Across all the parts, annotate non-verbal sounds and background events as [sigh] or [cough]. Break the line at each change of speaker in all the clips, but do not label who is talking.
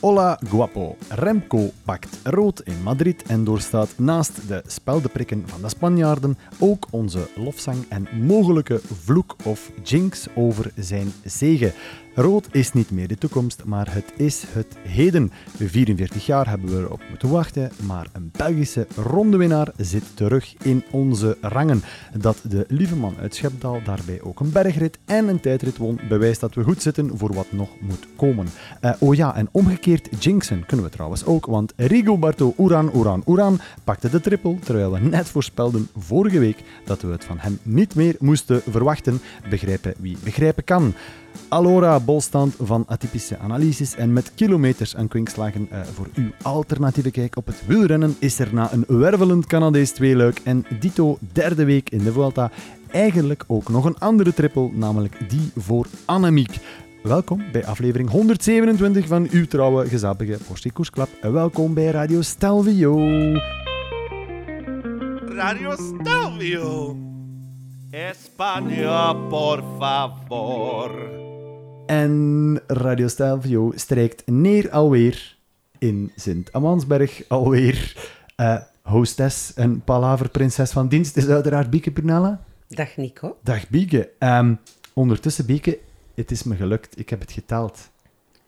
Hola Guapo. Remco pakt rood in Madrid en doorstaat naast de speldeprikken van de Spanjaarden ook onze lofzang en mogelijke vloek of jinx over zijn zegen. Rood is niet meer de toekomst, maar het is het heden. 44 jaar hebben we erop moeten wachten, maar een Belgische rondewinnaar zit terug in onze rangen. Dat de lieve man uit Schepdaal daarbij ook een bergrit en een tijdrit won, bewijst dat we goed zitten voor wat nog moet komen. Eh, oh ja, en omgekeerd jinxen kunnen we trouwens ook, want Rigoberto Uran Uran Uran pakte de triple, terwijl we net voorspelden vorige week dat we het van hem niet meer moesten verwachten. Begrijpen wie begrijpen kan. Alora, bolstand van atypische analyses en met kilometers aan kwinkslagen eh, voor uw alternatieve kijk op het wielrennen is er na een wervelend Canadees tweeluik en dito derde week in de Vuelta eigenlijk ook nog een andere triple, namelijk die voor Annemiek. Welkom bij aflevering 127 van uw trouwe gezapige Porsche Koersklap. En welkom bij Radio Stelvio.
Radio Stelvio. España, por favor.
En Radio Stelvio strijkt neer alweer in Sint-Amansberg alweer. Eh, hostess en palaverprinses van dienst is uiteraard Bieke Brunella.
Dag Nico.
Dag Bieke. Ehm, ondertussen, Bieke, het is me gelukt. Ik heb het geteld.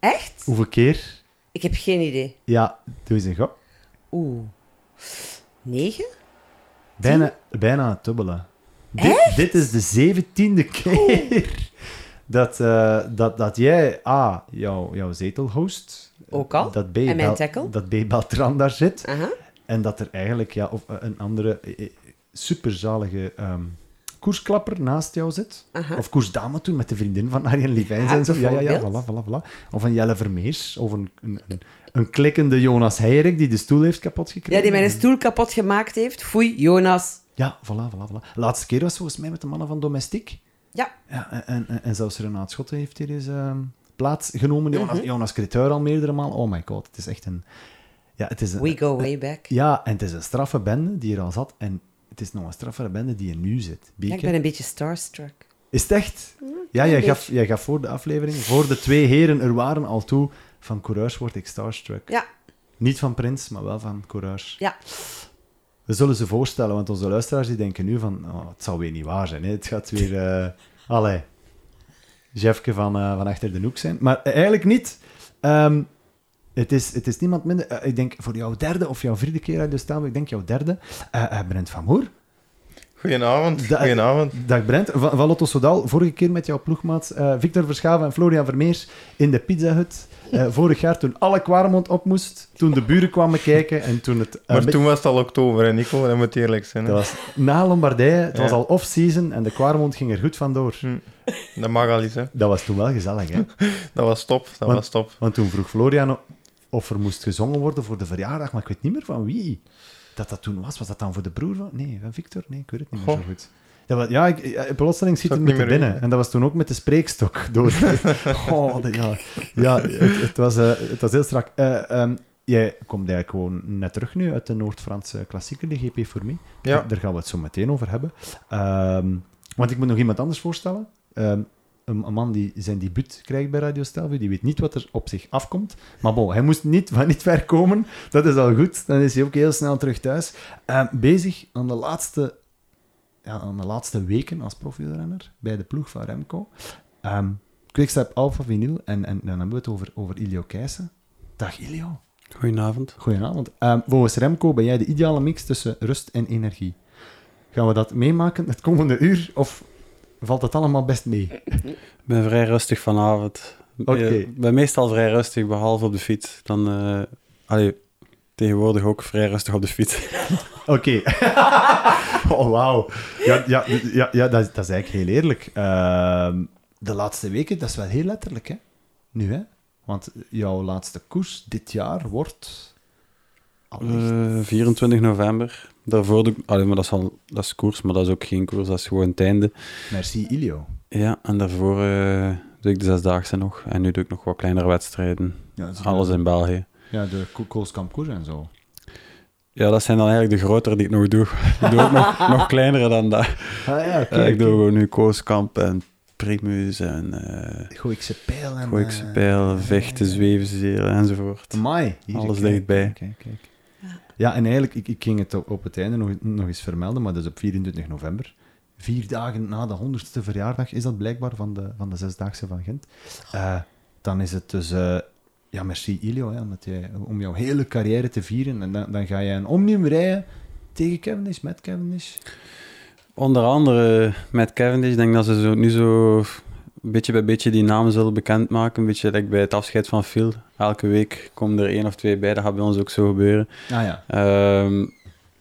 Echt?
Hoeveel keer?
Ik heb geen idee.
Ja, doe eens een gok.
Oeh. Negen?
Bijna, bijna het dubbele. Dit, dit is de zeventiende keer dat, eh, dat, dat jij A, jou, jouw zetel host. eh,
Ook al.
Dat B,
En mijn
Bel-
tackle.
Dat B Beltran daar zit.
Aha.
En dat er eigenlijk ja, of eh, een andere eh, eh, superzalige ehm, koersklapper naast jou zit.
Aha.
Of koersdame toen met de vriendin van Arjen Livijns
Ja,
en zo. Ja, ja, ja. Voilà,
bijvoorbeeld.
voilà, voilà. Of een Jelle Vermeers. Of een, een, een, een klikkende Jonas Heijerik die de stoel heeft kapot gekregen.
Ja, die
Mm.
mijn stoel kapot gemaakt heeft. Foei, Jonas.
Ja, voilà, voilà, voilà. Laatste keer was volgens mij met de mannen van Domestic.
Ja.
Ja, en- en, en, en zelfs Renaat Schotten heeft hier eens ehm, plaats genomen. Jonas,
Mhm.
Jonas Creteur al meerdere malen. Oh my god, het is echt een... Ja, het is een,
We go
Eh,
way back. Ja,
Ja, en het is een straffe bende die er al zat. En het is nog een straffere bende die er nu zit. Bieke.
ik ben een beetje starstruck.
Is het echt? Ja, jij gaf, jij gaf voor de aflevering, voor de twee heren er waren al toe, van courage word ik starstruck.
Ja,
Niet van Prins, maar wel van courage.
ja.
We zullen ze voorstellen, want onze luisteraars die denken nu van, oh, het zal weer niet waar zijn. Hè? Het gaat weer, eh allee, Jeffke van, eh, van achter de hoek zijn. Maar eh, eigenlijk niet. Ehm, het, is, het is niemand minder. eh, ik denk voor jouw derde of jouw vierde keer uit de staan, ik denk jouw derde, eh eh, Brent van Moer.
Goedenavond.
Da- Eh,
Goedenavond.
Dag Brent, van, van Lotto Soudal. Vorige keer met jouw ploegmaats eh, Victor Verschaven en Florian Vermeers in de Pizza Hut. Eh, vorig jaar toen alle Kwaremond op moest, toen de buren kwamen kijken en toen het... eh,
Maar
met-
toen was het al oktober, hè, Nico? Dat moet eerlijk zijn. Hè?
Dat was na Lombardije, het was
Ja.
al
Hm.
off-season en de Kwaremond ging er goed vandoor.
Dat mag al iets, hè.
Dat was toen wel gezellig, hè?
Dat was top, dat
Want-
was top.
Want toen vroeg Florian of er moest gezongen worden voor de verjaardag, maar ik weet niet meer van wie dat dat toen was. Was dat dan voor de broer van... Nee, van Victor? Nee, ik weet het niet meer
Goh.
zo goed. Ja, wat- ja ik, eh, plotseling schiet
Zou
het
ik
me
niet
te
meer
binnen.
weten.
En dat was toen ook met de spreekstok door.
[laughs]
oh, dat- ja, ja het, het was, eh, het was heel strak. Eh, ehm, jij komt eigenlijk gewoon net terug nu uit de Noord-Franse klassieker, de GP voor mij.
Ja.
Daar gaan we het zo meteen over hebben. Ehm, want ik moet nog iemand anders voorstellen. Ehm, een, een man die zijn debuut krijgt bij Radio Stelvio, die weet niet wat er op zich afkomt. Maar bon, hij moest niet van niet ver komen. Dat is al goed. Dan is hij ook heel snel terug thuis. Ehm, bezig aan de laatste ja, aan de laatste weken als profielrenner bij de ploeg van Remco. Ehm Quickstep Alpha Vinyl en, en dan hebben we het over, over Ilio Keijsen. Dag Ilio.
Goedenavond.
Goedenavond. Ehm, volgens Remco ben jij de ideale mix tussen rust en energie. Gaan we dat meemaken het komende uur of valt dat allemaal best mee?
Ik ben vrij rustig vanavond.
Oké.
Eh, Ik ben meestal vrij rustig, behalve op de fiets. Dan, eh, allee, tegenwoordig ook vrij rustig op de
[laughs]
fiets.
Oké. oh, wauw. Ja, ja, ja, ja dat, dat is eigenlijk heel eerlijk. Ehm, de laatste weken, dat is wel heel letterlijk, hè? Nu, hè? Want jouw laatste koers dit jaar wordt... allicht-
Eh, 24 november. Daarvoor doe ik... Allee, maar dat is, al, dat is koers, maar dat is ook geen koers. Dat is gewoon het einde.
Merci, Ilio.
Ja, en daarvoor eh, doe ik de zesdaagse nog. En nu doe ik nog wat kleinere wedstrijden.
Ja, dat is-
Alles in België.
Ja, de Ko- Koolskamp koers en zo.
Ja, dat zijn dan eigenlijk de grotere die [laughs] ik nog doe. Ik doe ook nog, nog kleinere dan dat.
Ah ja,
Eh, ik doe gewoon nu Kooskamp en primus en eh
Gooikse pijl en...
Gooikse
eh,
pijl, vechten, zweven, zelen enzovoort.
Amai. Hier,
Alles
kijk,
dichtbij.
Kijk, kijk. Ja. en eigenlijk, ik, ik ging het op op het einde nog, nog eens vermelden, maar dat is op 24 november. Vier dagen na de 100ste verjaardag is dat blijkbaar van de, van de Zesdaagse van Gent. Eh, dan is het dus... eh, ja, merci Ilio, hè, omdat jij, om jouw hele carrière te vieren. En dan, dan ga je een omnium rijden tegen Cavendish, met Cavendish.
Onder andere met Cavendish, ik denk dat ze zo, nu zo beetje bij beetje die namen zullen bekendmaken. Een beetje like bij het afscheid van Phil. Elke week komen er één of twee bij, dat gaat bij ons ook zo gebeuren.
Ah ja.
Ehm,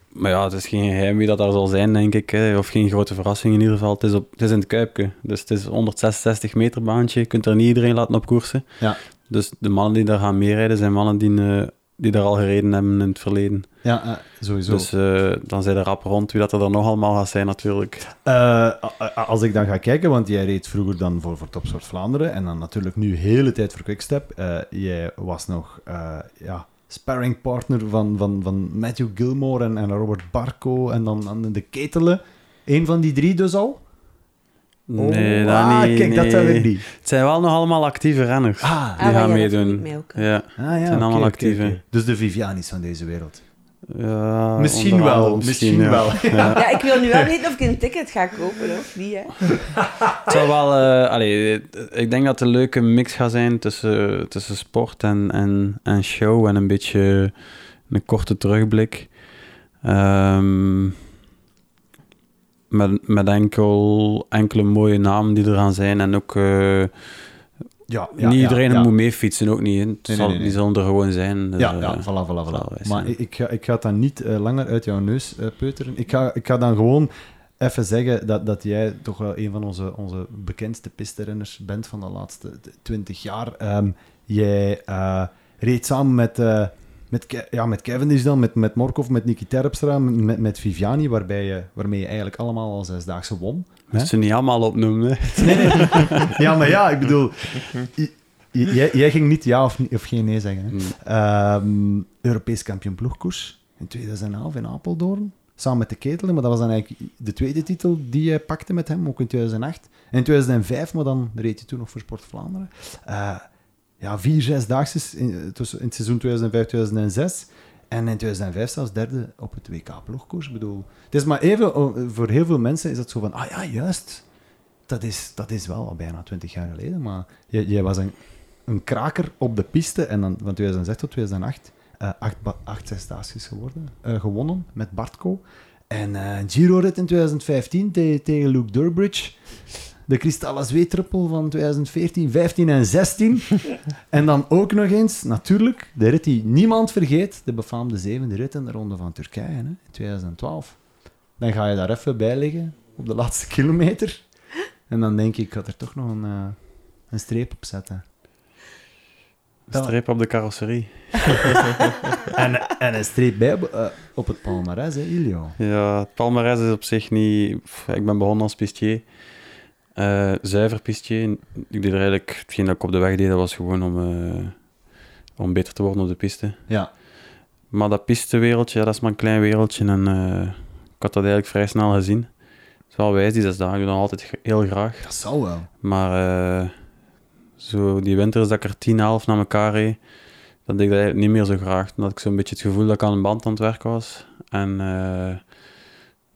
maar ja, het is geen geheim wie dat daar zal zijn, denk ik. Hè. Of geen grote verrassing in ieder geval. Het is, op, het is in het Kuipke, dus het is 166 meter baantje. Je kunt er niet iedereen laten op koersen.
Ja.
Dus de mannen die daar gaan meerijden, zijn mannen die, eh, die daar al gereden hebben in het verleden.
Ja, eh, sowieso.
Dus eh, dan zijn er rap rond wie dat er dan nog allemaal gaat zijn natuurlijk.
Eh, a- a- als ik dan ga kijken, want jij reed vroeger dan voor, voor Topsport Vlaanderen en dan natuurlijk nu hele tijd voor Quickstep. Eh jij was nog eh ja, sparringpartner van, van, van Matthew Gilmore en, en Robert Barco en dan, dan de ketelen. Eén van die drie dus al?
nee,
Oh,
dat
ah,
niet.
kijk, dat
nee.
zijn weer niet.
Het zijn wel nog allemaal actieve renners.
Ah,
die
maar ja,
gaan
dat
meedoen.
vind ik mij ook, hè.
ja.
ah ja,
allemaal
oké, oké,
actieve.
oké. Dus de Vivianis van deze wereld.
Ja,
misschien
Ah, onder
wel,
andere,
misschien,
ja.
wel. [laughs]
Ja, ik wil
[laughs]
nu wel weten of ik een ticket ga kopen of niet. Hè.
Het zal wel, eh, allee, eh, ik denk dat het een leuke mix gaat zijn tussen, tussen sport en, en, en show en een beetje een korte terugblik. Ehm, met met enkel, enkele mooie namen die er gaan zijn en ook eh,
Ja, ja,
niet
ja,
iedereen
ja.
moet meefietsen, ook niet. hè. Het
nee,
zal,
nee, nee.
Die zullen er gewoon zijn. dus,
Ja,
eh,
ja, voilà, voilà,
zal wel
voilà.
eens
Maar
zijn.
ik, ik ga, ik ga dat niet eh, langer uit jouw neus eh, peuteren. Ik ga, ik ga dan gewoon even zeggen dat, dat jij toch wel een van onze, onze bekendste pisterenners bent van de laatste twintig jaar. Ehm, jij eh, reed samen met, eh met, Ke- ja, met Cavendish dan, met, met Morkov, met Niki Terpstra, met, met Viviani, waarbij je, waarmee je eigenlijk allemaal al zesdaagse won.
Moet ze niet allemaal opnoemen. hè.
Nee, nee. [laughs] Ja, maar ja, ik bedoel... j- j- Jij, jij ging niet ja of, ni- of geen nee zeggen. Hè? Ehm, Europees kampioen ploegkoers in 2011 in Apeldoorn. Samen met de ketelen, maar dat was dan eigenlijk de tweede titel die jij pakte met hem, ook in 2008. En in 2005, maar dan reed je toen nog voor Sport Vlaanderen. Eh, ja, vier zesdaagses in, eh, tussen, in het seizoen 2005-2006. En in 2005 zelfs derde op het WK-ploegkoers. Ik bedoel, het is maar even, oh, voor heel veel mensen is dat zo van, ah ja, juist, dat is, dat is wel al bijna twintig jaar geleden, maar jij, jij was een, een kraker op de piste en dan van 2006 tot 2008 eh acht, ba- acht zesdaagjes geworden, eh, gewonnen met Bartko. En eh Giro-rit in 2015 te- tegen Luke Durbridge. De Cristallas W-trippel van 2014, 15 en 16. en dan ook nog eens, natuurlijk, de rit die niemand vergeet, de befaamde zevende rit in de Ronde van Turkije hè, in 2012. Dan ga je daar even bij liggen op de laatste kilometer. En dan denk ik, ik had er toch nog een, eh, een streep op zetten. Dat-
Streep op de carrosserie.
[laughs] En, en een streep bij eh, op het palmarès, hè, Ilio.
Ja, het palmarès is op zich niet... pff, Ik ben begonnen als pistier. Eh, zuiver pistier. Ik deed er eigenlijk... Hetgeen dat ik op de weg deed, dat was gewoon om, eh, om beter te worden op de piste.
Ja.
Maar dat pistewereldje, ja, dat is maar een klein wereldje. En eh, ik had dat eigenlijk vrij snel gezien. Het is wel wijs, die zes dagen. Ik doe dat altijd g- heel graag.
Dat zou wel.
Maar eh, zo die winters dat ik er 10, 11 naar elkaar reed, dat deed ik dat eigenlijk niet meer zo graag. Toen had ik zo'n beetje het gevoel dat ik aan een band aan het werk was. En eh,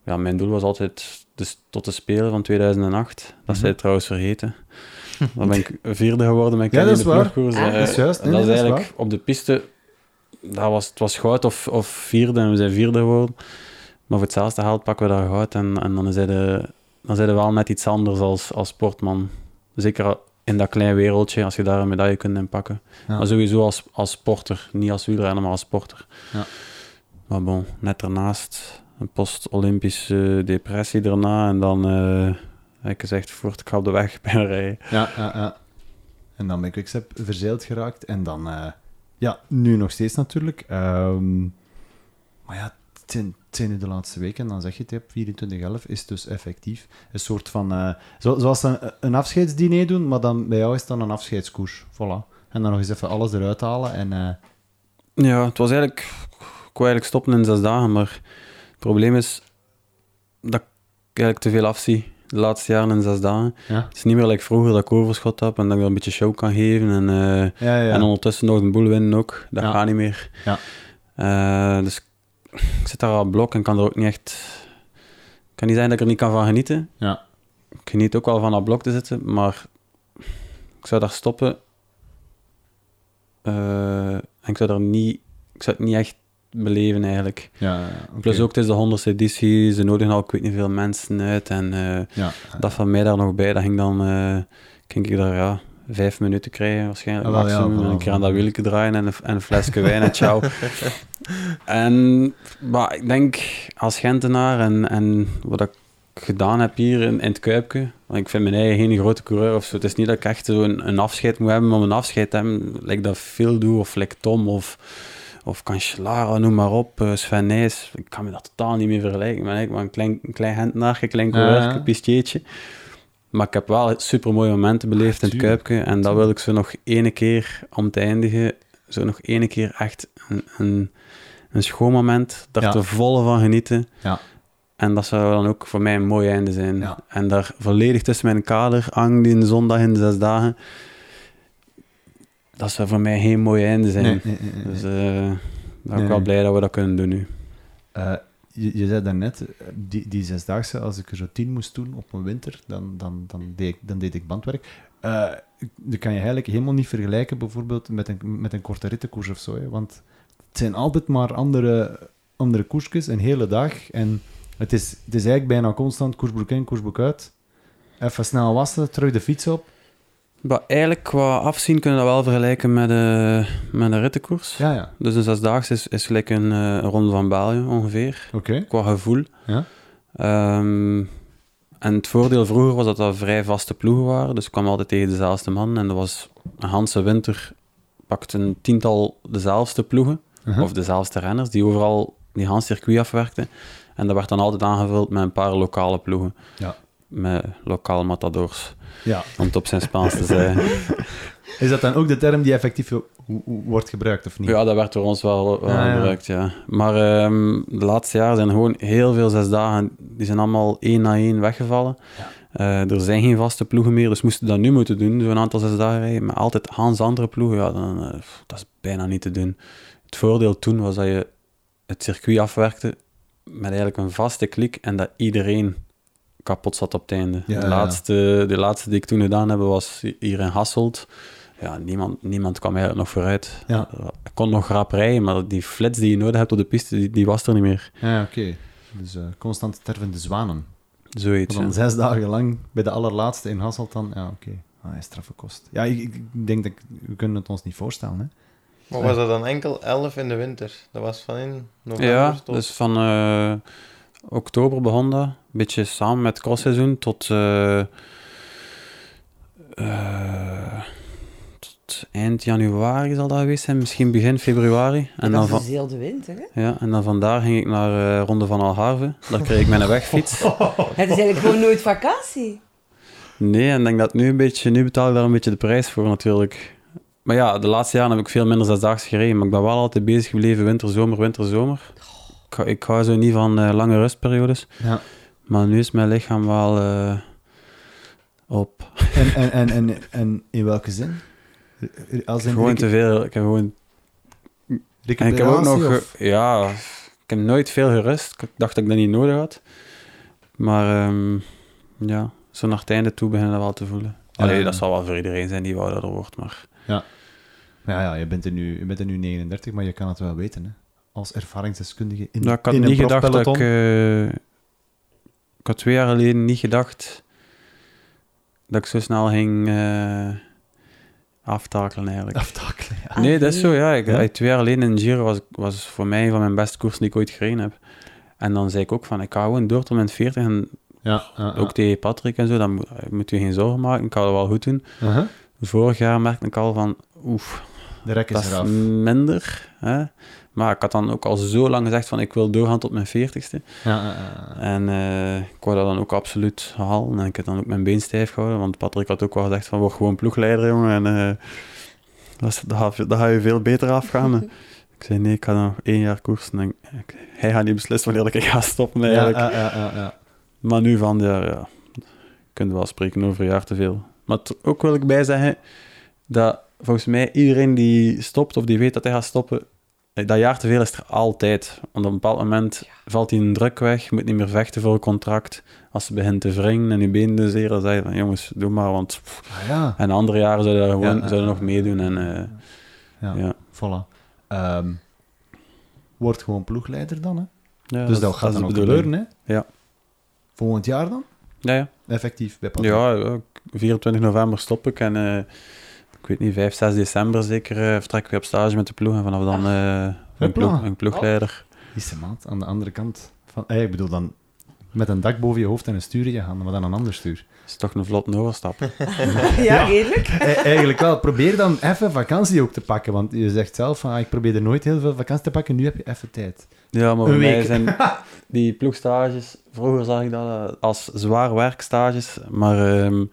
ja, mijn doel was altijd de, tot de Spelen van 2008. Dat
Mhm.
zij trouwens
[laughs]
vergeten. Dan ben ik vierde geworden met
Ja, dat
Kenny in
is
de
waar.
ploegkoers.
Ah,
Eh,
dat is juist. Nee,
dat is
nee, dat is
eigenlijk op de piste... Dat was, het was goud of, of vierde en we zijn vierde geworden. Maar voor hetzelfde geld pakken we daar goud en, en dan zijn de dan zijn we wel net iets anders als, als sportman. Zeker in dat klein wereldje, als je daar een medaille kunt inpakken.
Ja.
Maar sowieso als, als sporter, niet als wielrenner, maar als sporter.
Ja.
Maar bon, net daarnaast een post-Olympische depressie daarna en dan, eh heb ik gezegd, voort, ik ga op de weg ben rijden.
Ja, ja, ja. En dan ben ik Quickstep verzeild geraakt. En dan, eh, ja, nu nog steeds natuurlijk. Ehm, maar ja, het zijn, het zijn nu de laatste weken. En dan zeg je het, hè, 24-11 is dus effectief een soort van... eh, zo- zoals ze een, een afscheidsdiner doen, maar dan, bij jou is het dan een afscheidskoers. Voilà. En dan nog eens even alles eruit halen. En, eh,
Ja, het was eigenlijk... Ik wou eigenlijk stoppen in zes dagen, maar het probleem is dat ik eigenlijk te veel afzie. de laatste jaren in zes dagen.
Ja.
Het is niet meer like vroeger dat ik overschot heb en dat ik dan een beetje show kan geven. En, eh,
Ja, ja.
en ondertussen nog een boel winnen ook. Dat
Ja.
gaat niet meer.
Ja.
Eh, dus ik zit daar al blok en kan er ook niet echt... Ik kan niet zeggen dat ik er niet kan van genieten.
Ja.
Ik geniet ook wel van dat blok te zitten, maar ik zou daar stoppen. Eh, en ik zou daar niet... Ik zou het niet echt beleven eigenlijk.
ja, ja, oké.
Plus ook, het is de honderdste editie, ze nodigen al ik weet niet veel mensen uit. En eh,
Ja,
dat van mij daar nog bij, dat ging dan, eh ging ik daar ja, vijf minuten krijgen waarschijnlijk
Ah, wel, ja,
maximum. en
voilà,
een keer
voilà.
aan dat wielke draaien en een, en een flesje wijn en
[laughs]
ciao. en maar ik denk, als Gentenaar en, en wat ik gedaan heb hier in, in het Kuipje, want ik vind mijn eigen geen grote coureur of zo. Het is niet dat ik echt zo'n een afscheid moet hebben om een afscheid te hebben. Lijkt dat Phil doe of like Tom of of Cancellara, noem maar op, eh, Sven Nys. Ik kan me dat totaal niet meer vergelijken. Ik ben eigenlijk maar een klein, een klein hentenaar, een klein coureur,
Ja, ja.
een pistietje. Maar ik heb wel super mooie momenten beleefd in het
Tuurlijk.
Kuipje. En dat wil ik zo nog ene keer om te eindigen. Zo nog ene keer echt een, een, een schoon moment. Daar
Ja.
te volle van genieten.
Ja.
En dat zou dan ook voor mij een mooi einde zijn.
Ja.
En daar volledig tussen mijn kader hangt die zondag in de zes dagen. Dat zou voor mij geen mooi einde zijn.
Nee, nee, nee, nee.
Dus eh ben ik
Nee.
wel blij dat we dat kunnen doen nu.
Eh, je, je zei daarnet, eh, die, die zesdaagse, als ik er zo tien moest doen op een winter, dan, dan, dan, deed, ik, dan deed ik bandwerk. Eh dat kan je eigenlijk helemaal niet vergelijken bijvoorbeeld met een, met een korte rittenkoers of zo. Hè? Want het zijn altijd maar andere, andere koersjes, een hele dag. En het is, het is eigenlijk bijna constant koersbroek in, koersbroek uit. Even snel wassen, terug de fiets op.
Maar eigenlijk qua afzien kunnen we dat wel vergelijken met, eh met een rittenkoers.
Ja, ja.
Dus een zesdaagse is, is gelijk een, eh, een ronde van België ongeveer,
Oké.
qua gevoel.
Ja.
Ehm, en het voordeel vroeger was dat dat vrij vaste ploegen waren, dus ik kwam altijd tegen dezelfde man. En dat was een hele winter pakt een tiental dezelfde ploegen,
Uh-huh.
of dezelfde renners, die overal die hele circuit afwerkten. En dat werd dan altijd aangevuld met een paar lokale ploegen,
Ja.
met lokale matadors.
ja.
Om het op zijn Spaans te zeggen.
Is dat dan ook de term die effectief wo- wo- wordt gebruikt of niet? Ah,
Ja, dat werd door ons wel, wel
Ja, ja.
gebruikt, ja. Maar ehm, de laatste jaren zijn er gewoon heel veel zesdagen, die zijn allemaal één na één weggevallen. Eh, er zijn geen vaste ploegen meer, dus moesten we dat nu moeten doen, zo'n aantal zesdagen rijden. Maar altijd Hans andere ploegen, ja, dan, eh, pff, dat is bijna niet te doen. Het voordeel toen was dat je het circuit afwerkte met eigenlijk een vaste klik en dat iedereen kapot zat op het einde.
Ja, ja,
de,
ja.
laatste, de laatste die ik toen gedaan heb, was hier in Hasselt. Ja, niemand, niemand kwam eigenlijk nog vooruit.
Ja.
Ik kon nog rap rijden, maar die flits die je nodig hebt op de piste, die, die was er niet meer.
Ja, oké. Dus eh, constant stervende zwanen.
Zoiets.
Maar dan
ja.
zes dagen lang bij de allerlaatste in Hasselt dan. Ja, oké. Ah, hij is straffe kost. Ja, ik, ik- ik denk dat ik- we kunnen het ons niet voorstellen. Hè?
Maar was dat dan enkel 11 in de winter? Dat was van in november
Ja,
tot...
dus van eh, oktober begon dat. Een beetje samen met het crossseizoen tot, eh, eh, tot eind januari zal dat geweest zijn. Misschien begin februari. En dan
dat
van,
is dus heel de winter, hè?
ja, en dan vandaar ging ik naar eh, Ronde van Algarve. Daar kreeg ik mijn wegfiets.
Het is eigenlijk gewoon nooit vakantie.
Nee, en ik denk dat nu een beetje, nu betaal ik daar een beetje de prijs voor natuurlijk. Maar ja, de laatste jaren heb ik veel minder zesdaagse gereden, maar ik ben wel altijd bezig gebleven winter, zomer, winter, zomer. Ik, hou- ik hou zo niet van eh, lange rustperiodes,
Ja.
maar nu is mijn lichaam wel eh, op.
En, en, en, en, en in welke zin? Als in
Gewoon te veel. Ik heb gewoon En ik heb ook nog... eh,
Of...
ge- Ja, ik heb nooit veel gerust. Ik dacht dat ik dat niet nodig had. Maar ehm, ja, zo naar het einde toe beginnen dat wel te voelen.
Ja.
Allee, dat zal wel voor iedereen zijn die wou dat er wordt, maar...
Ja, ja je, bent er nu, je bent er nu 39, maar je kan het wel weten. Hè? Als ervaringsdeskundige in,
Nou, ik had
in een
niet gedacht dat ik...
profpeloton.
eh, ik had twee jaar geleden niet gedacht dat ik zo snel ging eh,
[laughs]
aftakelen, eigenlijk.
Aftakelen, ja.
Nee, dat is zo, ja. Ik,
Ah, Ja?
eh, Twee jaar geleden in Giro was, was voor mij een van mijn beste koersen die ik ooit gereden heb. En dan zei ik ook van, ik hou gewoon door tot mijn 40 en
ja, ja, ja.
Ook tegen Patrick en zo, dan moet, eh, moet je geen zorgen maken. Ik kan het wel goed doen.
Uh-huh.
Vorig jaar merkte ik al van, oef,
De rek
dat
is
is
eraf.
minder. Hè? Maar ik had dan ook al zo lang gezegd van, ik wil doorgaan tot mijn 40ste.
Ja, ja, ja, ja.
En eh, ik wou dat dan ook absoluut halen. En ik heb dan ook mijn been stijf gehouden, want Patrick had ook wel gezegd van, word gewoon ploegleider, jongen. En eh, dat is- daar ga- daar ga je veel beter afgaan. ik zei, nee, ik ga nog één jaar koersen. En ik- hij gaat niet beslissen wanneer ik ga stoppen
Ja,
eigenlijk.
ja, ja, ja, ja.
Maar nu van, ja, ja. kunnen we wel spreken over een jaar te veel. Maar t- ook wil ik bij zeggen dat volgens mij iedereen die stopt of die weet dat hij gaat stoppen, eh, dat jaar te veel is er altijd. Want op een bepaald moment valt die een druk weg, moet niet meer vechten voor een contract. Als ze begint te wringen en je benen dus zeer, dan zeg je van jongens, doe maar, want... pff.
Ah, ja.
En andere jaren zouden daar gewoon
ja,
zouden
ja.
nog meedoen en... eh,
Ja,
ja.
voilà. Ehm, word gewoon ploegleider dan, hè.
Ja,
dus dat,
is-
gaat
is
dan ook
de bedoeling.
gebeuren, hè.
Ja.
Volgend jaar dan?
Ja, ja.
Effectief, bij Patrick.
Ja, ja, ik- 24 november stop ik en eh, ik weet niet, 5, 6 december zeker eh, vertrek ik weer op stage met de ploeg en vanaf dan eh een,
Hopla.
ploeg, een ploegleider.
Is de maat aan de andere kant van... Eh, ik bedoel dan... Met een dak boven je hoofd en een stuur in je hand, maar dan een ander
[laughs]
stuur.
is toch Oh. een vlot overstap.
Ja, eerlijk.
Eh, eigenlijk wel. Probeer dan even vakantie ook te pakken. Want je zegt zelf van, ah, ik probeerde nooit heel veel vakantie te pakken. Nu heb je even tijd.
Ja, maar
Een
voor mij
week.
[laughs] zijn die ploegstages, vroeger zag ik dat eh, als zwaar werkstages, maar ehm,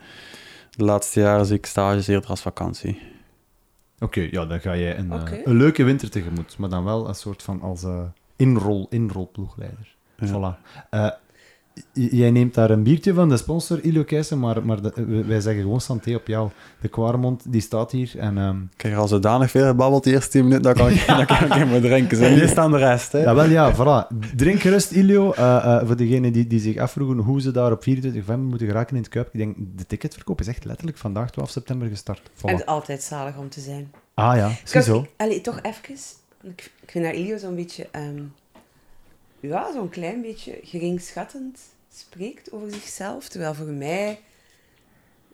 de laatste jaren zie ik stages eerder als vakantie.
Oké, ja, dan ga je een, eh,
Oké.
een leuke winter tegemoet. Maar dan wel een soort van als eh, inrol, inrolploegleider.
Ja.
Voilà. Eh, j- jij neemt daar een biertje van, de sponsor, Ilo Keijsen, maar, maar de- w- wij zeggen gewoon santé op jou. De Kwarmond, die staat hier en... ehm,
Ik heb er al zodanig veel gebabbeld die eerste 10 minuten, dan kan [laughs] ik, dan kan ik even drinken. En die staan de rest, hè.
Ja, wel ja, voilà. Drink gerust, Ilio. Eh, eh, voor degenen die, die zich afvroegen hoe ze daar op 24 november moeten geraken in het Kuip. Ik denk, de ticketverkoop is echt letterlijk vandaag 12 september gestart. Voilà.
En het is altijd zalig om te zijn.
Ah ja,
Ik
ziezo.
ik- allee, toch even. Ik, ik vind haar Ilio zo'n beetje... ehm, ja, zo'n klein beetje geringschattend spreekt over zichzelf. Terwijl voor mij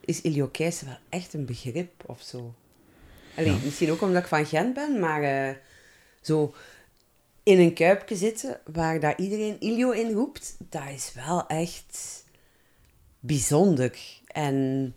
is Ilio Keijsen wel echt een begrip of zo. Allee, Misschien ook omdat ik van Gent ben, maar eh, zo in een kuipje zitten waar daar iedereen Ilio in roept, dat is wel echt bijzonder. En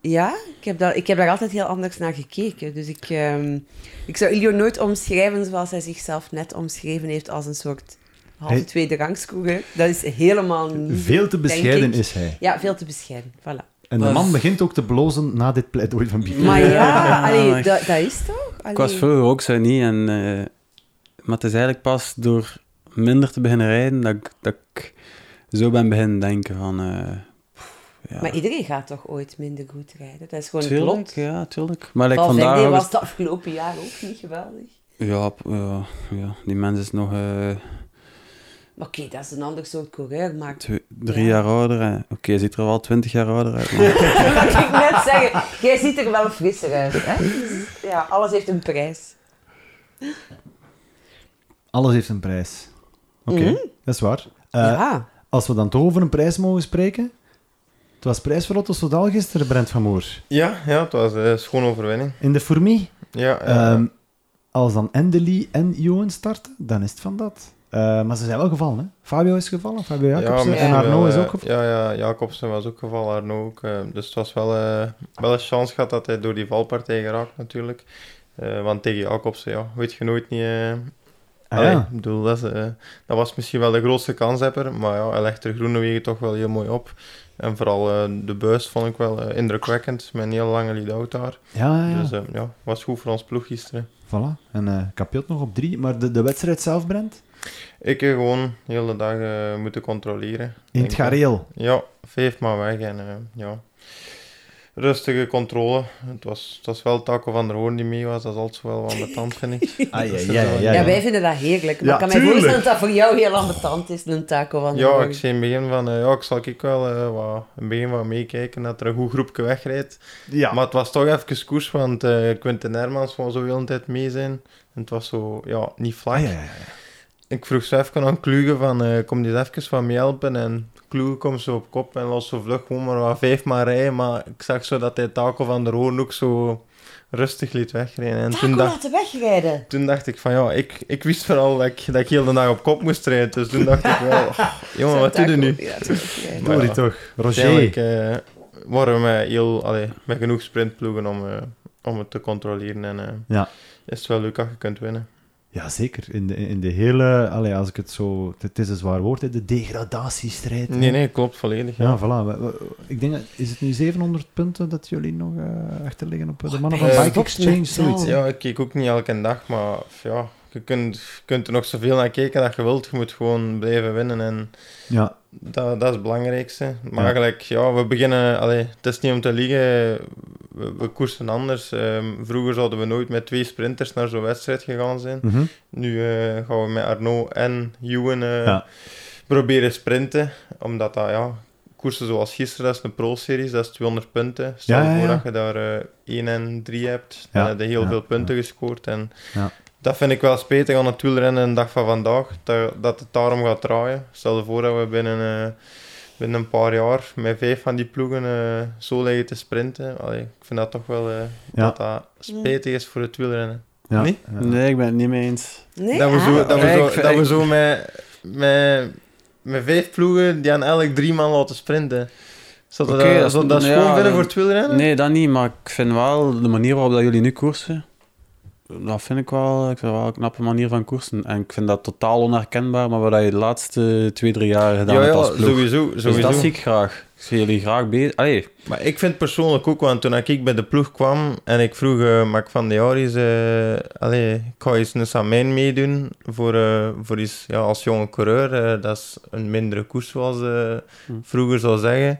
ja, ik heb, daar, ik heb daar altijd heel anders naar gekeken. Dus ik, ehm, ik zou Ilio nooit omschrijven zoals hij zichzelf net omschreven heeft als een soort halve
Hij-
tweede rangskoeger. Dat is helemaal niet...
Veel te
denk
bescheiden
ik.
is hij.
Ja, veel te bescheiden. Voilà.
En de
Maar-
man begint ook te blozen na dit pleidooi van Bier.
Maar ja, allee,
maar-
dat, dat is toch? Allee.
Ik was vroeger ook zo niet. En, eh, maar het is eigenlijk pas door minder te beginnen rijden dat ik, dat ik zo ben beginnen denken van... eh, pff, ja.
Maar iedereen gaat toch ooit minder goed rijden? Dat is gewoon het
tuurlijk,
lot.
ja, tuurlijk. Maar like,
Valverde
vandaag... ook-
was het afgelopen jaar ook niet geweldig.
Ja, p- ja, ja, die mens is nog eh,
Maar oké, dat is een ander soort coureur, maar...
[laughs]
twee- drie
Ja.
jaar ouder. en- Oké, hij ziet er wel twintig jaar ouder uit. maar-
[laughs] Dat ging ik net zeggen. Jij ziet er wel frisser uit, hè? Dus, Ja, alles heeft een prijs.
Alles heeft een prijs. Oké,
Mhm.
dat is waar. Eh,
ja.
Als we dan toch over een prijs mogen spreken... Het was prijs voor Otto Soudal gisteren, Brent van Moer.
Ja, ja, het was een schoon overwinning.
In de Fourmi.
Ja, ja.
Ehm, als dan Endeli en Johan starten, dan is het van dat. Eh, maar ze zijn wel gevallen, hè? Fabio is gevallen, Fabio Jacobsen.
misschien
en
wel,
Arno is
eh,
ook gevallen.
Ja, ja, Jacobsen was ook gevallen, Arno ook. eh, dus het was wel, eh, wel een chance gehad dat hij door die valpartij geraakt natuurlijk. Eh, want tegen Jacobsen, ja, weet je nooit niet... eh,
Ah,
allee,
ja.
ik bedoel, dat, is, eh, dat was misschien wel de grootste kanshebber, maar ja, hij legt er Groenewegen toch wel heel mooi op. En vooral eh, de buis vond ik wel eh, indrukwekkend, met een heel lange lead-out daar.
Ja, Ah, ja, ja.
Dus eh, ja, was goed voor ons ploeg gisteren.
Voilà. En eh Capiot nog op drie. Maar de, de wedstrijd zelf, Brent?
Ik heb gewoon de hele dag eh, moeten controleren.
In
Denk
het
ik.
gareel.
Ja, vijf maar weg en eh, ja. Rustige controle. Het was, het was wel Taco van der Hoorn die mee was, dat is altijd wel wat betant, vind
[laughs]
ik.
Ah,
ja, ja, ja,
Ja,
ja.
wij vinden dat heerlijk. Maar
Ja,
ik kan mij
tuurlijk.
voorstellen dat dat voor jou heel ambetant is, een taco van de
Ja,
morgen.
ik zei in het begin van, eh, ja, ik zal ik wel eh, wat, een begin van meekijken dat er een goed groepje wegrijdt.
Ja.
Maar het was toch even koers, want eh Quinten Hermans wou zo heel de tijd mee zijn. En het was zo, ja, niet vlak.
Ah, ja, ja, ja.
Ik vroeg zo even aan Kluge van, eh, kom die eens even van me helpen. En Kluge komt zo op kop en los zo vlug gewoon maar wat vijf maar rijden. Maar ik zag zo dat hij Taco van der Hoorn ook zo rustig liet wegrijden. En
Taco
toen dacht,
laten wegrijden.
toen dacht ik van, ja, ik, ik wist vooral dat ik, dat ik heel de dag op kop moest rijden. Dus toen dacht ik wel, oh, jongen, wat doe je nu?
Ja, dat is ook, ja.
Maar
Doe
ja,
die toch.
Uiteindelijk
Roger.
eh, waren we met, heel, allee, met genoeg sprintploegen om, eh, om het te controleren. En eh,
Ja.
is het wel leuk dat je kunt winnen.
Ja, zeker. In de, in de hele... Allee, als ik het zo... Het is een zwaar woord, hè, de degradatiestrijd.
Nee, nee, klopt, volledig. Ja.
Ja, voilà. We- we- Ik denk, dat- is het nu 700 punten dat jullie nog eh achter liggen op eh, de mannen van
Eh,
Bike Exchange? Zoiets.
Ja, ik kijk ook niet elke dag, maar ja, je kunt, je kunt er nog zoveel naar kijken dat je wilt. Je moet gewoon blijven winnen. En
Ja,
Dat, dat is het belangrijkste. Maar
Ja.
eigenlijk, ja, we beginnen... Allee, het is niet om te liegen. We, we koersen anders. Ehm, vroeger zouden we nooit met twee sprinters naar zo'n wedstrijd gegaan zijn.
Mhm.
Nu eh, gaan we met Arnaud en Juwen eh,
Ja.
proberen sprinten. Omdat dat, ja, koersen zoals gisteren, dat is een pro-series, dat is 200 punten. Stel
Ja, ja,
voor
ja.
dat je daar eh 1 en 3 hebt,
Ja,
dan heb je heel
ja,
veel punten gescoord. En
Ja.
Dat vind ik wel spijtig aan het wielrennen de dag van vandaag, dat, dat het daarom gaat draaien. Stel voor dat we binnen, eh, binnen een paar jaar met vijf van die ploegen eh, zo liggen te sprinten. Allee, ik vind dat toch wel eh,
Ja.
dat dat spijtig is voor het wielrennen.
Ja.
Nee?
Ja.
Nee, ik ben het niet mee eens.
Nee?
Dat we zo,
Ah,
dat we
Ja,
zo,
ik vind-
dat we
ik-
zo met, met, met vijf ploegen die aan elk drie man laten sprinten. Zou dat,
Oké, dat
dat,
is-
zou dat
ja,
schoon vinden
dan-
voor het wielrennen?
Nee, dat niet, maar ik vind wel de manier waarop dat jullie nu koersen, dat vind ik wel, ik vind wel een knappe manier van koersen. En ik vind dat totaal onherkenbaar, maar wat dat je de laatste twee, drie jaar gedaan
ja,
hebt
ja
als ploeg.
sowieso. sowieso.
Dus dat zie ik graag. Ik zie jullie graag bezig. Allee,
Maar ik vind persoonlijk ook, want toen ik bij de ploeg kwam en ik vroeg eh Mac van de Jaar eens, eh, allee, ik ga eens eens aan mijn meedoen voor, eh, voor eens, ja, als jonge coureur. eh, dat is een mindere koers, zoals eh
Hm.
vroeger zou zeggen.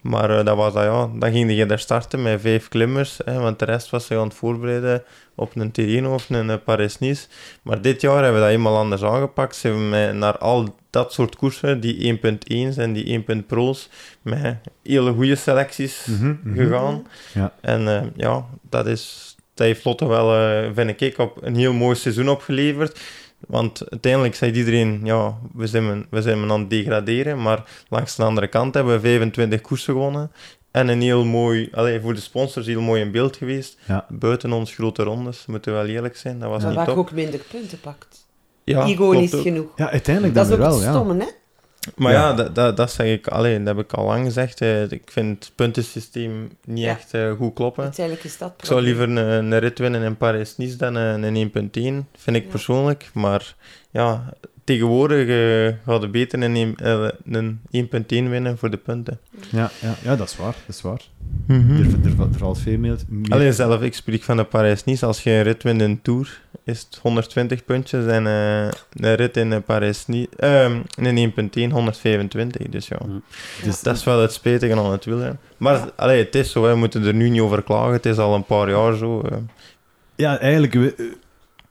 Maar eh, dat was dat, ja. Dan ging je daar starten met vijf klimmers, hè, want de rest was zich aan het voorbereiden op een Tirreno of een eh, Paris-Nice. Maar dit jaar hebben we dat helemaal anders aangepakt. Ze hebben mij naar al dat soort koersen, die 1.1's en die 1. pro's, met hele goede selecties
Mhm, mhm.
gegaan.
Ja.
En eh, ja, dat, is, dat heeft Lotte wel, eh, vind ik, op een heel mooi seizoen opgeleverd. Want uiteindelijk zei iedereen, ja, we zijn, men- we zijn men aan het degraderen. Maar langs de andere kant hebben we 25 koersen gewonnen. En een heel mooi, allee, voor de sponsors heel mooi in beeld geweest.
Ja.
Buiten ons grote rondes, moeten we wel eerlijk zijn. Dat was
Maar
niet
waar je
top.
ook minder punten pakt.
Ja,
Ego
klopt
niet
ook.
genoeg.
Ja, uiteindelijk
Dat
dan
is ook
weer wel,
het
ja.
stomme, hè?
Maar
Ja.
ja, dat, dat, dat zeg ik alleen, dat heb ik al lang gezegd. eh, ik vind het puntensysteem niet
Ja.
echt eh, goed kloppen.
Uiteindelijk is dat
Ik zou
probleem.
liever een, een rit winnen in Parijs-Nice dan een, een 1.1, vind ik
Ja.
persoonlijk. Maar ja, tegenwoordig eh gaat het beter een, een, eh, een 1.1 winnen voor de punten.
Ja, ja, ja, dat is waar, dat is waar.
Mhm.
Er, er, er valt veel meer... meer-
Alleen zelf, ik spreek van de Parijs-Nice. Als je een rit wint in Tour, is het 120 puntjes. En eh, een rit in de Parijs-Nice, ehm, in een 1.1, 125. Dus ja.
Dus-
Dat is wel het spijtige aan het wielrennen. Maar
Ja.
allee, het is zo, hè, we moeten er nu niet over klagen. Het is al een paar jaar zo. eh.
Ja, eigenlijk wi-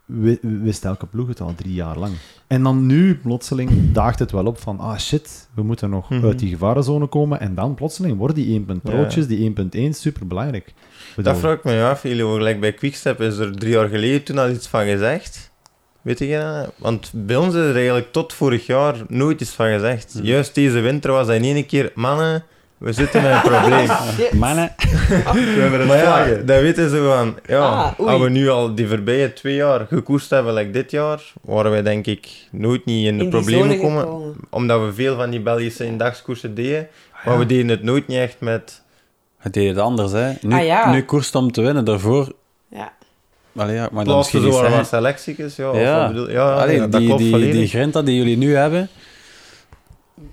wi- wist elke ploeg het al drie jaar lang. En dan nu, plotseling, daagt het wel op van, ah shit, we moeten nog
Mhm.
uit die gevarenzone komen. En dan, plotseling, worden die 1 punt broodjes, die 1.1, superbelangrijk.
Dat
Bedoel,
vraag ik me af, jullie gelijk bij Quickstep is er drie jaar geleden toen al iets van gezegd. Weet je, eh, want bij ons is er eigenlijk tot vorig jaar nooit iets van gezegd.
Hmm.
Juist deze winter was dat in één keer, mannen, we zitten met een
[laughs]
probleem.
Shit.
[laughs]
mannen.
maar ja, dan weten ze van, ja,
Ah, oei.
als we nu al die voorbije twee jaar gekoest hebben, like dit jaar, waren wij denk ik nooit niet in de
In die
problemen
zone
gekomen.
gekomen.
Omdat we veel van die Belgische eendagskoersen deden, maar we deden het nooit niet echt met...
Het deed het anders, hè. Nu,
Ah, ja.
nu koerst om te winnen, daarvoor...
Ja.
Allee, ja, maar dan
Plaatsen
misschien
zo
niet
waren wat
zeggen.
selecties, ja. of
Ja.
wat oh, bedoel- ja,
Allee,
ja, dat
die,
klopt
die,
volledig.
die grinta die jullie nu hebben...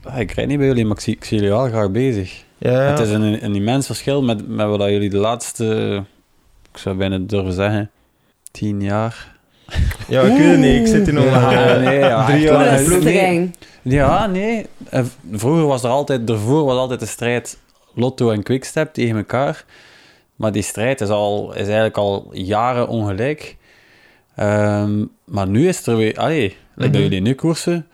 ah, ik rijd niet bij jullie, maar ik zie, ik zie jullie wel graag bezig.
Ja,
Het is een, een immens verschil met, met wat dat jullie de laatste... Ik zou bijna durven zeggen... Tien jaar...
ja ik weet het niet. Ik zit hier nog maar,
Ja,
eh,
nee, ja,
drie
echt
jaar
wel.
in
Dat is
de
Nee.
ploeg.
streng.
Ja, nee. En v- Vroeger was er altijd, ervoor was altijd de strijd Lotto en Quickstep tegen elkaar. Maar die strijd is, al, is eigenlijk al jaren ongelijk. Ehm, maar nu is er weer, allee, like dat jullie nu koersen.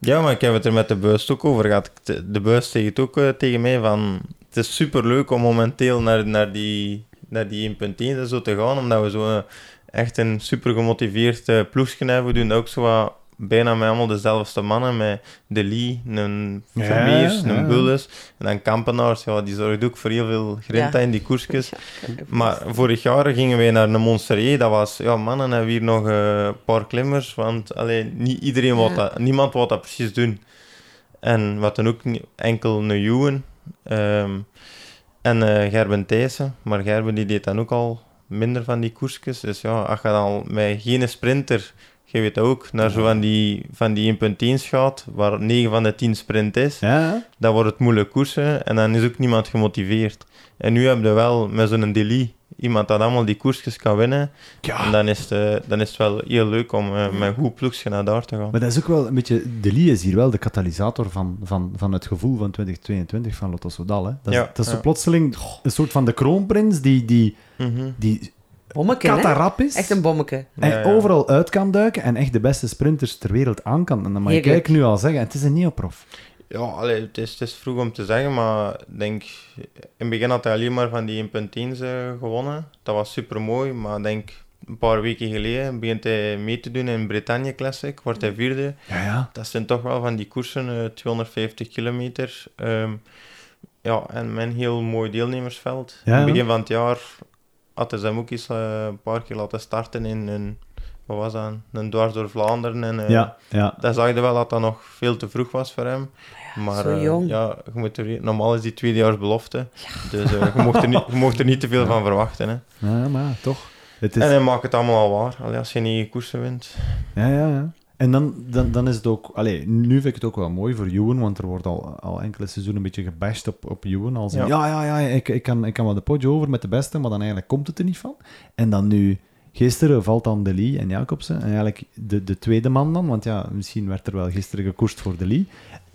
Ja, maar ik heb het er met de buis ook over gehad. De de buis zegt ook eh, tegen mij van... Het is superleuk om momenteel naar, naar die, naar die 1.1 en zo te gaan, omdat we zo eh, echt een super gemotiveerd eh, ploegje hebben. We doen dat ook zo wat, bijna met allemaal dezelfde mannen, met De Lee, een
Ja,
Vermeers,
ja.
een Bulles en dan Kampenaars. Ja, die zorgt ook voor heel veel grinta
Ja.
in die koersjes.
Ja.
Maar vorig jaar gingen wij naar een Monsteré. Dat was, ja, mannen hebben we hier nog eh, een paar klimmers. Want alleen niet iedereen wou
Ja.
dat, niemand wou dat precies doen. En wat dan ook ni- enkel een Juwen ehm, en eh Gerben Thijssen. Maar Gerben die deed dan ook al minder van die koersjes. Dus ja, als je dan al met geen sprinter, je weet dat ook, naar zo van die, van die 1.1's gaat, waar 9 van de 10 sprint is
Ja,
dan wordt het moeilijk koersen en dan is ook niemand gemotiveerd. En nu hebben we wel met zo'n Deli iemand dat allemaal die koersjes kan winnen. En
Ja,
dan is, het, eh, dan is het wel heel leuk om eh, met een goed ploegje naar daar te gaan.
maar dat is ook wel een beetje... De Lee is hier wel de katalysator van, van, van het gevoel van 2022 van Lotto Soudal. Hè? Dat, is-
Ja,
dat is zo
ja.
plotseling een soort van de kroonprins die, die,
Mhm.
die
Bommeke, hè?
katarap is.
Echt een bommeke.
En
Ja, ja.
overal uit kan duiken en echt de beste sprinters ter wereld aan kan. En dan mag je
Heerlijk.
kijk nu al zeggen, het is een neoprof.
Ja, allee, het, is, het is vroeg om te zeggen, maar ik denk, in het begin had hij alleen maar van die 1.10's eh, gewonnen. Dat was super mooi, maar ik denk een paar weken geleden begint hij mee te doen in Bretagne Classic, wordt hij vierde.
Ja, ja.
Dat zijn toch wel van die koersen, eh, 250 kilometer. ehm, ja, en mijn heel mooi deelnemersveld.
Ja,
in het
ja.
begin van het jaar had hij zijn ook eens eh, een paar keer laten starten in een, wat was dat, een dwars door Vlaanderen. En, eh,
ja, ja.
daar zag je wel dat dat nog veel te vroeg was voor hem. Maar
zo
eh,
jong.
ja, je moet er, normaal is die tweedejaars belofte. Dus eh, je, mocht er niet, je mocht er niet te
[laughs]
veel van verwachten. Hè.
Ja, maar ja, toch. Het is,
En eh, hij maakt het allemaal al waar. Allee, als je niet koersen wint.
ja, ja, ja. En dan, dan, dan is het ook... Allee, nu vind ik het ook wel mooi voor Ewan, want er wordt al, al enkele seizoenen een beetje gebashed op, op Ewan. Als in, ja.
Ja.
ja, ja, ik, ik, kan, ik kan wel de potje over met de beste, maar dan eigenlijk komt het er niet van. En dan nu... Gisteren valt dan De Lee en Jacobsen. En eigenlijk de, de tweede man dan, want ja, misschien werd er wel gisteren gekoerst voor De Lee.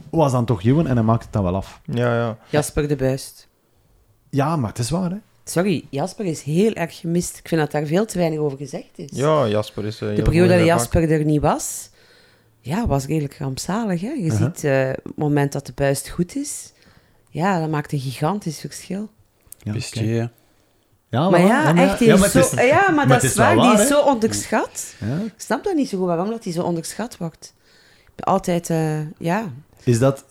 Was dan toch Ewan en hij maakt het dan wel af.
Ja, ja.
Jasper de Buist.
Ja, maar het is waar, hè?
Sorry, Jasper is heel erg gemist. Ik vind dat daar veel te weinig over gezegd is.
ja Jasper is eh,
de
heel
periode
mooi
dat
gepakt.
Jasper er niet was, ja, was redelijk rampzalig. Hè? Je
Uh-huh.
ziet eh, het moment dat de buist goed is, ja, dat maakt een gigantisch verschil.
Ja,
Pistier.
oké.
hè.
Ja,
maar
voilà.
ja,
maar
echt, die
ja,
is
maar het
zo,
is-
ja, maar, dat
het
is
is wel
waar, die
waar,
is
hè?
zo onderschat.
Ja.
Ik snap dat niet zo goed, waarom dat die zo onderschat wordt. Ik ben Altijd, eh, ja.
Is dat,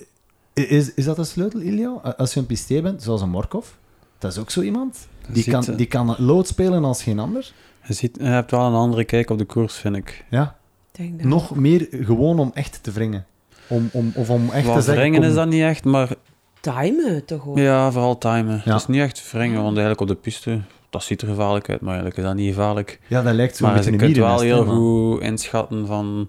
is, is dat een sleutel, Ilio? A- Als je een pistier bent, zoals een Morkov, dat is ook zo iemand. Die
ziet,
kan,
eh,
die kan lood spelen als geen ander.
Je, ziet, je hebt wel een andere kijk op de koers, vind ik.
Ja.
ik Denk dat.
Nog meer gewoon om echt te wringen. Om, om, of om echt te
Wat
zeggen...
wringen
kom-
is dat niet echt, maar
Timen toch ook.
ja, vooral timen.
Ja.
Het is niet echt wringen, want eigenlijk op de piste, dat ziet er gevaarlijk uit, maar eigenlijk is dat niet gevaarlijk.
Ja, dat lijkt zo
maar
beetje
je
een
kunt wel
mierennest, hè,
heel
maar-
goed inschatten van...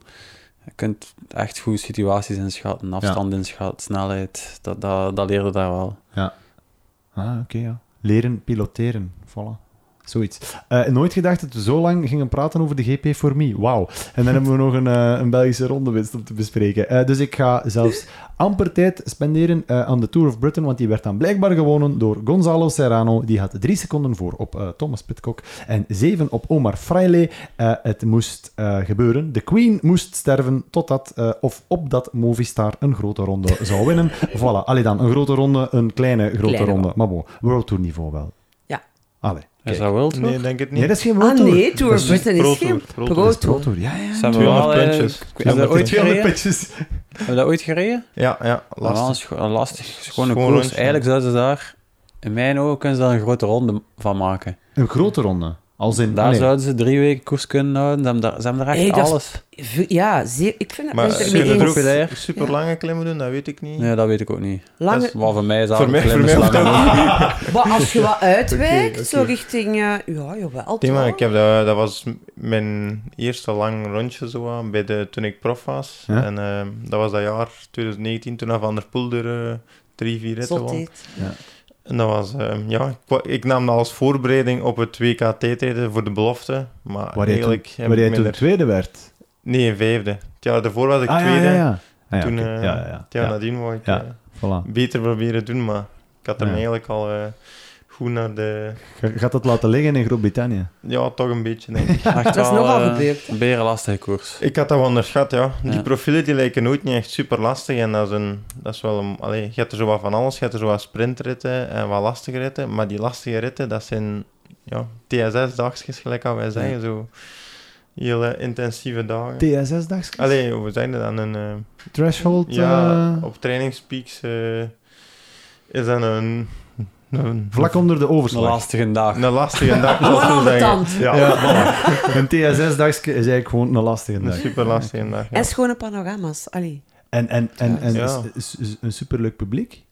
Je kunt echt goed situaties inschatten, afstand inschatten, snelheid. Dat, dat, dat leerde daar wel.
Ah, oké, ja. Leren piloteren, voilà. Zoiets. Eh, nooit gedacht dat we zo lang gingen praten over de GP voor me. Wauw. En dan hebben we [laughs] nog een, eh, een Belgische rondewinst om te bespreken. Eh, dus ik ga
[laughs]
zelfs amper tijd spenderen eh, aan de Tour of Britain, want die werd dan blijkbaar gewonnen door Gonzalo Serrano. Die had drie seconden voor op eh, Thomas Pitcock en zeven op Omar Fraile. Eh, het moest eh, gebeuren. De Queen moest sterven totdat eh, of opdat Movistar een grote ronde zou
[laughs]
winnen. voilà. Allee dan, een grote ronde, een kleine grote
Kleine
ronde. Maar bon, World Tour niveau wel.
Ja.
Allee.
Is dat wel
Nee, denk het niet.
Nee, dat is geen World
Ah
Tour.
nee, Tour
Dat
of
is-
Britain
Pro
is
Tour,
geen
Pro Tour.
Pro
dat is Pro
Tour.
Tour, ja, ja.
Ze hebben wel,
200
eh,
puntjes.
ik weet- Is dat ooit
200
gereden? Hebben
puntjes.
we dat ooit gereden?
Ja, ja,
Lastig.
lastig.
lastig. Schone
Schoon
koers.
lunch,
Eigenlijk zouden ze daar, in mijn ogen, kunnen ze daar een grote ronde van maken.
Een grote ronde. Als in...
Daar
allee.
zouden ze drie weken koers kunnen houden. Ze hebben daar, ze hebben daar echt
Hey, dat is-
alles.
V- Ja, zeer, ik vind dat
Maar
mensen
ze
is
er mee
super
kunnen
eens-
er
populair.
ook super lange klimmen doen, dat weet ik niet.
Nee, dat weet ik ook niet.
Lange,
Maar voor mij is dat
Voor
een
mij- voor
klimmen
mij hoeft
slaan.
maar als je
[laughs]
wat uitwijkt, zo
oké.
richting... eh, ja, jawel.
Nee,
toch?
maar ik heb dat, dat was m- mijn eerste lang rondje zo aan, bij de, toen ik prof was.
Ja.
En eh, dat was dat jaar 2019, toen hij Van der Poel er eh, drie, vier ritten
Zot
won.
dit.
En dat was, eh, ja, ik, wa- ik nam dat als voorbereiding op het WKT-tijden voor de belofte. Maar
Waar jij
eigenlijk
toen,
heb
waar jij
ik
toen
minder...
tweede werd.
Nee, een vijfde. Het jaar daarvoor was ik
Ah, ja,
tweede.
ja, ja. Ah, ja,
Toen,
oké.
eh,
ja, ja, ja.
Het jaar
Ja,
nadien wou ik
Ja.
eh,
voilà.
beter proberen doen, maar ik had hem
Ja.
eigenlijk al eh, goed naar de...
Ga- Gaat dat laten liggen in Groot-Brittannië?
Ja, toch een beetje, denk
[laughs]
ik.
Dat
is nogal gebeurd,
eh, Een berenlastige koers.
Ik had dat wel onderschat, ja. Die
Ja.
profielen die lijken ooit niet echt super lastig. En dat is, een, dat is wel een. Allee, je hebt er zo wat van alles. Je hebt er zo wat sprintritten en wat lastige ritten. Maar die lastige ritten, dat zijn ja, TSS-dagjes, gelijk aan wij zeggen. Zo heel eh, intensieve dagen.
TSS-dagskens?
Allee, hoe zijn dat dan? Een, eh,
Threshold?
ja,
eh,
op trainingspeaks eh, is dat een. een
vlak onder de
Een
overslag.
lastige dag.
Een lastige dag.
Gewoon
zo
aan Ah, de
zeggen.
tand.
[laughs] Ja,
Ja, voilà. Een TSS-dagske is eigenlijk gewoon een lastige
een
dag.
super lastige dag. ja.
En schone panorama's, allee.
En, en, en, en
Ja.
is- is- is een superleuk publiek.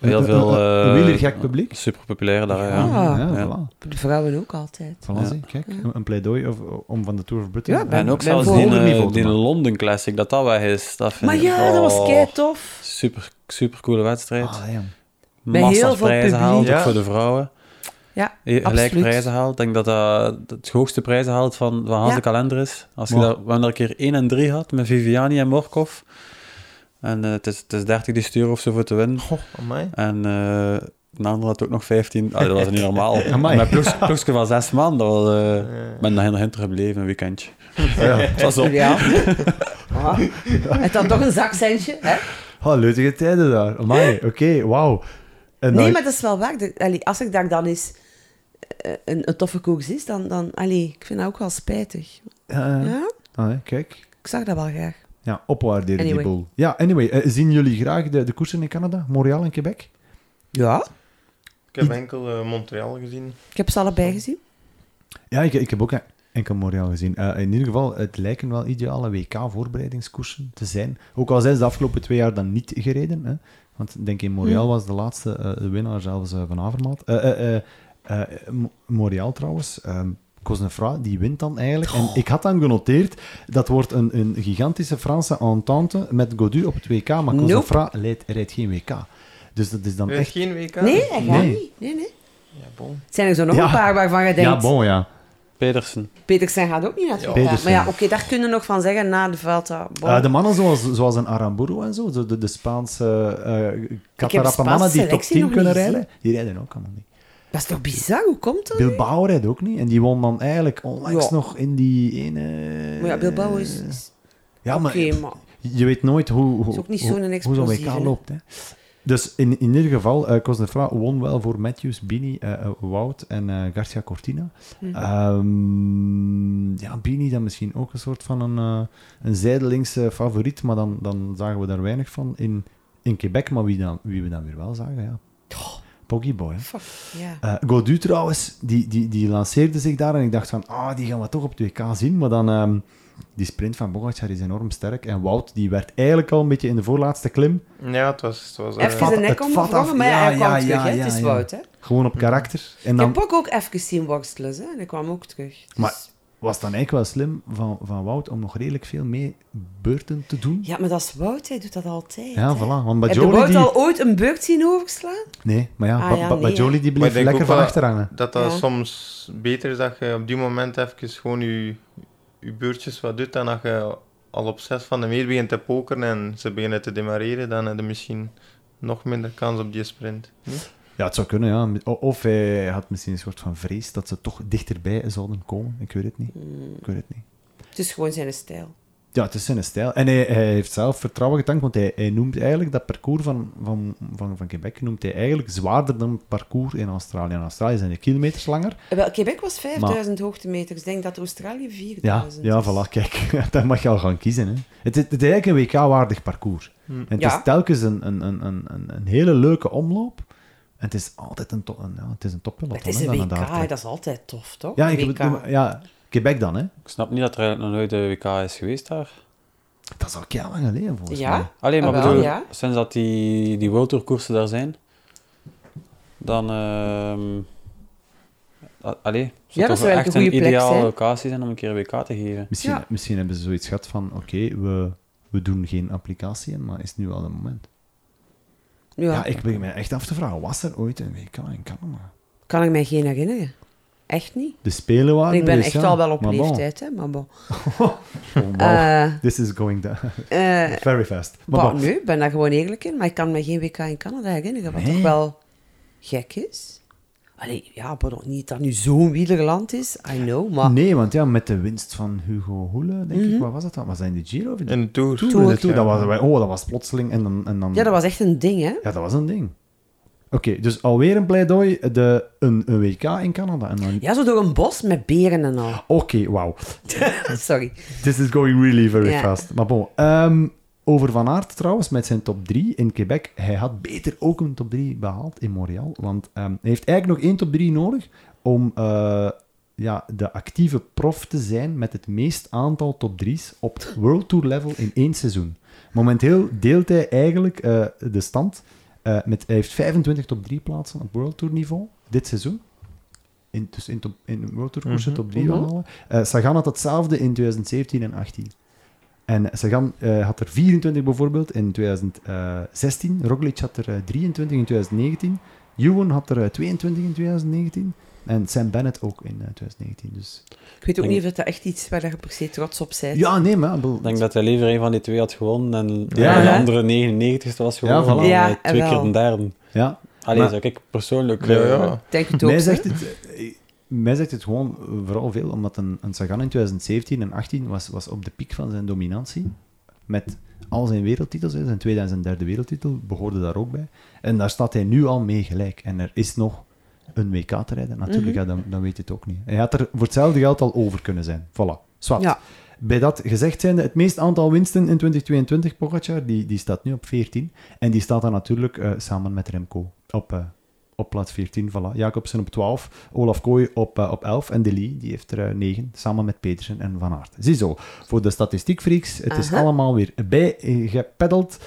Heel
Een-
veel...
Een, een,
eh,
wielergek publiek.
Super populair daar, ja.
Ja. Ah,
Ja.
voilà.
De vrouwen ook altijd.
Voilà,
Ja.
zie, kijk, een, een pleidooi of, om van de Tour of Britain.
Ja,
eh,
En ook
ben
zelfs
voor.
die,
Hoger niveau
eh,
te
die
maken.
Londen Classic, dat dat weg is. Dat vind
Maar
ik-
ja, dat was
oh,
kei tof.
Super, super coole wedstrijd.
Ah, ja.
Bij heel
Massa's
veel
prijzen haalt,
publiek.
ook
Ja.
voor de vrouwen.
Ja,
eh, gelijk
absoluut.
prijzen haalt. Ik denk dat eh, dat dat het hoogste prijzen haalt van, van Hans
Ja.
de Kalender is. Als je
Maar-
daar, we hebben daar een keer 1 en 3 gehad met Viviani en Morkov. En eh, het, is, het is 30 die stuur of zo voor te winnen.
Amai.
En eh een ander had ook nog 15. Ah, dat was niet normaal.
[laughs] Amai.
Maar ploeg, ploegje van 6 man, dat was, eh,
Ja.
ik ben daar nog hinter gebleven een weekendje.
Ja.
Dat op.
[laughs]
Ja. Ah. Het had toch een zakcentje, hè?
Oh, leutige tijden daar. Amai, oké, wauw. En
Nee,
dan-
maar dat is wel waar. De- allee, als ik daar dan eens eh, een, een toffe koers is, dan... dan allee, ik vind dat ook wel spijtig.
Ja, ja.
Ja,
Allee, Eh, ah, kijk.
ik zag dat wel graag.
Ja, opwaarderen
Anyway.
die boel. Ja, anyway, eh, zien jullie graag de, de koersen in Canada, Montreal en Quebec?
Ja?
Ik heb enkel eh, Montreal gezien.
Ik heb ze allebei gezien.
Ja, ik, ik heb ook enkel Montreal gezien. Eh, in ieder geval, het lijken wel ideale WK-voorbereidingskoersen te zijn. Ook al zijn ze de afgelopen twee jaar dan niet gereden. Hè? Want ik denk in
Hmm.
Montreal was de laatste eh, de winnaar zelfs eh, van Avermaat. Eh eh, eh, eh, Mo- Montreal trouwens... ehm Cosnefra, die wint dan eigenlijk. En
Oh.
ik had dan genoteerd, dat wordt een, een gigantische Franse entente met Godu op het WK, maar
Nope.
Cosnefra leidt- rijdt geen WK. Dus dat is dan
Er is
echt...
geen WK.
Nee, echt
Nee.
niet. Nee, nee.
Ja, bon.
Het zijn er zo nog
Ja.
een paar waarvan je denkt...
Ja, bon, ja.
Pedersen.
Petersen gaat ook niet naar het
Ja.
WK. Maar
Petersen.
ja, oké, daar kunnen we nog van zeggen na de Vuelta. Bon.
Eh, de mannen zoals, zoals een Aramburu en zo, de, de, de Spaanse eh
Spaanse
catarapa mannen die top
selectie
10
nog
kunnen
niet
rijden, die rijden ook allemaal niet.
Dat is toch bizar? Hoe komt dat?
Bilbao rijdt ook niet. En die won dan eigenlijk onlangs
Ja.
nog in die ene...
Maar ja, Bilbao is... is-
Eh, Ja, maar
Oké, maar...
je weet nooit hoe, hoe,
Is ook niet
hoe-
zo'n
hoe zo'n
explosieve,
WK
hè.
loopt. Hè. Dus in, in ieder geval, eh Cosnefra won wel voor Matthews, Bini, eh, eh, Wout en eh, Garcia Cortina.
Mhm.
Ehm, ja, Bini dan misschien ook een soort van een, eh, een zijdelingse favoriet, maar dan, dan zagen we daar weinig van in, in Quebec. Maar wie, dan, wie we dan weer wel zagen, ja. Poggibo, hè.
Fuck, ja.
Eh, Godu trouwens, die, die, die lanceerde zich daar en ik dacht van, ah, die gaan we toch op 2K zien. Maar dan, ehm, die sprint van Bogacar is enorm sterk. En Wout, die werd eigenlijk al een beetje in de voorlaatste klim.
Ja, het was... Het was eh,
Even de
vat-
nek
het vat af.
omgevrongen, maar ja,
Ja,
hij kwam
ja,
terug.
ja,
hè.
ja,
het is
ja.
Wout, hè.
Gewoon op karakter. En
Ik
dan
heb Pok ook even zien worstelen, hè. En hij kwam ook terug. Dus-
Maar- was dan eigenlijk wel slim van, van Wout om nog redelijk veel mee beurten te doen.
Ja, maar dat is Wout, hij doet dat altijd.
Ja,
hè.
voilà. Want
Heb je
Bajoli
Wout
die...
al ooit een beurt zien overslaan?
Nee, maar ja,
Ah,
Ba-
ja,
Ba-
nee,
Bajoli die
Maar
bleef
ik denk
lekker
ook
van
wel-
achter hangen.
dat dat
Ja.
soms beter is dat je op die moment even gewoon je, je beurtjes wat doet dan dat je al op zes van de meet begint te pokeren en ze beginnen te demareren, dan heb je misschien nog minder kans op die sprint. Nee?
Ja, het zou kunnen, ja. O- Of hij had misschien een soort van vrees dat ze toch dichterbij zouden komen. Ik weet het niet. Ik weet het niet.
Het is gewoon zijn stijl.
Ja, het is zijn stijl. En hij, hij heeft zelf vertrouwen getankt, want hij, hij noemt eigenlijk dat parcours van, van, van, van Quebec noemt hij eigenlijk zwaarder dan het parcours in Australië. In Australië zijn de kilometers langer.
Eh, Wel, Quebec was 5000 hoogtemeters. Ik denk dat Australië
Ja,
4000
ja
is.
voilà, kijk. [laughs] Daar mag je al gaan kiezen. Hè. Het, is- het is eigenlijk een WK-waardig parcours. En het
Hmm. Ja.
is telkens een, een, een, een, een- een hele leuke omloop. En het is altijd een, to- een, ja, het is een toppeloton.
Het is
hè,
een
dat
WK,
aan de haard
hè.
trekt.
dat is altijd tof, toch?
Ja, ik
WK.
bedoel- ja, Quebec dan, hè.
Ik snap niet dat er eigenlijk nog nooit de WK is geweest daar.
Dat is al heel lang geleden, volgens
Ja?
mij.
Alleen
Ah,
maar
wel,
bedoel,
ja.
sinds dat die, die World Tour koersen daar zijn, dan... ehm a- allee,
Ja,
zou
dat
toch
zou eigenlijk
echt
een
een
goede plek
ideale
zijn.
locatie zijn om een keer een WK te geven.
Misschien,
Ja.
misschien hebben ze zoiets gehad van: oké, we, we doen geen applicatie in, maar is nu wel het moment.
Ja,
Ja, ik begin me echt af te vragen: was er ooit een WK in Canada?
kan ik mij geen herinneren. Echt niet.
De spelen waren.
Ik ben
dus,
echt
ja,
al wel op
maar bon.
leeftijd, hè. Maar bon.
Oh, wow.
Eh,
This is going down
eh,
[laughs] very fast. Maar
Maar
bon.
nu, ik ben daar gewoon eerlijk in, maar ik kan me geen WK in Canada herinneren, wat
Nee.
toch wel gek is. Allee, ja, pardon, niet dat nu zo'n wielerland is, I know, maar
Nee, want ja, met de winst van Hugo Hoele, denk
Mhm.
ik, wat was dat dan? Was dat in de Giro? Of in de
In de Tour.
Tour?
dit
De Tour, dat
jaar.
was, oh, dat was plotseling en dan... En dan
ja, dat was echt een ding, hè.
ja, dat was een ding. Oké, dus alweer een pleidooi, de, een, een WK in Canada. En dan...
Ja, zo door een bos met beren en al.
Oké, wauw.
[laughs] Sorry.
This is going really very
Ja.
fast. Maar bon. ehm, over Van Aert trouwens, met zijn top 3 in Quebec. Hij had beter ook een top 3 behaald in Montreal. Want ehm, hij heeft eigenlijk nog één top 3 nodig om eh, ja, de actieve prof te zijn met het meest aantal top 3's op World Tour level in één seizoen. Momenteel deelt hij eigenlijk eh, de stand. eh, met, hij heeft 25 top 3 plaatsen op World Tour niveau dit seizoen. In, dus in, top, in World Tour koersen top 3
Mhm.
halen. Eh, Sagan had hetzelfde in 2017 en 18. En Sagan eh, had er 24 bijvoorbeeld in 2016. Roglic had er eh, 23 in 2019. Ewan had er eh, 22 in 2019 en Sam Bennett ook in eh, 2019. Dus...
Ik weet ook
Denk-
niet of dat echt iets waar je per se trots op bent.
Ja, nee, maar... ik bedoel,
Ik denk dat hij liever een van die twee had gewonnen en
Ja,
de
hè?
andere 99ste was
Ja,
gewonnen.
voilà.
dan,
Ja,
eh, twee
wel.
keer de derde.
Ja,
Allee,
Maar-
zou ik persoonlijk...
Ja,
eh,
ja.
Ik Denk het ook.
mij
hè?
zegt het, eh, mij zegt het gewoon eh, vooral veel, omdat een, een Sagan in 2017 en 18 was, was op de piek van zijn dominantie. Met al zijn wereldtitels, hè. zijn tweede en zijn derde wereldtitel behoorde daar ook bij. En daar staat hij nu al mee gelijk. En er is nog een WK te rijden. Natuurlijk,
Mhm.
ja, dan, dan weet je het ook niet. Hij had er voor hetzelfde geld al over kunnen zijn. Voilà, zwart.
Ja.
Bij dat gezegd zijnde, het meest aantal winsten in 2022, Pogacar, die, die staat nu op 14. En die staat dan natuurlijk eh, samen met Remco op, eh, op plaats 14. Voilà. Jacobsen op 12, Olaf Kooi op, eh, op 11 en Deli, die heeft er eh, 9, samen met Petersen en Van Aert. Ziezo, voor de statistiekfreaks, het is
Aha.
allemaal weer bijgepeddeld.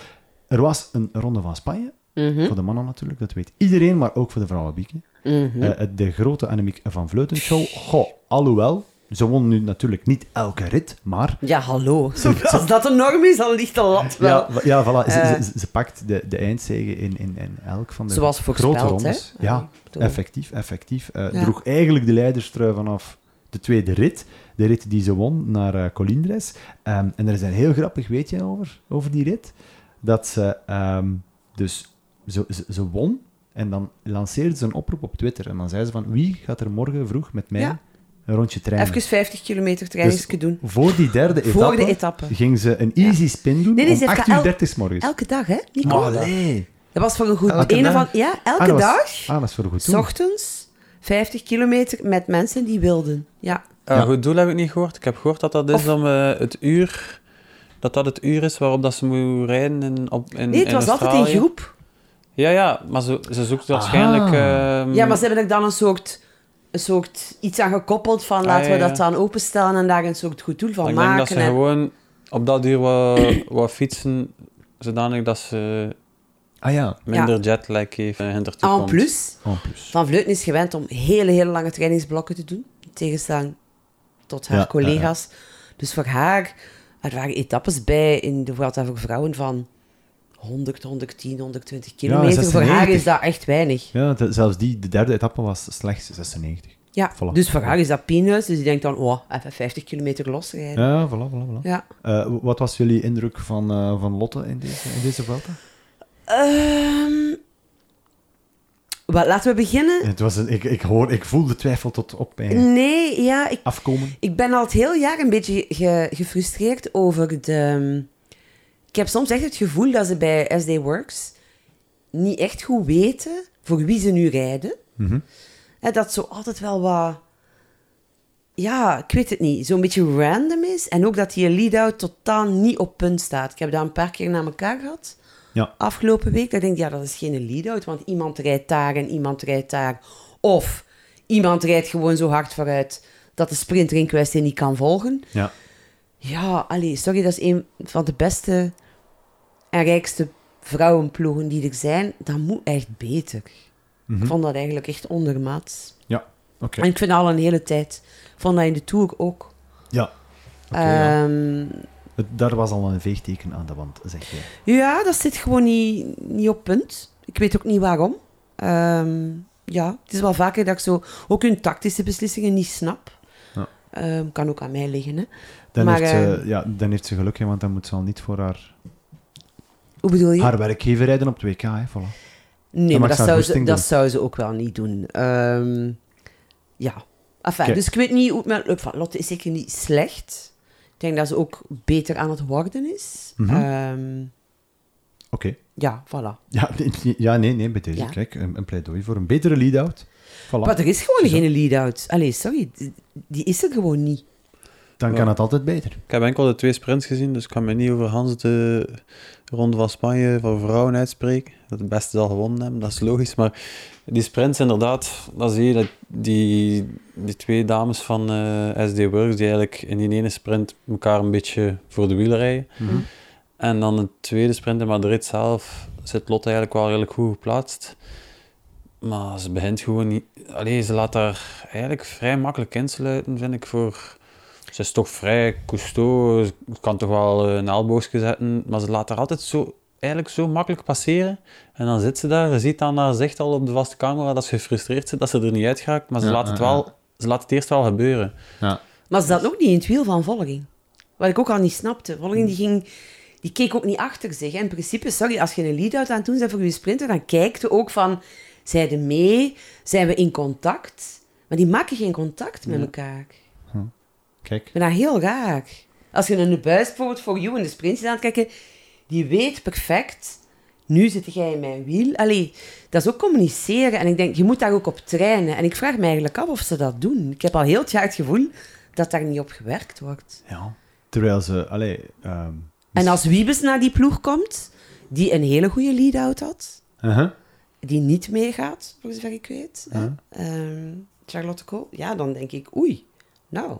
Er was een ronde van Spanje,
Mhm.
voor de mannen natuurlijk, dat weet iedereen, maar ook voor de vrouwen, Bieke.
Mhm.
Eh, het- de grote Annemiek van Vleuten show. Goh, alhoewel, ze won nu natuurlijk niet elke rit, maar...
Ja, hallo. Als dat de norm is, dan ligt de lat wel.
Ja, wa- ja, voilà. Ze,
Eh.
ze- ze pakt de, de eindzege in, in, in elk van de
Zoals voorspeld,
grote
hè?
rondes.
Ja,
Ja,
ik bedoel-
effectief, effectief. Eh,
Ja.
Droeg eigenlijk de leiderstrui vanaf de tweede rit. De rit die ze won naar eh Colindres. Ehm, en er is een heel grappig weetje over, over die rit. Dat ze ehm, dus ze, ze, ze won en dan lanceerde ze een oproep op Twitter. En dan zei ze van, wie gaat er morgen vroeg met mij
Ja.
een rondje trainen?
Even 50 kilometer trainingske doen.
Dus Voor die derde etappe,
[laughs] Voor de etappe.
ging ze een easy spin doen
Nee, nee, ze
om
heeft
8
dat
uur
el-
30 's morgens.
Elke dag, hè, Nico?
Maar nee.
Dat was voor een goed...
Elke
een of
dag?
an- Ja, elke
Ah, dat was-
dag.
Ah, dat is voor een goed
S
doel.
ochtends 50 kilometer met mensen die wilden. Ja.
Een
Ja.
goed doel heb ik niet gehoord. Ik heb gehoord dat dat is
Of-
om eh, het uur... Dat dat het uur is waarop dat ze moet rijden in, op, in
Nee, het
in
was altijd in
Australië.
groep. Ah.
Ja, ja, maar ze, ze zoekt waarschijnlijk... ehm,
Ja, maar ze hebben er dan een soort, een soort iets aan gekoppeld van laten
ja,
we dat
ja.
dan openstellen en daar een soort goed doel van
ik denk
maken.
dat ze
hè.
gewoon op dat uur wat, wat fietsen, zodanig dat ze
Ah ja,
minder jetlag heeft eh, en hinter toe
Ah, En
komt.
plus,
en plus.
Van Vleuten is gewend om hele, hele lange trainingsblokken te doen. In tegenstelling tot haar
Ja, ja,
collega's. Dus voor haar, er waren etappes bij in de Vuelta voor vrouwen van 100, 110, 120 kilometer. voor
96.
haar is dat echt weinig.
Ja, de- zelfs die, de derde etappe was slechts 96.
Ja,
Voilà.
dus voor haar is dat peanuts. Dus die denkt dan, oh, even 50 kilometer losrijden.
Ja, voilà, voilà, voilà.
Ja.
Eh, wat was jullie indruk van, eh, van Lotte in deze, in deze Vuelta?
[laughs] Ehm, wel, laten we beginnen.
Het was een, ik, ik, hoor, ik voel de twijfel tot op mij
Mm. Nee, ja, ik
afkomen.
Ik ben al het heel jaar een beetje ge- gefrustreerd over de... ehm, Ik heb soms echt het gevoel dat ze bij SD Works niet echt goed weten voor wie ze nu rijden.
Mhm,
Hè, dat zo altijd wel wat... Ja, ik weet het niet. Zo'n beetje random is. En ook dat die lead-out totaal niet op punt staat. Ik heb dat een paar keer naar elkaar gehad
Ja.
afgelopen week. Dat ik denk, ja, dat is geen lead-out, want iemand rijdt daar en iemand rijdt daar. Of iemand rijdt gewoon zo hard vooruit dat de sprinter in kwestie niet kan volgen.
Ja.
Ja, allee, sorry, dat is een van de beste en rijkste vrouwenploegen die er zijn. Dat moet echt beter.
Hm.
Ik vond dat eigenlijk echt ondermaats.
Ja, Mhm, oké.
En ik vind dat al een hele tijd. Ik vond dat in de Tour ook.
Ja. Oké, ja.
Ehm,
Het- Daar was al een veegteken aan de wand, zeg jij.
Ja, dat zit gewoon niet, niet op punt. Ik weet ook niet waarom. Ehm, ja, het is wel vaker dat ik zo ook hun tactische beslissingen niet snap.
Ja.
Ehm, kan ook aan mij liggen. Hè.
Dan,
Maar, eh,
heeft ze, ja, dan heeft ze geluk, hè, want dan moet ze al niet voor haar,
Hoe bedoel je?
haar werkgever rijden op het WK. Hè, voilà.
nee,
dan
maar
mag ze haar
dat zou, ze,
goesting
dat
doen.
zou ze ook wel niet doen. Ehm, ja. Enfin,
Oké.
Dus ik weet niet hoe het met enfin, Lotte is zeker niet slecht. Ik denk dat ze ook beter aan het worden is.
Mhm.
Ehm,
Oké.
ja, voilà.
Ja, [laughs] nee, ja, nee, nee, bij deze.
Ja.
Kijk, een, een pleidooi voor een betere lead-out. Voilà.
Maar er is gewoon
Zo.
geen lead-out. Allee, sorry. die- Die is er gewoon niet.
Dan kan het altijd beter.
Ik heb enkel de twee sprints gezien, dus ik kan me niet over Hans de Ronde van Spanje voor vrouwen uitspreken. Dat de beste zal gewonnen hebben, dat is logisch. Maar die sprints inderdaad, dan zie je dat die, die twee dames van eh, SD Works, die eigenlijk in die ene sprint elkaar een beetje voor de wielen rijden. En dan de tweede sprint in Madrid zelf zit Lotte eigenlijk wel redelijk goed geplaatst. Maar ze begint gewoon niet... Allee, ze laat daar eigenlijk vrij makkelijk insluiten, vind ik, voor... Ze is toch vrij costaud, ze kan toch wel eh, een elleboogje zetten, maar ze laat er altijd zo eigenlijk zo makkelijk passeren. En dan zit ze daar, je ziet aan haar zicht al op de vaste camera dat ze gefrustreerd zit, dat ze er niet uit geraakt, maar ze,
Ja,
laat, het
ja,
wel, ze laat het eerst wel gebeuren.
Ja.
Maar ze zat ook niet in het wiel van Volging. Wat ik ook al niet snapte. Volging die ging, die keek ook niet achter zich. hè. In principe, sorry, als je een lead-out aan het doen bent voor je sprinter, dan kijkt je ook van, zijn ze mee? Zijn we in contact? Maar die maken geen contact met elkaar.
Kijk.
Ik vind dat heel raar. Als je een buis bijvoorbeeld voor jou in de sprint zit aan het kijken, die weet perfect, nu zit jij in mijn wiel. Allee, dat is ook communiceren. En ik denk, je moet daar ook op trainen. En ik vraag me eigenlijk af of ze dat doen. Ik heb al heel het jaar het gevoel dat daar niet op gewerkt wordt.
Ja. Terwijl ze, allee, ehm,
En als Wiebes naar die ploeg komt, die een hele goede lead-out had,
uh-huh.
die niet meegaat, voor zover ik weet, hè, ehm, Charlotte Kool, ja, dan denk ik, oei, nou.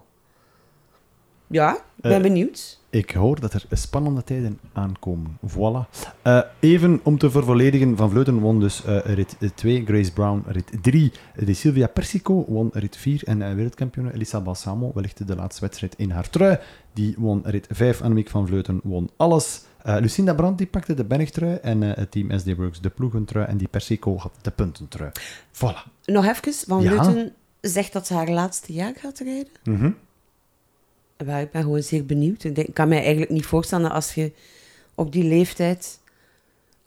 Ja, ik ben
Eh,
benieuwd.
Ik hoor dat er spannende tijden aankomen. Voilà. Eh, even om te vervolledigen, Van Vleuten won dus eh, rit 2, Grace Brown rit 3. De Sylvia Persico won rit 4 en eh, wereldkampioene Elisa Balsamo, wellicht de laatste wedstrijd in haar trui. Die won rit 5, Annemiek van Vleuten won alles. Eh, Lucinda Brandt die pakte de Bennigtrui en eh, het team SD Works de ploegentrui en die Persico had de puntentrui. Voilà.
Nog even, Van
Ja.
Vleuten zegt dat ze haar laatste jaar gaat rijden.
Mhm.
Wel, ik ben gewoon zeer benieuwd. Ik, denk, ik kan mij eigenlijk niet voorstellen dat als je op die leeftijd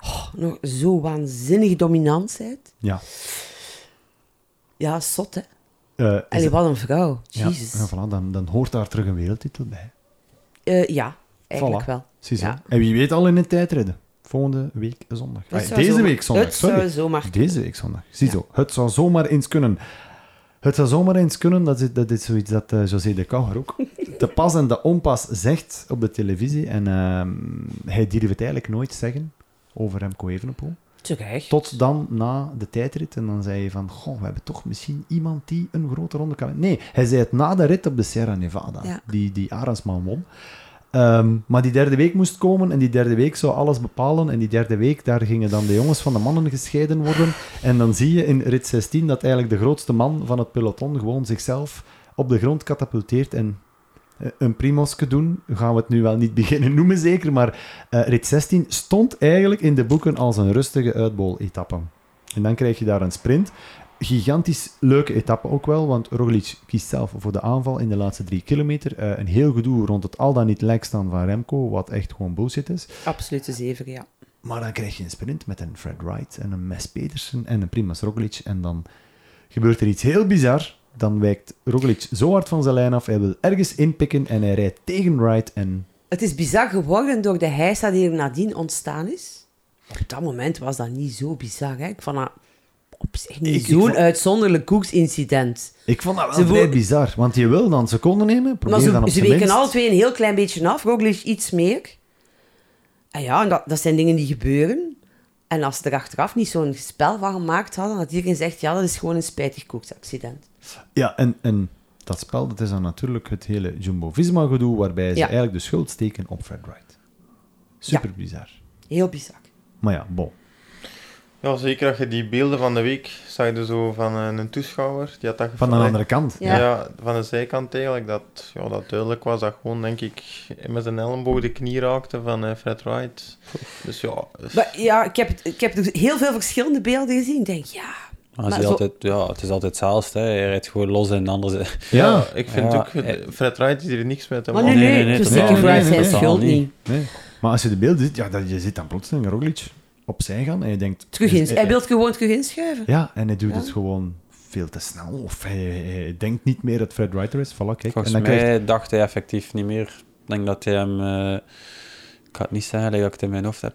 oh, nog zo waanzinnig dominant bent.
Ja.
Ja, zot hè.
Eh, is
Allee,
het-
wat een vrouw.
ja,
Jezus.
ja,
Ja,
voilà, dan, dan hoort daar terug een wereldtitel bij.
Eh, ja eigenlijk
Voilà.
wel.
Precies.
Ja.
hè. En wie weet al in het tijdrijden. Volgende week zondag.
Het
Ah,
zou
deze
zomaar-
week zondag,
Het
sorry.
zou zomaar kunnen.
Deze week zondag. Ziezo, het zou zomaar eens kunnen. Het zou zomaar eens kunnen, dat is, dat is zoiets dat eh, José de Kouwer
[laughs]
ook te pas en de onpas zegt op de televisie. En ehm, hij durft het eigenlijk nooit zeggen over Remco Evenepoel.
Terecht.
Tot dan na de tijdrit. En dan zei hij van, goh, we hebben toch misschien iemand die een grote ronde kan winnen." Nee, hij zei het na de rit op de Sierra Nevada,
Ja.
die, die Arendsman won. Ehm, maar die derde week moest komen en die derde week zou alles bepalen. En die derde week, daar gingen dan de jongens van de mannen gescheiden worden. En dan zie je in rit 16 dat eigenlijk de grootste man van het peloton gewoon zichzelf op de grond katapulteert en eh, een primoske doen. Gaan we het nu wel niet [laughs] beginnen noemen, zeker. Maar eh, rit 16 stond eigenlijk in de boeken als een rustige uitbol-etappe. En dan krijg je daar een sprint. Gigantisch leuke etappe ook wel, want Roglic kiest zelf voor de aanval in de laatste drie kilometer. Eh, een heel gedoe rond het al dan niet lek staan van Remco, wat echt gewoon bullshit is.
Absolute zeven, ja.
Maar dan krijg je een sprint met een Fred Wright en een Mes Petersen en een Primas Roglic. En dan gebeurt er iets heel bizar. Dan wijkt Roglic zo hard van zijn lijn af, hij wil ergens inpikken en hij rijdt tegen Wright. En
Het is bizar geworden door de hijsa die er nadien ontstaan is. Op dat moment was dat niet zo bizar. Hè? Ik vond dat op zich
Ik-
niet
ik
zo'n
vond-
uitzonderlijk koeksincident.
ik vond dat wel
Ze
vrij
wo-
bizar, want je wil dan seconden nemen,
Maar
probeer dan op
ze, ze
zijn
weken
minst.
alle twee een heel klein beetje af. Roglic iets meer. En ja, en dat, dat zijn dingen die gebeuren. En als ze er achteraf niet zo'n spel van gemaakt hadden, had iedereen gezegd, ja, dat is gewoon een spijtig koeksaccident.
Ja, en, en dat spel dat is dan natuurlijk het hele Jumbo-Visma-gedoe, waarbij ze
Ja.
eigenlijk de schuld steken op Fred Wright. Super bizar.
Heel bizar.
Maar ja, bon.
Ja, zeker als je die beelden van de week zag je zo van eh, een toeschouwer. Die had dat
Van de
gefilmd.
andere kant.
Ja.
Ja.
van de zijkant eigenlijk. Dat, ja, dat duidelijk was dat gewoon, denk ik, met zijn elleboog de knie raakte van eh, Fred Wright. Dus ja,
Maar ja, ik heb, het- ik heb dus heel veel verschillende beelden gezien. Ik denk, ja...
Maar het,
Maar
is
zo-
altijd, ja, het is altijd hetzelfde. hè. Je rijdt gewoon los en anders.
Ja.
ik vind
Ja,
ook,
eh.
Fred Wright is hier niks mee te
Maar
maken.
nee,
nee,
nee,
nee, nee,
dus
totaal
zeker
niet,
Wright
nee,
zijn
totaal
schuld
niet.
niet.
Nee. Maar als je de beelden ziet, ja, dan, je ziet dan plotseling Roglic opzij gaan en je denkt...
Terug
is-
ins- Hij wil het gewoon terug inschuiven.
Dus, eh, Ja, en hij doet het gewoon veel te snel. Of hij, hij denkt niet meer dat Fred Wright er is. Voilà, kijk.
Volgens
en dan
mij
krijgt...
dacht hij effectief niet meer. Ik denk dat hij hem... eh, ik ga het niet zeggen like dat ik het in mijn hoofd heb.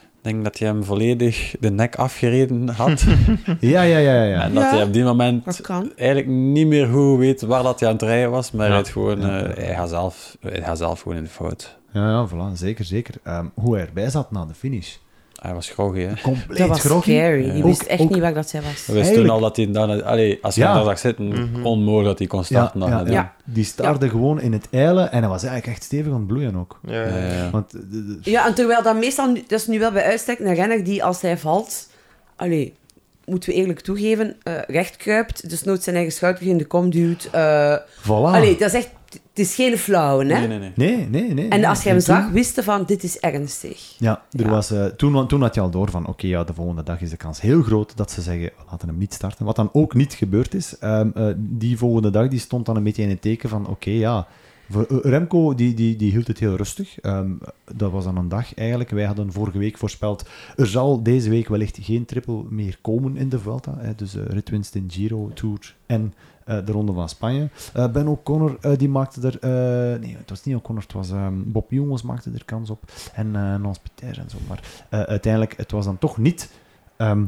Ik denk dat hij hem volledig de nek
[laughs]
afgereden had.
Ja, ja, ja, ja. ja.
En dat
Ja,
hij op die
Dat
moment
kan.
eigenlijk niet meer goed weet waar dat hij aan het rijden was. Maar
Ja.
hij, rijdt gewoon,
Ja.
eh, hij, gaat zelf, hij gaat zelf gewoon in de fout.
Ja, ja, voilà, zeker, zeker. Ehm, hoe hij erbij zat na de finish.
Hij was groggy,
[laughs]
hè.
Compleet
Dat was
groggy.
scary. Die
Ook-
wist echt
ook-
niet waar dat zij was.
We wisten toen
Eigenlijk-
al dat hij dan... Allee, als je
Ja.
hem daar zag zitten, onmogelijk dat hij kon
Ja,
starten.
ja,
dan,
ja.
hè.
Die staarde gewoon in het eilen en hij was eigenlijk echt stevig aan het bloeien ook.
Ja, ja.
Ja, ja.
Want eh, de- de-
Ja, en terwijl dat meestal, nu- dat is nu wel bij uitstek een renner die als hij valt, allee, moeten we eerlijk toegeven, eh recht kruipt, dus nooit zijn eigen schouder in de kom duwt. eh,
voilà.
Allee, dat is echt Het is geen flauw, hè?
Nee, nee, nee.
Nee, nee, nee.
En
nee.
als je hem
toen-
zag, wist je van, dit is ernstig.
Ja, er
Ja.
Was, eh, toen, toen had je al door van, oké, ja, de volgende dag is de kans heel groot dat ze zeggen, we laten hem niet starten. Wat dan ook niet gebeurd is, ehm, eh, die volgende dag die stond dan een beetje in het teken van, oké, ja... Voor, eh, Remco die, die, die hield het heel rustig. Ehm, dat was dan een dag eigenlijk. Wij hadden vorige week voorspeld, er zal deze week wellicht geen triple meer komen in de Vuelta. Hè, dus eh, ritwinst in Giro, Tour en eh, de Ronde van Spanje. Eh, ben O'Connor, eh, die maakte er... eh, nee, het was niet O'Connor, het was ehm, Bob Jongens maakte er kans op. En eh Nans Peter en zo. Maar eh, uiteindelijk, het was dan toch niet. Ehm,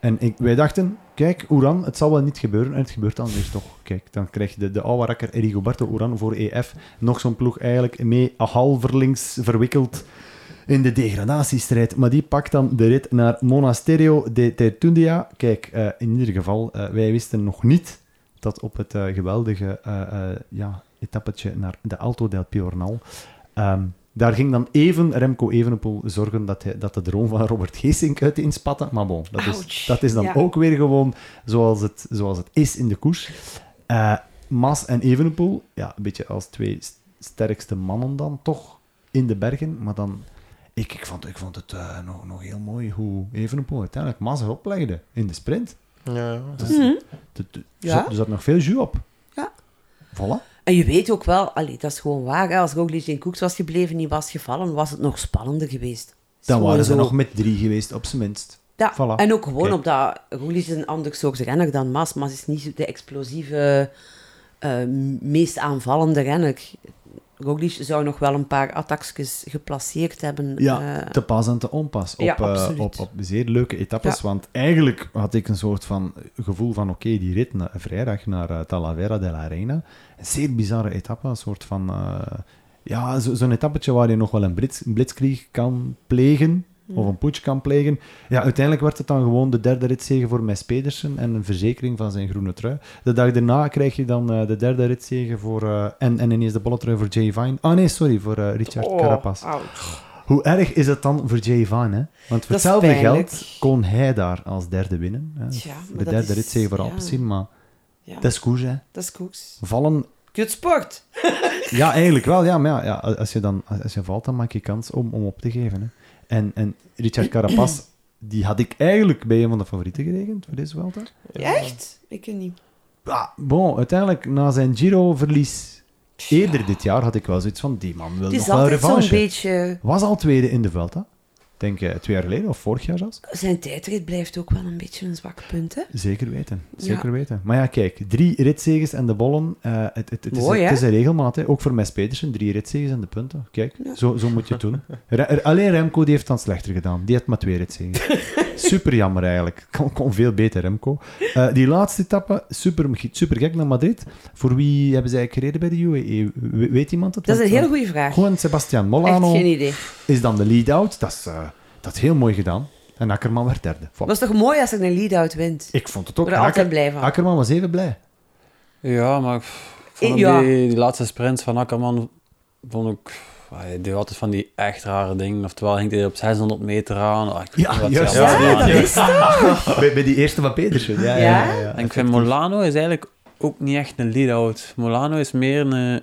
en ik, wij dachten, kijk, Oeran, het zal wel niet gebeuren. En het gebeurt dan weer toch. Kijk, dan krijg je de, de oude rakker Rigoberto Oeran voor E EF. Nog zo'n ploeg eigenlijk mee halverlings verwikkeld in de degradatiestrijd. Maar die pakt dan de rit naar Monasterio de Tertundia. Kijk, eh, in ieder geval, eh, wij wisten nog niet dat op het eh, geweldige eh, eh, ja, etappetje naar de Alto del Piornal... ehm, daar ging dan even Remco Evenepoel zorgen dat, hij, dat de droom van Robert Geesink uit inspatte. Maar bon, dat is,
Ouch.
dat is dan
Ja.
ook weer gewoon zoals het, zoals het is in de koers. Eh, Mas en Evenepoel, ja, een beetje als twee s- sterkste mannen dan, toch, in de bergen. Maar dan, ik, ik, vond, ik vond het eh, nog, nog heel mooi hoe Evenepoel uiteindelijk Mas erop legde in de sprint.
Ja, ja.
Dus, de- de-
Mhm. Ja.
zat- er zat nog veel jus op.
Ja.
Voilà.
En je weet ook wel, allee, dat is gewoon waar. Hè? Als Roglic in Koeks was gebleven, niet was gevallen, was het nog spannender geweest.
Dan
Gewoon
waren ze
zo.
nog met drie geweest, op zijn minst.
Ja,
Voilà.
en ook gewoon
Kijk.
omdat Roglic is een ander soort renner dan Mas. Mas is niet zo de explosieve, eh, meest aanvallende renner. Roglic zou nog wel een paar attackjes geplaceerd hebben.
Ja,
eh,
te pas en te onpas. Op,
ja,
eh,
absoluut.
op, op zeer leuke etappes.
Ja.
Want eigenlijk had ik een soort van gevoel van... Oké, die rit na- vrijdag naar eh, Talavera de la Reina. Een zeer bizarre etappe. Een soort van... eh, ja, zo- zo'n etappetje waar je nog wel een, blitz, een blitzkrieg kan plegen. Of een putsch kan plegen. Ja, uiteindelijk werd het dan gewoon de derde ritzege voor Mes Pedersen. En een verzekering van zijn groene trui. De dag daarna krijg je dan eh, de derde ritzege voor... eh, en, en ineens de bolle trui voor Jay Vine. Ah nee, sorry, voor eh, Richard
Oh,
Carapaz.
ah,
Hoe erg is het dan voor Jay Van? Hè? Want voor
is
hetzelfde
pijnlijk.
geld kon hij daar als derde winnen. Hè?
Tja,
de
maar dat
derde
is-
rit zeven voor
ja.
Alpecin, maar
ja,
dat is koers, hè.
dat is Koeks.
Vallen,
Kutsport!
ja, eigenlijk wel. Ja, maar ja, ja, als, je dan, als je valt, dan maak je kans om, om op te geven. Hè? En, en Richard Carapaz, die had ik eigenlijk bij een van de favorieten gerekend voor deze Welta.
Echt? Ik weet niet.
Ja, bon, uiteindelijk, na zijn Giro-verlies eerder dit jaar, had ik wel zoiets van, die man wil
Het
nog
is
wel
altijd zo'n
revanche.
beetje...
Was al tweede in de Vuelta. Ik Denk eh, twee jaar geleden, of vorig jaar zelfs.
Zijn tijdrit blijft ook wel een beetje een zwak punt, hè?
Zeker weten,
Ja.
zeker weten. Maar ja, kijk, drie ritzeges en de bollen. eh, het, het, het,
Mooi,
is,
hè?
het is een regelmaat, hè? ook voor Mes Petersen. Drie ritzeges en de punten. Kijk,
Ja.
zo, zo moet je het
[laughs]
doen. Re- er- alleen Remco die heeft dan slechter gedaan. Die had maar twee
[laughs]
ritzeges. super jammer eigenlijk. Kon, kon veel beter, Remco. Eh, die laatste etappe, super, super gek naar Madrid. Voor wie hebben ze eigenlijk gereden bij de UAE? We- Weet iemand het?
Dat is een
Want-
heel goede vraag.
eh, Juan Sebastian
Echt
Molano
geen idee.
is dan de lead-out. Dat, is, eh, dat is heel mooi gedaan. En Akkerman werd derde. Voilà.
Dat is toch mooi als er een lead-out wint?
Ik vond het ook.
Ik word er
En
altijd
Akker-
blij van.
Akkerman was even blij.
Ja, maar pff, ik vond
Ik-
ook
ja.
die, die laatste sprints van Akkerman vond ik... ah, Hij deed altijd van die echt rare dingen. Oftewel hing hij op 600 meter aan. Ah, ik weet
Ja,
niet wat
juist.
hij allemaal
Ja,
gedaan
dat
heeft.
is het.
Bij, bij die eerste van Petersen. Ja, ja, ja, ja.
En ik vind Molano is eigenlijk ook niet echt een lead-out. Molano is meer een... eh,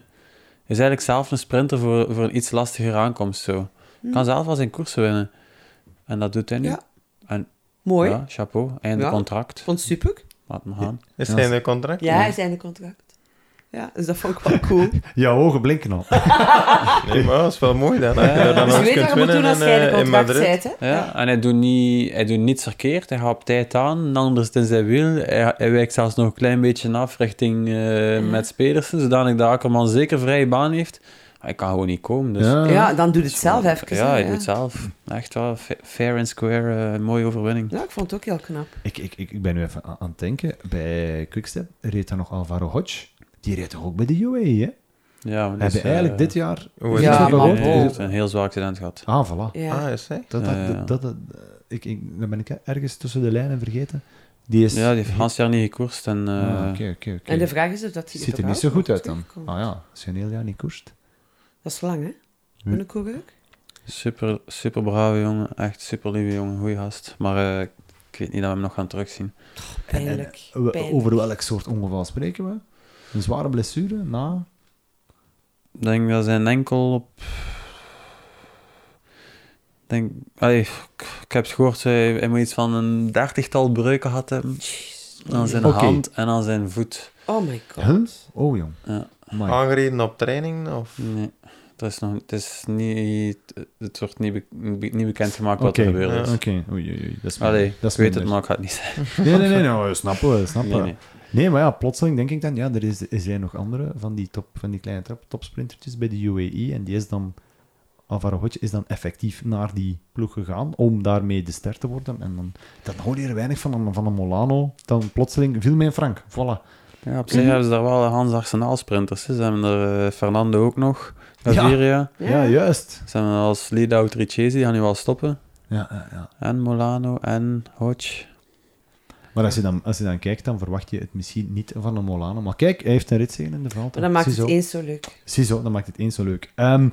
Is eigenlijk zelf een sprinter voor, voor een iets lastigere aankomst. Zo. Kan zelf wel zijn koersen winnen. En dat doet hij nu.
Hm. Ja.
En,
Mooi.
Ja, chapeau. Einde
Ja.
contract.
Vond het super.
Laat me gaan.
Is hij in een contract?
Ja, hij zijn contract. Ja, dus dat vond ik wel cool.
Jouw ogen blinken al.
Nee, maar dat is wel mooi dan.
Ja,
Dat
ja.
je dan
dus
nog
je weet
kunt
wat je moet
winnen
doen als
in,
jij de
eh, in
contract
Madrid.
bent, hè?
Ja, en hij doet, niet, hij doet niets verkeerd. Hij gaat op tijd aan, dan anders in zijn wiel. Hij, hij wijkt zelfs nog een klein beetje af richting eh Mats Pedersen, zodanig dat Akkerman zeker vrije baan heeft. Hij kan gewoon niet komen. Dus.
Ja.
Ja, dan doe je het zelf even.
Ja,
hè,
hij doet het zelf. Echt wel, fa- fair and square, eh, mooie overwinning.
Ja, ik vond het ook heel knap.
Ik, ik, ik, ik ben nu even aan, aan het denken. Bij Quickstep reed daar nog Alvaro Hodge. Die reed toch ook bij de UAE, hè?
Ja, maar
We
dus,
hebben
eh,
eigenlijk dit jaar...
Hoe is
Ja,
het?
maar
nee,
gehoord?
hij heeft een heel zwaar accident gehad.
Ah, voilà.
Ja.
Ah, is hij?
Dat,
Ja,
dat,
ja.
dat, dat, ik, ik, dan ben ik ergens tussen de lijnen vergeten. Die is...
Ja, die heeft het hele jaar niet gekoerst. En, eh,
Ah, Oké, oké,
En de
oké.
vraag is of dat hij
Ziet er niet
überhaupt
zo goed
nog
uit dan.
terugkomt.
Ah ja, als je een heel jaar niet koerst.
Dat is lang, hè? Voor een coureur.
super, super brave jongen. Echt super lieve jongen. Goeie gast. Maar eh, ik weet niet dat we hem nog gaan terugzien.
Pijnlijk.
eh, We-
Pijnlijk.
Over welk soort ongeval spreken we? Een zware blessure na...
Ik denk dat zijn enkel op. ik Denk, allee, ik, ik heb het gehoord, hij, hij moet iets van een dertigtal breuken gehad hebben. Aan zijn
Oké.
hand en aan zijn voet.
Oh my god.
Huh? Oh jong.
Ja.
Ah,
Amai.
Aangereden op training? Of?
Nee, het is nog, het is niet, het wordt niet, be- niet bekendgemaakt wat
Oké.
er gebeurd is.
Oké, oei, oei, oei. Dat is minder.
Allee,
dat is
ik weet het,
minder.
maar ik ga het niet zeggen.
Nee, nee, nee, nou, we snappen we, snappen
Nee,
we.
nee.
Nee, maar ja, plotseling denk ik dan, ja, er is, er zijn nog andere van die, top, van die kleine trap, topsprintertjes bij de UAE. En die is dan, Alvaro Hodge is dan effectief naar die ploeg gegaan om daarmee de ster te worden. En dan, dan hoor je er weinig van, een- van een Molano. Dan plotseling viel mijn Frank, voilà.
Ja, op zich hebben ze daar wel Hans Arsenaal sprinters. hè. Ze hebben er eh, Fernando ook nog, Gaviria.
Ja, juist.
Ze hebben als Lidau Tricesi, die gaan nu wel stoppen.
Ja, ja, ja.
En Molano en Hodge.
Maar als je, dan, als je dan kijkt, dan verwacht je het misschien niet van een Molano. Maar kijk, hij heeft een ritzegen in de valt.
Maar dat maakt het eens zo leuk.
Ziezo, dat maakt het eens zo leuk. Ehm,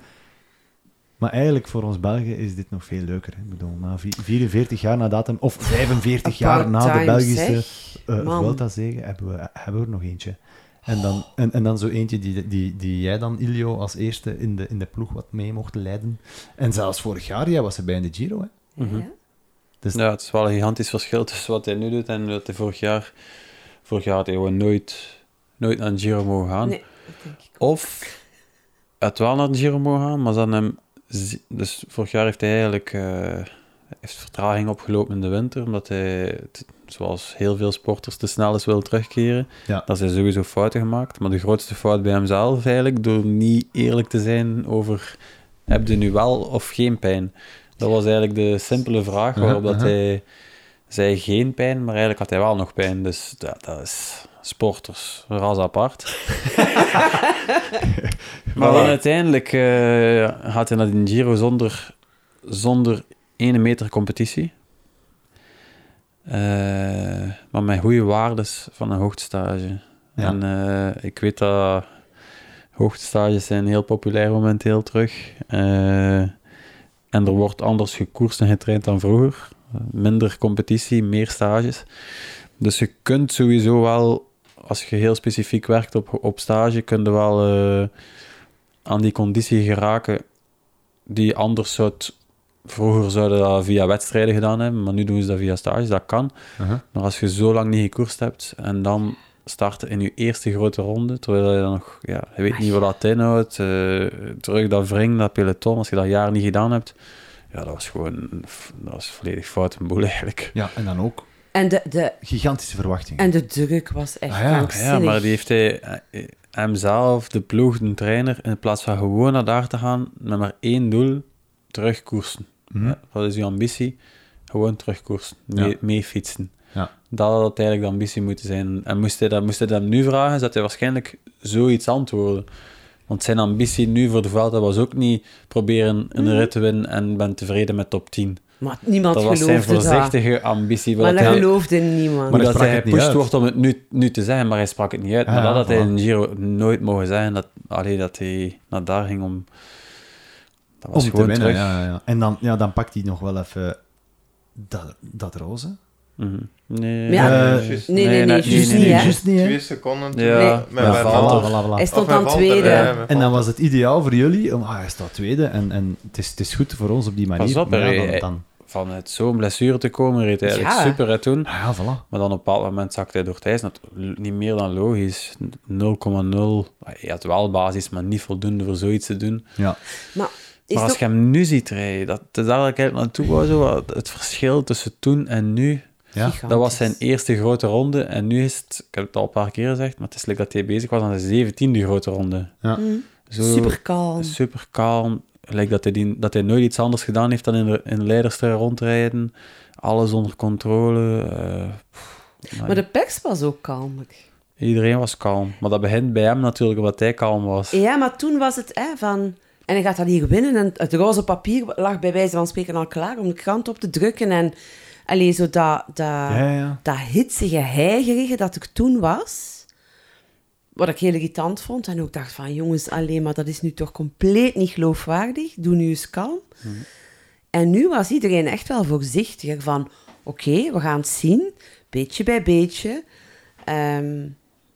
maar eigenlijk voor ons Belgen is dit nog veel leuker. Hè? Ik bedoel, na vi- 44 jaar na datum, of 45 jaar
About
na de
time,
Belgische
zeg.
eh
Man.
Vuelta-zege hebben we, hebben we er nog eentje. En dan, en, en dan zo eentje die, die, die jij dan, Ilio, als eerste in de, in de ploeg wat mee mocht leiden. En zelfs vorig jaar, jij was erbij in de Giro. Hè?
Ja,
Mhm.
ja.
Ja, het is wel een gigantisch verschil tussen wat hij nu doet en wat hij vorig jaar... Vorig jaar had hij gewoon nooit, nooit naar de Giro mogen gaan.
Nee, dat denk ik.
Of het wel naar de Giro mogen gaan, maar dan hem... zi- Dus vorig jaar heeft hij eigenlijk eh, heeft vertraging opgelopen in de winter, omdat hij, t- zoals heel veel sporters, te snel is wil terugkeren.
Ja.
Dat zijn sowieso fouten gemaakt, maar de grootste fout bij hemzelf eigenlijk, door niet eerlijk te zijn over heb je nu wel of geen pijn. Dat was eigenlijk de simpele vraag
Aha,
waarop dat
aha.
hij zei geen pijn, maar eigenlijk had hij wel nog pijn. Dus dat, dat is sporters, ras apart. Maar dan uiteindelijk eh, gaat hij naar de Giro zonder, zonder ene meter competitie. Eh, maar met goede waardes van een hoogtestage.
Ja.
En eh, ik weet dat hoogtestages zijn heel populair momenteel terug. Eh en er wordt anders gekoerst en getraind dan vroeger. Minder competitie, meer stages. Dus je kunt sowieso wel, als je heel specifiek werkt op, op stage, kun je wel... eh, aan die conditie geraken die anders zou het- Vroeger zouden dat via wedstrijden gedaan hebben, maar nu doen ze dat via stages. Dat kan.
Uh-huh.
Maar als je zo lang niet gekoerst hebt en dan starten in je eerste grote ronde, terwijl je dan nog, ja, je weet niet wat dat inhoudt, eh, terug dat wring, dat peloton, als je dat jaar niet gedaan hebt, ja, dat was gewoon, dat was volledig fout en boel eigenlijk.
Ja, en dan ook
En de, de,
gigantische verwachtingen.
en de druk was echt
Ah ja, ja,
krankzinnig.
Ja, maar die heeft hij, eh, hemzelf, de ploeg, de trainer, in plaats van gewoon naar daar te gaan, met maar één doel, terugkoersen.
Mhm.
Ja, wat is uw ambitie? Gewoon terugkoersen, mee,
Ja.
mee fietsen.
Ja.
Dat had eigenlijk de ambitie moeten zijn. En moest hij dat, moest hij dat nu vragen, zou hij waarschijnlijk zoiets antwoorden. Want zijn ambitie nu voor de Vuelta was ook niet proberen
Mhm.
een rit te winnen en ben tevreden met top 10.
Maar niemand
Dat was
geloofde
zijn
dat.
voorzichtige ambitie. wat
Maar dat
hij-
geloofde niemand.
maar
hij
dat
sprak
hij
het niet
gepusht
uit.
wordt om het nu, nu te zeggen, maar hij sprak het niet uit.
Ja,
maar dat had hij
voilà.
in Giro nooit mogen zeggen. Dat, allee, dat hij naar daar ging om... Dat was
Om te
gewoon
winnen,
terug.
ja, ja, ja. En dan, ja, dan pakt hij nog wel even dat, dat roze.
Mhm. Nee,
Ja.
Eh,
nee,
juist.
nee, nee, nee, juist niet, hè.
Juist niet, hè.
Twee seconden.
Ja.
Met Bernal.
Ja, voilà,
Of
voilà, voilà.
Hij stond
met
aan
Valter,
tweede.
ja, met
En dan
Valter.
was het ideaal voor jullie. om, Ah, hij staat tweede en, en het, is, het is goed voor ons op die manier.
Pas op,
Maar
hè,
ja, dan,
hij-
dan-
Vanuit zo'n blessure te komen, reed hij eigenlijk
Ja.
super hè, toen.
Ah, ja, voilà.
Maar dan op een bepaald moment zakte hij door het ijs. Dat l- niet meer dan logisch. 0,0. Hij had wel basis, maar niet voldoende voor zoiets te doen.
Ja.
Maar is het
maar als
ook-
je hem nu ziet rijden, dat, dat is eigenlijk naartoe wou, zo, wat- het verschil tussen toen en nu...
Ja.
Gigantisch.
Dat was zijn eerste grote ronde. En nu is het, ik heb het al een paar keer gezegd, maar het is leuk dat hij bezig was aan de zeventiende grote ronde. Zo
Super kalm.
super kalm. Lijkt dat hij, die, dat hij nooit iets anders gedaan heeft dan in, de- in leiderster rondrijden. Alles onder controle. eh, pff,
Maar de pers was ook kalmer.
Iedereen was kalm. Maar dat begint bij hem natuurlijk, omdat hij kalm was.
Ja, maar toen was het hè, van... En hij gaat dat hier winnen. En het roze papier lag bij wijze van spreken al klaar om de krant op te drukken. En alleen zo dat, dat,
Ja, ja.
dat hitsige heigerige dat ik toen was. Wat ik heel irritant vond. En ook dacht van, jongens, alleen maar dat is nu toch compleet niet geloofwaardig. Doe nu eens kalm.
Mhm.
En nu was iedereen echt wel voorzichtiger van... Oké, we gaan het zien. Beetje bij beetje. Ehm,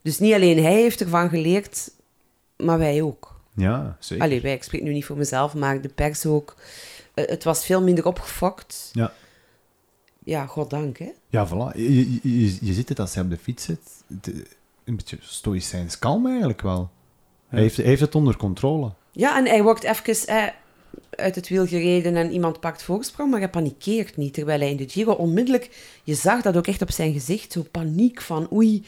dus niet alleen hij heeft ervan geleerd, maar wij ook.
Ja, zeker.
Allee, wij, ik spreek nu niet voor mezelf, maar de pers ook. Eh, het was veel minder opgefokt.
Ja.
Ja, goddank, hè.
Ja, voilà. Je, je, je, je ziet het als hij op de fiets zit. Het- een beetje stoïcijns kalm eigenlijk wel. Hij, heeft, hij heeft het onder controle.
Ja, en hij wordt even eh, uit het wiel gereden en iemand pakt voorsprong, maar hij panikeert niet. Terwijl hij in de Giro onmiddellijk, je zag dat ook echt op zijn gezicht, zo paniek van oei.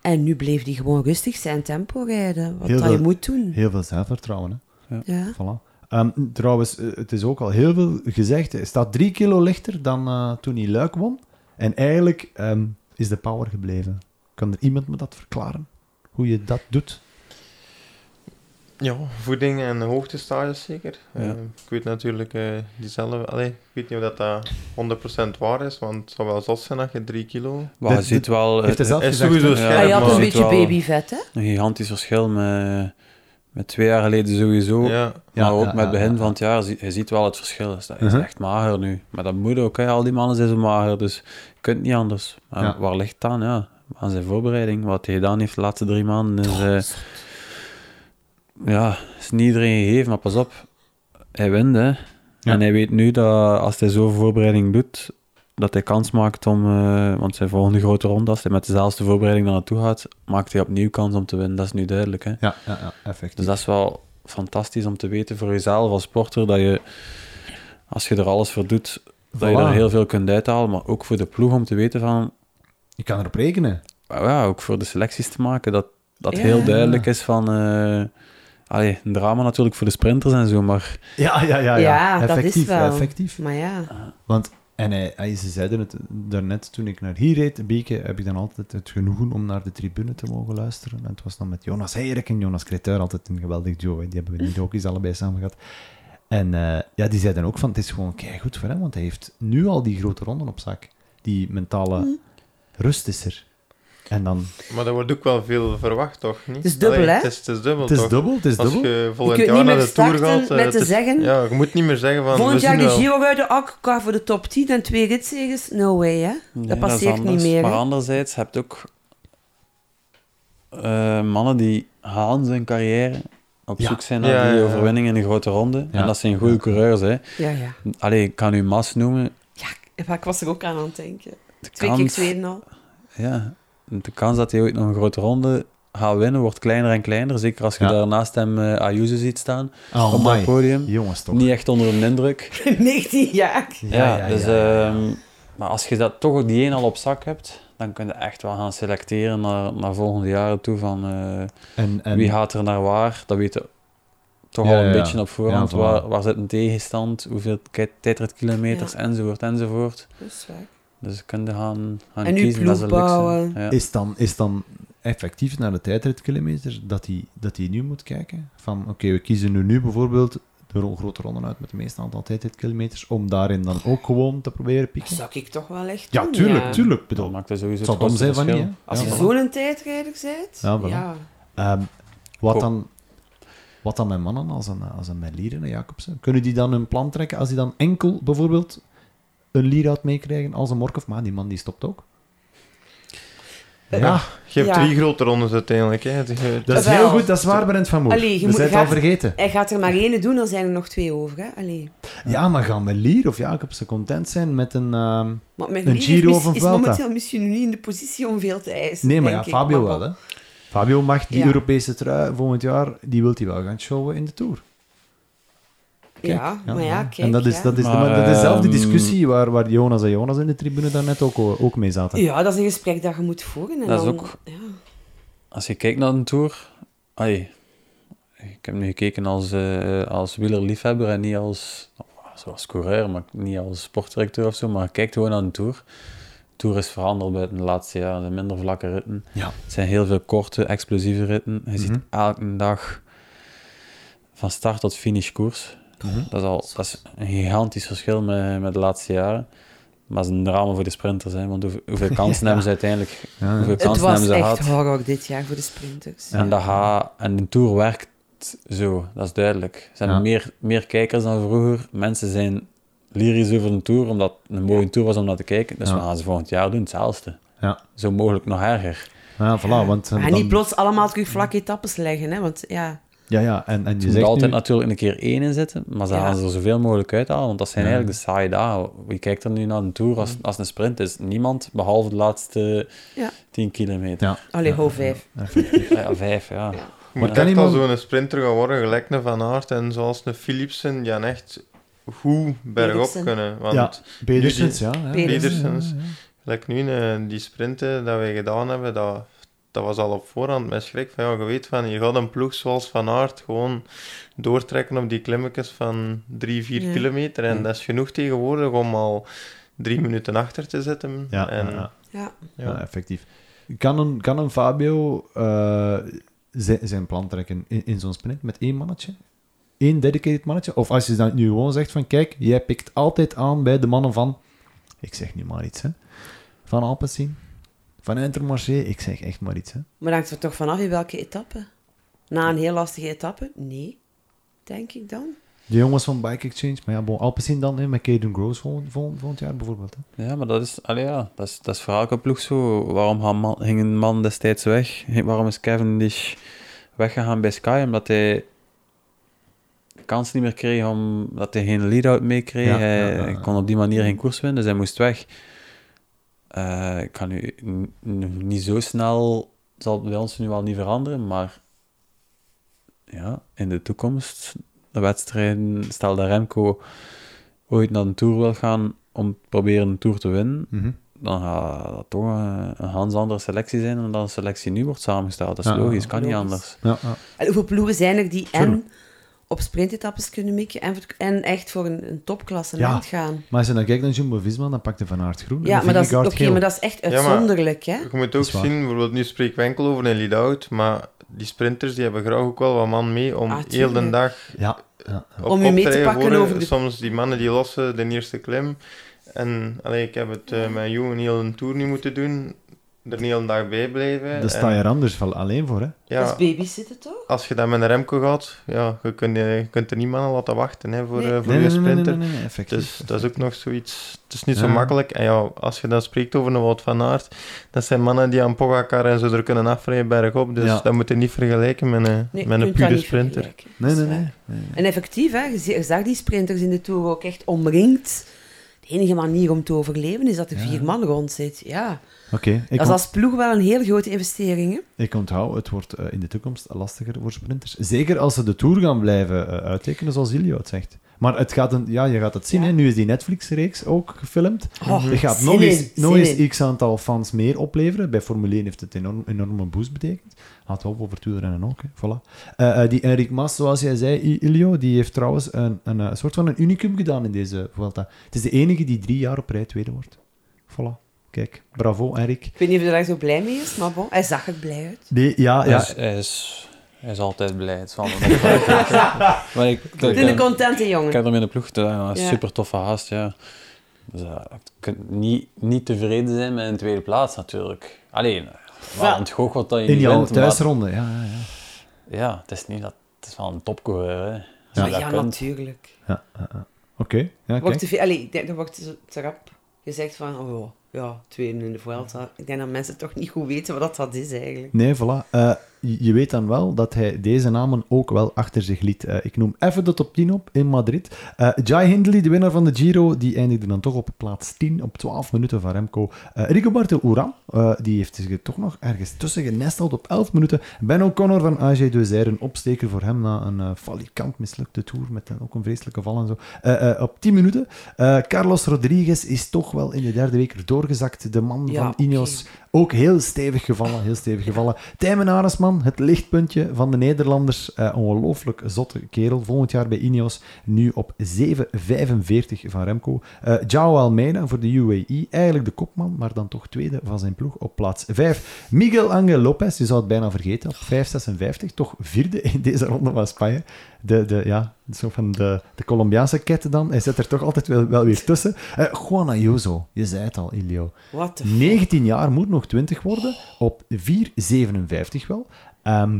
En nu bleef hij gewoon rustig zijn tempo rijden, wat
Heel
dat je
veel-
moet doen.
Heel veel zelfvertrouwen, hè.
Ja.
Voilà. Ehm, trouwens, eh, het is ook al heel veel gezegd. Hij staat drie kilo lichter dan eh, toen hij Luik won. En eigenlijk ehm, is de power gebleven. Kan er iemand me dat verklaren? Hoe je dat doet?
Ja, voeding en hoogtestages zeker.
Ja.
Eh, ik weet natuurlijk eh, diezelfde... Allee, ik weet niet of dat, dat 100% waar is, want het zou wel zot zijn dat je 3 kilo...
Maar je
Dit-
ziet wel
Heeft hij
eh,
zelf
is
gezegd?
sowieso
hè?
scherp.
Ja,
Hij had
maar-
een
Ziet
beetje
wel-
babyvet, hè.
een gigantisch verschil met, met twee jaar geleden sowieso.
Ja,
Ja,
maar ook
ja,
met het
ja,
begin
ja.
van het jaar, zie- je ziet wel het verschil. Dus Dat is
Mhm.
echt mager nu. Maar dat moet ook, hè. al die mannen zijn zo mager, dus je kunt niet anders. Maar
Ja.
waar ligt het aan? Ja, aan zijn voorbereiding. Wat hij gedaan heeft de laatste drie maanden is... eh, ja, is niet iedereen gegeven, maar pas op. Hij wint, hè. En hij weet nu dat als hij zo'n voorbereiding doet, dat hij kans maakt om... eh, want zijn volgende grote ronde, als hij met dezelfde voorbereiding naar naartoe gaat, maakt hij opnieuw kans om te winnen. Dat is nu duidelijk, hè.
Ja, ja, ja, effectief.
Dus dat is wel fantastisch om te weten voor jezelf als sporter, dat je, als je er alles voor doet, dat je
Voilà.
er heel veel kunt uithalen. Maar ook voor de ploeg om te weten van,
Je kan erop rekenen.
ah ja, ook voor de selecties te maken, dat, dat
Ja.
heel duidelijk is van... eh, allee, een drama natuurlijk voor de sprinters en zo, maar
Ja, ja, ja. ja.
Ja, dat is
effectief,
wel.
effectief.
Maar ja,
Want, en hij, hij- ze zeiden het daarnet toen ik naar hier reed, een beetje, heb ik dan altijd het genoegen om naar de tribune te mogen luisteren. En het was dan met Jonas Heirik en Jonas Creteur, altijd een geweldig duo. hè. Die hebben we niet ook eens allebei samen gehad. En eh, ja, die zeiden ook van, het is gewoon goed voor hem, want hij heeft nu al die grote ronden op zak. Die mentale rust is er. En dan,
maar er wordt ook wel veel verwacht, toch? Niet?
Het is dubbel, hè?
Het is, het is dubbel,
het is
toch?
dubbel, het is
Als
dubbel.
je volgend
kunt
jaar
niet
naar
meer
de Tour
starten
gaat... eh,
met
het
te
is-
zeggen-
Ja, je moet niet meer zeggen van...
volgend
we
jaar dus
zien
de
wel.
Giro rijden, ook elkaar voor de top 10 en twee ritzegers, no way, hè.
Nee,
dat
is
passeert niet
anders.
meer,
Maar
hè.
anderzijds heb je ook eh, mannen die halen zijn carrière op
Ja.
zoek zijn naar
Ja,
die
ja, ja.
overwinning in de grote ronde.
Ja.
En dat zijn goede
Ja.
coureurs. Hè.
Ja, ja.
Allee, ik kan u Mas noemen.
Ja, ik was er ook aan aan het denken.
De
Twee keer
kans,
tweede al. [laughs]
ja, de kans dat hij ooit nog een grote ronde gaat winnen, wordt kleiner en kleiner. Zeker als je
Ja.
daarnaast hem eh, Ayuso ziet staan
Oh,
op dat
my.
podium.
Jongens, toch.
Niet echt onder een indruk.
19 jaar.
Ja, dus, ehm, maar als je dat toch ook die één al op zak hebt, dan kun je echt wel gaan selecteren naar, naar volgende jaren toe van eh,
en, en,
wie gaat er naar waar. Dat weten we toch
Ja,
al een
ja, ja.
beetje op voorhand.
Ja, voilà.
waar, waar zit een tegenstand, hoeveel ki- tijdritkilometers,
Ja.
enzovoort, enzovoort.
Dat is waar.
Dus kun je gaan, gaan
En uw
kiezen. dat is
ploeg
het leukste.
bouwen.
Ja.
Is dan, is dan effectief naar de tijdritkilometer dat hij dat die nu moet kijken? Van oké, we kiezen nu, nu bijvoorbeeld de ro- grote ronde uit met het meeste aantal tijdritkilometers, om daarin dan ook gewoon te proberen
Dat
pieken?
zou ik toch wel echt
Ja,
doen,
tuurlijk, tuurlijk.
Dat
Bedoel,
maakt er sowieso
het zal dom
grootste
zijn van niet.
verschil.
hè?
Als
Ja,
je
voilà.
zo'n tijdrijder bent,
Ja,
ja,
voilà.
ja.
Ehm, wat,
Cool.
dan, wat dan met mannen als een, als een Melieren en Jacobsen? Kunnen die dan hun plan trekken als die dan enkel bijvoorbeeld een Lierhout meekrijgen als een Morkov? Maar die man die stopt ook.
Ja. je hebt
Ja.
drie grote rondes uiteindelijk. Hè. Je-
Dat is
Wel.
heel goed, dat is waar, Brent van Moer.
Allee, je
We
moet-
zijn het
gaat-
al vergeten.
Hij gaat er maar één doen, dan zijn er nog twee over. Hè? Allee.
Ja, maar gaan Melier of Jacobsen content zijn met een... ehm,
Maar mijn
Een
is,
Giro
mis-
of een
is
Vuelta?
momenteel misschien niet in de positie om veel te eisen.
Nee, maar ja,
denk ik.
Fabio
Maar
wel,
bon.
hè. Fabio mag die
Ja.
Europese trui volgend jaar, die wil hij wel gaan showen in de Tour. Kijk,
ja, maar ja, kijk.
en dat is,
ja.
dat is,
Maar,
maar, dat is dezelfde
ehm,
discussie waar, waar Jonas en Jonas in de tribune daarnet ook, eh, ook mee zaten.
Ja, dat is een gesprek dat je moet voeren. En
Dat is
dan,
ook-
Ja.
Als je kijkt naar een tour, ai, ik heb nu gekeken als, eh als wielerliefhebber en niet als, zoals coureur, maar niet als sportdirecteur of zo, maar kijk gewoon naar een tour. De tour is veranderd buiten de laatste jaren. Er zijn minder vlakke ritten.
Ja. Mhm.
Het zijn heel veel korte, explosieve ritten. Je ziet elke dag van start tot finish koers.
Mhm.
Dat is, al, dat is een gigantisch verschil met, met de laatste jaren. Maar het is een drama voor de sprinters, hè, want hoe-
[laughs]
hoeveel kansen hebben ze uiteindelijk?
ja.
Hoeveel
Het
kansen hebben
was
ze
echt
gehad?
horror dit jaar voor de sprinters.
En, dat ga, en de Tour werkt zo, dat is duidelijk. Er zijn
Ja.
meer, meer kijkers dan vroeger. Mensen zijn lyrisch over een Tour, omdat het een mooie Tour was om naar te kijken. Dus
Ja.
we gaan ze volgend jaar doen, hetzelfde.
Ja.
Zo mogelijk nog erger.
Ja, voilà, want... eh,
Maar
dan-
niet plots allemaal terug vlakke etappes leggen, hè? want ja,
Ja, ja. En, en je
Je moet
zegt
altijd
nu-
natuurlijk een keer één in zitten, maar ze
Ja.
gaan ze er zoveel mogelijk uithalen, want dat zijn eigenlijk de saaie dagen. Wie kijkt er nu naar een Tour als, als een sprint? is niemand, behalve de laatste
Ja.
10 kilometer.
Ja.
Allee, ho, vijf.
Ja, vijf, ja.
Je moet
Maar kan
echt al
iemand-
zo'n sprinter gaan worden, gelijk een Van Aert en zoals een Philipsen, die aan echt goed bergop
Philipsen.
kunnen. Want
Ja, Pedersens, ja. ja.
Pedersen.
Pedersens. Like nu, eh, die sprinten dat wij gedaan hebben, dat, dat was al op voorhand mijn schrik. Van, ja, je weet van, je gaat een ploeg zoals Van Aert gewoon doortrekken op die klimmetjes van 3, 4
Ja.
kilometer. En
Ja.
dat is genoeg tegenwoordig om al drie minuten achter te zitten.
Ja, ja,
en,
ja.
Ja.
ja.
Ja, effectief. Kan een, kan een Fabio eh, zi- zijn plan trekken in, in zo'n sprint met één mannetje? Eén dedicated mannetje? Of als je dan nu gewoon zegt van, kijk, jij pikt altijd aan bij de mannen van... Ik zeg nu maar iets, hè. Van Alpecin, van Intermarché, ik zeg echt maar iets, hè.
Maar hangt er toch vanaf in welke etappe? Na een heel lastige etappe? Nee, denk ik dan.
De jongens van Bike Exchange, maar ja, bon, Alpecin dan, hè, met Caden Groves volgend, volgend, volgend jaar bijvoorbeeld, hè.
Ja, maar dat is, allee, ja, dat is, dat is voor elke ploeg zo. Waarom gaan man- ging een man destijds weg? Waarom is Cavendish weggegaan bij Sky? Omdat hij kans niet meer kreeg, omdat hij geen lead-out mee kreeg.
Ja,
hij
ja, ja, ja.
kon op die manier geen koers winnen, dus hij moest weg. Eh, ik kan nu n- n- niet zo snel, zal het bij ons nu wel niet veranderen, maar ja, in de toekomst, de wedstrijden, stel dat Remco ooit naar een Tour wil gaan om te proberen een Tour te winnen,
Mhm.
dan gaat dat toch een, een ganz andere selectie zijn dan dat een selectie nu wordt samengesteld. Dat is
Ja,
logisch,
ja,
kan niet
logisch.
anders.
Ja, ja.
En hoeveel ploegen zijn er die
Tuurlijk.
en op sprintetappes kunnen mikken en, voor- en echt voor een, een topklassement
Ja.
gaan?
Maar als je dan kijkt naar Jumbo-Visma, dan pakte Van Aert groen
Ja,
en
maar dat, is,
Vingegaard
oké,
geel.
maar dat is echt
maar-
uitzonderlijk, hè?
Je moet
Dat
ook
is waar.
zien, bijvoorbeeld nu spreek ik enkel over een lead-out, maar die sprinters die hebben graag ook wel wat man mee om
Ah,
heel de
tuurlijk.
dag
Ja, ja.
op
Om u mee te
optreden
pakken
worden.
over de-
Soms die mannen die lossen de eerste klim. En allee, ik heb het eh, met Jo een hele tour niet moeten doen. Er een hele dag bij blijven.
Eh,
Daar dus sta
En,
je er anders wel alleen voor, hè.
ja,
Dat is babysitten, toch?
als je dan met een Remco gaat, ja, je kunt, eh, je kunt er niet mannen laten wachten hè, voor,
Nee.
eh, voor je sprinter.
effectief.
Dus dat is ook nog zoiets. Het is niet
Ja.
zo makkelijk. En ja, als je dan spreekt over een Wout van Aert, dat zijn mannen die aan Pogacar en zo er kunnen afrijden bergop. Dus
Ja.
dat moet je niet vergelijken met een,
Nee,
met
je
een
kunt dat
pure
niet
sprinter.
vergelijken.
Nee,
Dat
nee,
is
nee.
waar. En effectief, hè? Je zie- je zag die sprinters in de Tour ook echt omringd. De enige manier om te overleven is dat er
Ja.
vier man rond zit. Ja.
Oké, ik,
Dat is
ont-
als ploeg wel een heel grote investering. Hè?
ik onthoud, het wordt eh, in de toekomst lastiger voor sprinters. Zeker als ze de Tour gaan blijven eh, uittekenen, zoals Ilio het zegt. Maar het gaat een, ja, je gaat het zien,
Ja.
hè. nu is die Netflix-reeks ook gefilmd.
Oh,
Het gaat
zin
nog
in,
eens, nog
zin
eens
in.
x aantal fans meer opleveren. Bij Formule 1 heeft het een enorm, enorme boost betekend. Laten we op over en ook. Hè. Voilà. Eh, eh, die Enric Mas, zoals jij zei, I- Ilio, die heeft trouwens een, een, eh, soort van een unicum gedaan in deze Vuelta. Het is de enige die drie jaar op rij tweede wordt. Voilà. Kijk, bravo Enric.
Ik weet niet of hij daar zo blij mee is, maar bon, hij zag er blij uit.
Die, ja,
Hij,
ja.
is, Dus hij, is, hij is altijd blij. Het is wel
[laughs]
een maar ik, ik,
Het is een
ik,
contente jongen.
heb hem in de ploeg gedaan. Dat is
Ja.
super toffe haast, ja. Dus, eh, je kunt niet, niet tevreden zijn met een tweede plaats natuurlijk. Alleen,
Ja.
wel een goog wat dat je
In
niet
die
bent, maar-
thuisronde, ja, ja, ja.
Ja, het is niet dat... Het is wel een topcoureur, hè. Als
Ja,
je dat
ja
kunt.
natuurlijk.
Oké, ja,
Wordt
kijk.
te veel, allee, ik denk, er wordt zo te rap gezegd van, oh, ja, tweede in de Vuelta. Ik denk dat mensen toch niet goed weten wat dat is eigenlijk.
Nee, voilà. Eh, je je weet dan wel dat hij deze namen ook wel achter zich liet. Eh, ik noem even de top 10 op in Madrid. Eh, Jai Hindley, de winnaar van de Giro, die eindigde dan toch op plaats 10 op 12 minuten van Remco. Eh Rigoberto Uran, eh, die heeft zich er toch nog ergens tussen genesteld op 11 minuten. Ben O'Connor van AG Deuzer, een opsteker voor hem na een eh, falikant mislukte tour met een- ook een vreselijke val en zo. Eh, eh, op 10 minuten. Eh, Carlos Rodriguez is toch wel in de derde week er doorgezakt. De man
Ja,
van Ineos ook heel stevig gevallen, heel stevig gevallen. Tijmen Aresman, het lichtpuntje van de Nederlanders. Eh, ongelooflijk zotte kerel. Volgend jaar bij Ineos, nu op 7,45 van Remco. Eh Jao Almeida voor de UAE, eigenlijk de kopman, maar dan toch tweede van zijn ploeg op plaats 5. Miguel Angel Lopez, je zou het bijna vergeten, op 5,56. Toch vierde in deze ronde van Spanje. De, de, ja, zo van de, de Colombiaanse ket dan. Hij zit er toch altijd wel, wel weer tussen. Eh, Juan Ayuso, je zei het al, Ilio.
Wat de
19 jaar moet nog 20 worden. Op 4,57 wel. Ehm,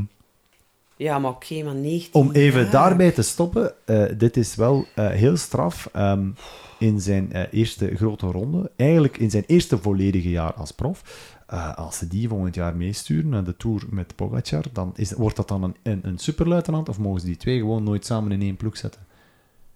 Ja, maar oké, maar 19
om even
jaar.
daarbij te stoppen. eh, dit is wel eh, heel straf. ehm, in zijn eh, eerste grote ronde. Eigenlijk in zijn eerste volledige jaar als prof. Ehm, eh, als ze die volgend jaar meesturen naar de Tour met Pogacar, dan is, wordt dat dan een, een, een superluitenant of mogen ze die twee gewoon nooit samen in één ploeg zetten?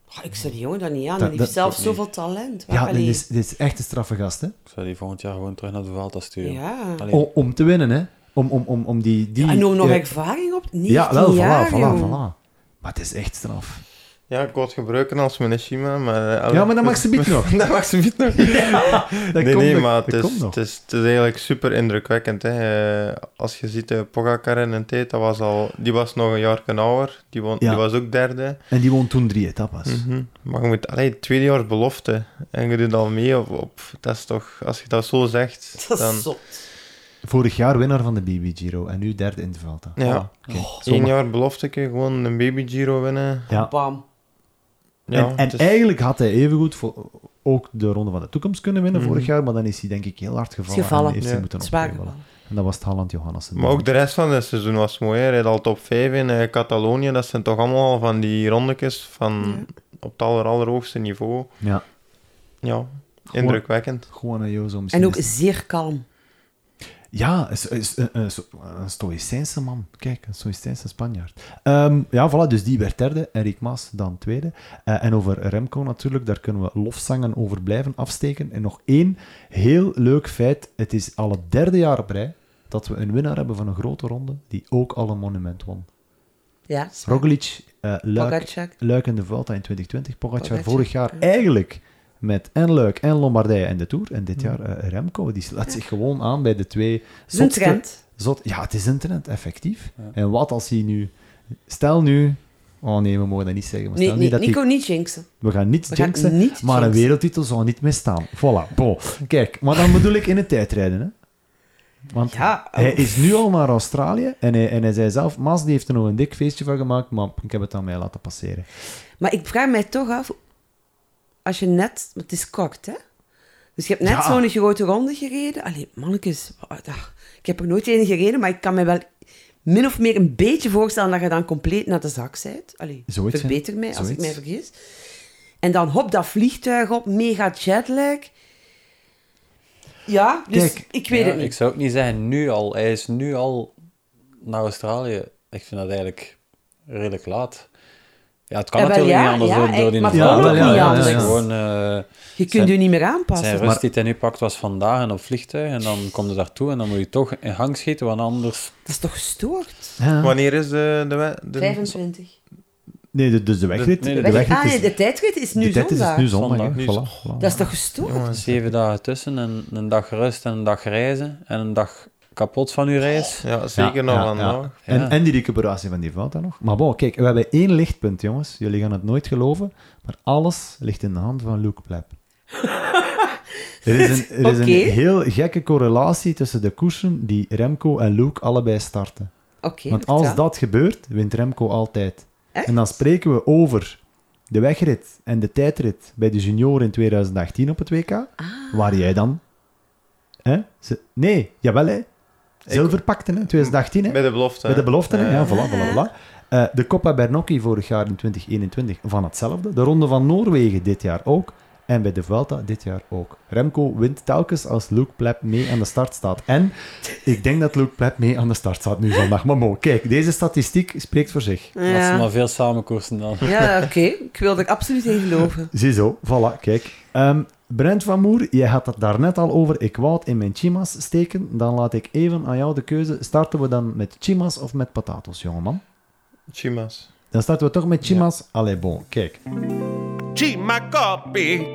Oh, ik zou die jongen dat niet aan.
Dat- dat-
die heeft zelf
dat-
zoveel talent.
Ja,
Waar-
dit
allee.
is, dit is echt een straffe gast, hè?
Ik zou die volgend jaar gewoon terug naar de Vuelta sturen.
Ja.
Allee,
O- om te winnen, hè? Om, om, om, om die, die...
En om Ah, nog
eh,
ervaring op. 19
Ja, wel,
jaar,
voilà, voilà,
jong.
voilà. Maar het is echt straf.
Ja, ik wou het gebruiken als Minishima, maar... eh,
Ja, maar dat mag ze
[laughs]
bieden nog.
dat mag ze niet
[laughs]
nog.
Dat
nee,
komt
nee,
nog,
maar het
dat
is,
komt nog.
het, is, het is eigenlijk super indrukwekkend. Hè. Eh, Als je ziet, eh, Pogacar in een tijd, dat was al, die was nog een jaar ouder. Die, won,
Ja. Hm.
die was ook derde.
En die won toen drie etappes.
Mhm. Maar je moet, allee, tweede jaar belofte. En je doet al mee op, op... Dat is toch... Als je dat zo zegt,
[laughs] Dat
dan...
is zot.
Vorig jaar winnaar van de BB Giro en nu derde in de Vuelta.
Ja.
Voilà. Kijk, Ah, zomaar.
Eén jaar belofte, kun je gewoon een baby Giro winnen.
Ja.
Bam.
Ja,
en en
het is-
eigenlijk had hij evengoed voor, ook de Ronde van de Toekomst kunnen winnen
Mhm.
vorig jaar, maar dan is hij denk ik heel hard gevallen.
Is gevallen.
En heeft hij
Ja.
moeten
Zwaar
opgeven.
gevallen.
En dat was het Haaland Johannessen.
Maar ook de rest van het seizoen was mooi. hè. Hij reed al top 5 in eh, Catalonië. Dat zijn toch allemaal al van die rondetjes van op het aller, allerhoogste niveau.
Ja,
Ja, indrukwekkend.
gewoon een Jozo misschien.
En ook
is-
zeer kalm.
Ja, is, is, eh, een- een so- een Stoïcijnse man. Kijk, een Stoïcijnse Spanjaard. Ehm, ja, voilà, dus die werd derde. En Rick Maas dan tweede. Eh, en over Remco natuurlijk, daar kunnen we lofzangen over blijven afsteken. En nog één heel leuk feit. Het is al het derde jaar op rij dat we een winnaar hebben van een grote ronde die ook al een monument won.
Ja.
Roglic, eh, Luik,
Pogacar.
Luik in de Vuelta in 2020. Pogacar,
Pogacar,
vorig jaar
ja.
eigenlijk met en Luik en Lombardije en de Tour. En dit jaar eh, Remco, die slaat zich gewoon aan bij de twee
is een
zotste-
trend.
Zot, ja, het is een trend, effectief.
Ja.
En wat als hij nu... Stel nu... Oh nee, we mogen dat niet zeggen. Maar
Nee,
stel nu
nee,
dat hij-
Nico, niet jinxen.
we gaan niet
We gaan
jinxen,
niet
maar een
jinxen.
wereldtitel zou niet meer staan. Voilà, bon. Kijk, maar dan bedoel ik in het tijdrijden, hè. Want
Ja,
hij
oh.
is nu al naar Australië en hij, en hij zei zelf, Mas die heeft er nog een dik feestje van gemaakt, maar ik heb het aan mij laten passeren.
Maar ik vraag mij toch af, als je net... want Het is kort, hè? Dus je hebt net
Ja.
zo'n grote ronde gereden. Allee, mannetjes, wat- ah, ik heb er nooit één gereden, maar ik kan me wel min of meer een beetje voorstellen dat je dan compleet naar de zak bent. Allee,
Zoiets, hè?
verbeter mij als ik
Zoiets.
mij vergis. En dan hop, dat vliegtuig op, mega jetlag. Ja, dus
Kijk,
ik weet
ja,
het
Ik
niet.
zou ook niet zeggen nu al. Hij is nu al naar Australië. Ik vind dat eigenlijk redelijk laat. Ja, het kan
Eh, wel,
natuurlijk
ja,
niet anders
ja,
door, door die
maar
het kan
Vuelta.
ook niet
Het
anders.
is gewoon... eh,
Je kunt
zijn-
je niet meer
Zijn
aanpassen.
rust die hij nu pakt was vandaag en op vliegtuig. En dan komt hij daartoe en dan moet je toch in gang schieten, want anders...
Dat is toch gestoord?
Ja.
Wanneer is de... de, we- de
25.
Nee, de- dus de wegrit,
nee,
de
de
wegrit
ah, nee,
is,
de tijdrit is nu
de tijd is dus
zondag.
nu zondag.
Zondag,
hè.
nu
Voilà, voilà.
Dat Oh, is toch gestoord?
Zeven dagen tussen en een dag rust en een dag reizen en een dag kapot van uw reis.
Ja, zeker
Ja,
nog
ja,
vandaag.
ja. En,
Ja.
en die recuperatie van die Vuelta nog. Maar bon, kijk, we hebben één lichtpunt, jongens. Jullie gaan het nooit geloven, maar alles ligt in de hand van Luke
[laughs]
Plep. Er is, een, er is
Oké.
een heel gekke correlatie tussen de koersen die Remco en Luke allebei starten.
Oké.
Want als
vertel.
dat gebeurt, wint Remco altijd.
Echt?
En dan spreken we over de wegrit en de tijdrit bij de junior in 2018 op het WK.
Ah.
Waar jij dan... Hè? Ze- Nee, jawel hè. Zilver pakte hè, 2018 hè.
Bij de belofte.
Bij de belofte, hè?
Ja.
ja, voilà, voilà, voilà. Eh, de Coppa Bernocchi vorig jaar in 2021 van hetzelfde. De Ronde van Noorwegen dit jaar ook. En bij de Vuelta dit jaar ook. Remco wint telkens als Luke Plep mee aan de start staat. En ik denk dat Luke Plep mee aan de start staat nu zondag. Maar mo, kijk, deze statistiek spreekt voor zich.
Dat
Ja.
zijn maar veel samenkoersen dan.
Ja, oké. Ik wil er absoluut in geloven.
Ziezo, voilà, kijk. Ehm Brent van Moer, je had het daarnet al over. Ik wou het in mijn chimas steken. Dan laat ik even aan jou de keuze. Starten we dan met chimas of met patatos, jongeman?
Chimas.
Dan starten we toch met chimas. Allee, bon, kijk.
Chimacopi.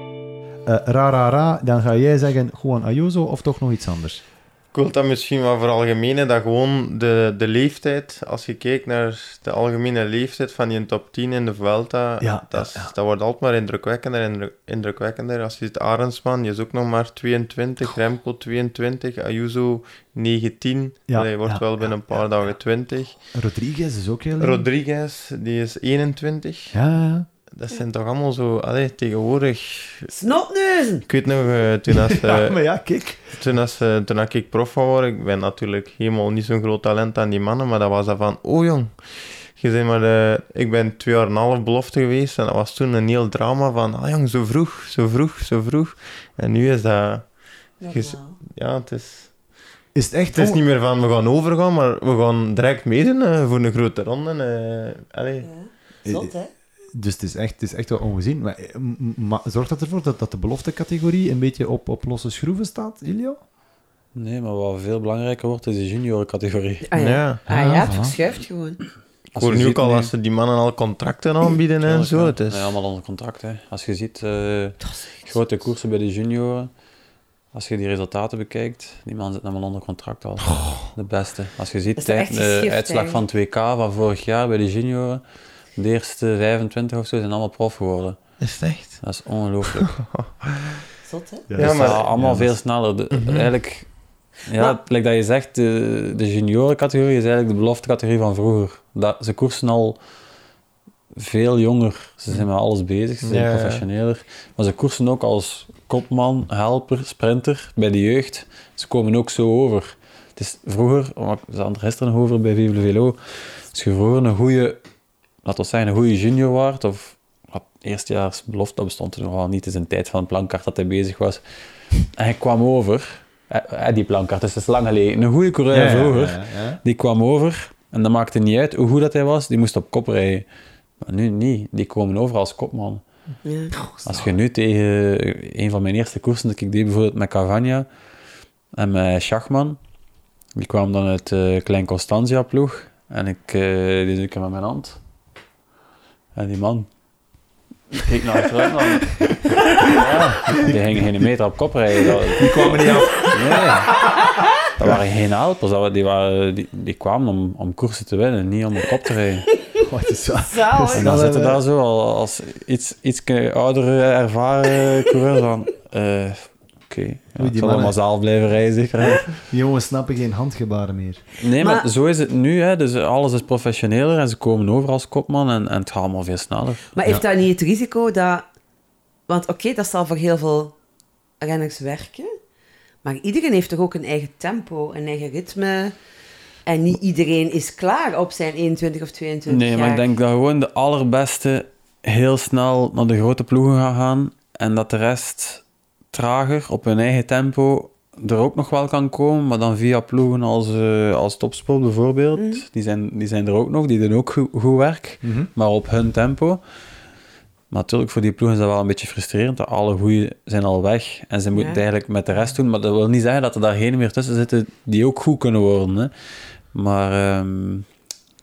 Eh, ra, ra, ra, dan ga jij zeggen Juan Ayuso of toch nog iets anders.
Ik wil dat misschien wel veralgemenen, dat gewoon de, de leeftijd, als je kijkt naar de algemene leeftijd van die top 10 in de Vuelta,
Ja,
dat, is- dat wordt altijd maar indrukwekkender en indru- indrukwekkender. Als je ziet Arendsman, die is ook nog maar 22, Remco 22, Ayuso 19,
Ja,
Allee, wordt
ja,
wel binnen een paar dagen 20.
Rodriguez is ook heel jong.
Rodriguez, die is 21.
Ja, ja, ja.
Dat zijn toch allemaal zo, allee, tegenwoordig...
Snotneuzen!
Ik weet nog, eh,
[laughs]
toen als...
ja,
eh,
maar ja, kijk.
Toen, als, eh, toen dat ik prof wou worden, ik ben natuurlijk helemaal niet zo'n groot talent aan die mannen, maar dat was dat van, oh jong, je zei maar, eh, ik ben twee jaar en een half belofte geweest en dat was toen een heel drama van, ah jong, zo vroeg, zo vroeg, zo vroeg. En nu is dat,
Dat
Ges-
wel.
ja, het is,
Is het echt...
Het is
oh,
niet meer van we gaan overgaan, maar we gaan direct meedoen eh, voor een grote ronde. eh. allee.
Ja. Zot, hè?
Dus het is echt, het is echt wel ongezien. Maar, eh, m- maar zorgt dat ervoor dat, dat de beloftecategorie een beetje op, op losse schroeven staat, Ilio?
Nee, maar wat veel belangrijker wordt, is de juniorencategorie.
Ah ja,
Ja.
ah, ja
Ah,
het
voilà.
verschuift gewoon.
Ik
Als
hoor
je
nu
ziet
ook al
nu-
als ze die mannen al contracten aanbieden en
Tuurlijk,
zo.
ja.
Het is...
Nee, allemaal onder contract. Hè. Als je ziet, eh,
Dat is echt
grote koersen bij de junioren, als je die resultaten bekijkt, die man zit allemaal onder contract al.
Oh.
De beste. Als je
Dat
ziet
is
tijd-
echt
de
geschift,
uitslag van het WK van vorig jaar bij de junioren, de eerste 25 of zo zijn allemaal prof geworden.
Is het echt?
Dat is ongelooflijk.
zot, hè?
Ja,
Ja,
maar-
maar allemaal
ja, dat
veel
is-
sneller. De- Eigenlijk, ja,
Maar-
like dat je zegt, de, de juniorencategorie is eigenlijk de beloftecategorie van vroeger. Dat, ze koersen al veel jonger. Ze zijn met alles bezig, ze zijn
Ja, ja.
professioneler. Maar ze koersen ook als kopman, helper, sprinter bij de jeugd. Ze komen ook zo over. Het is vroeger, we hadden er gisteren nog over bij Vive le Velo, als je vroeger een goede, laten we zeggen, een goede junior waard, of wat, eerstejaars belofte, dat bestond er nogal niet, het is een tijd van een plankaart dat hij bezig was. En hij kwam over, eh, eh, die plankaart, dus dat is lang geleden. Een goede coureur
ja, ja,
vroeger,
ja, ja.
die kwam over en dat maakte niet uit hoe goed dat hij was, die moest op kop rijden. Maar nu niet, die komen over als kopman.
Ja.
Nou.
Als je nu tegen een van mijn eerste koersen dat ik deed, bijvoorbeeld met Cavagna en met Schachman, die kwam dan uit de Klein Constantia ploeg en ik eh die doe ik hem met mijn hand. En die man keek naar
[laughs]
achteruit. man. ja, die ging geen meter op kop rijden. Dat-
Die komen niet af.
Nee. Dat waren geen helpers, dat wa- die, waren, die, die kwamen om, om koersen te winnen, niet om op kop te rijden.
Oh, het is wel-
Zalig.
het is
En dan
wel
zitten
een-
daar zo al als iets, iets oudere, eh, ervaren coureurs van... eh, Oké,
die
ja, ik zal
mannen.
allemaal zelf blijven rijden, zeker. hè.
Die jongens snappen geen handgebaren meer.
[laughs] Nee, maar,
Maar-
zo is het nu. Hè. Dus alles is professioneler en ze komen over als kopman en, en het gaat allemaal veel sneller.
Maar heeft dat niet het risico dat... Want oké, dat zal voor heel veel renners werken. Maar iedereen heeft toch ook een eigen tempo, een eigen ritme. En niet iedereen is klaar op zijn 21 of 22
Nee,
jaar.
maar ik denk dat gewoon de allerbeste heel snel naar de grote ploegen gaan gaan en dat de rest trager op hun eigen tempo er ook nog wel kan komen, maar dan via ploegen als, eh als Topsport bijvoorbeeld, die, zijn, die zijn er ook nog, die doen ook goed, goed werk, maar op hun tempo. Maar natuurlijk, voor die ploegen is dat wel een beetje frustrerend, dat alle goeie zijn al weg en ze moeten
Ja.
het eigenlijk met de rest doen, maar dat wil niet zeggen dat er daar geen meer tussen zitten die ook goed kunnen worden. Hè. Maar ehm, ik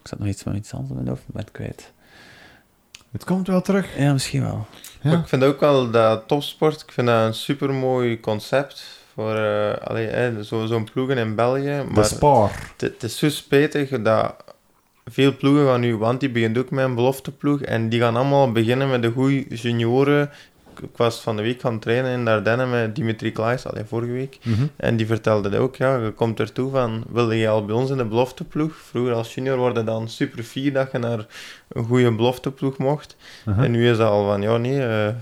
zat nog iets van iets anders in mijn hoofd, ik ben het kwijt.
Het komt wel terug.
Ja, misschien wel.
Ja.
Maar ik vind ook wel dat topsport, ik vind dat een supermooi concept. Voor eh, allee, eh, zo- zo'n ploegen in België.
De
Maar
spaar.
Het het is zo spetig dat veel ploegen gaan nu, want die begint ook met een belofteploeg en die gaan allemaal beginnen met de goede junioren. Ik- Ik was van de week gaan trainen in Dardenne met Dimitri Klaes, allee, vorige week.
Mhm.
En die vertelde dat ook, ja, je komt ertoe van, wilde je al bij ons in de belofteploeg? Vroeger als junior worden dan super fier dat je naar een goede belofteploeg mocht.
Aha.
En nu is dat al van, ja nee, eh, eh,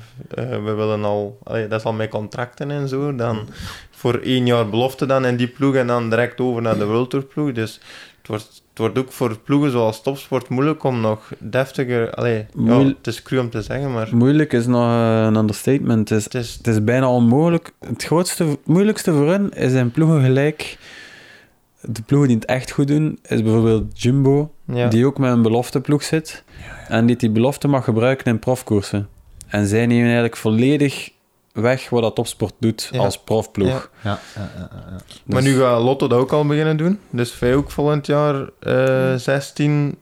we willen al, allee, dat is al met contracten en zo, dan voor één jaar belofte dan in die ploeg en dan direct over naar de World Tour ploeg. Dus het wordt, het wordt ook voor ploegen zoals topsport moeilijk om nog deftiger, allee, ja,
Moeil-
het is cru om te zeggen, maar
Moeilijk is nog eh, een understatement. Het is,
het is...
het is bijna onmogelijk. Het grootste, moeilijkste voor hen is in ploegen gelijk. De ploegen die het echt goed doen, is bijvoorbeeld Jumbo,
Ja.
die ook met een belofteploeg zit. En die die belofte mag gebruiken in profkoersen. En zij nemen eigenlijk volledig weg wat dat topsport doet
Ja.
als profploeg.
Ja.
Ja, ja, ja, ja, ja.
Maar
Dus-
nu gaat Lotto dat ook al beginnen doen. Dus wij ook volgend jaar eh 16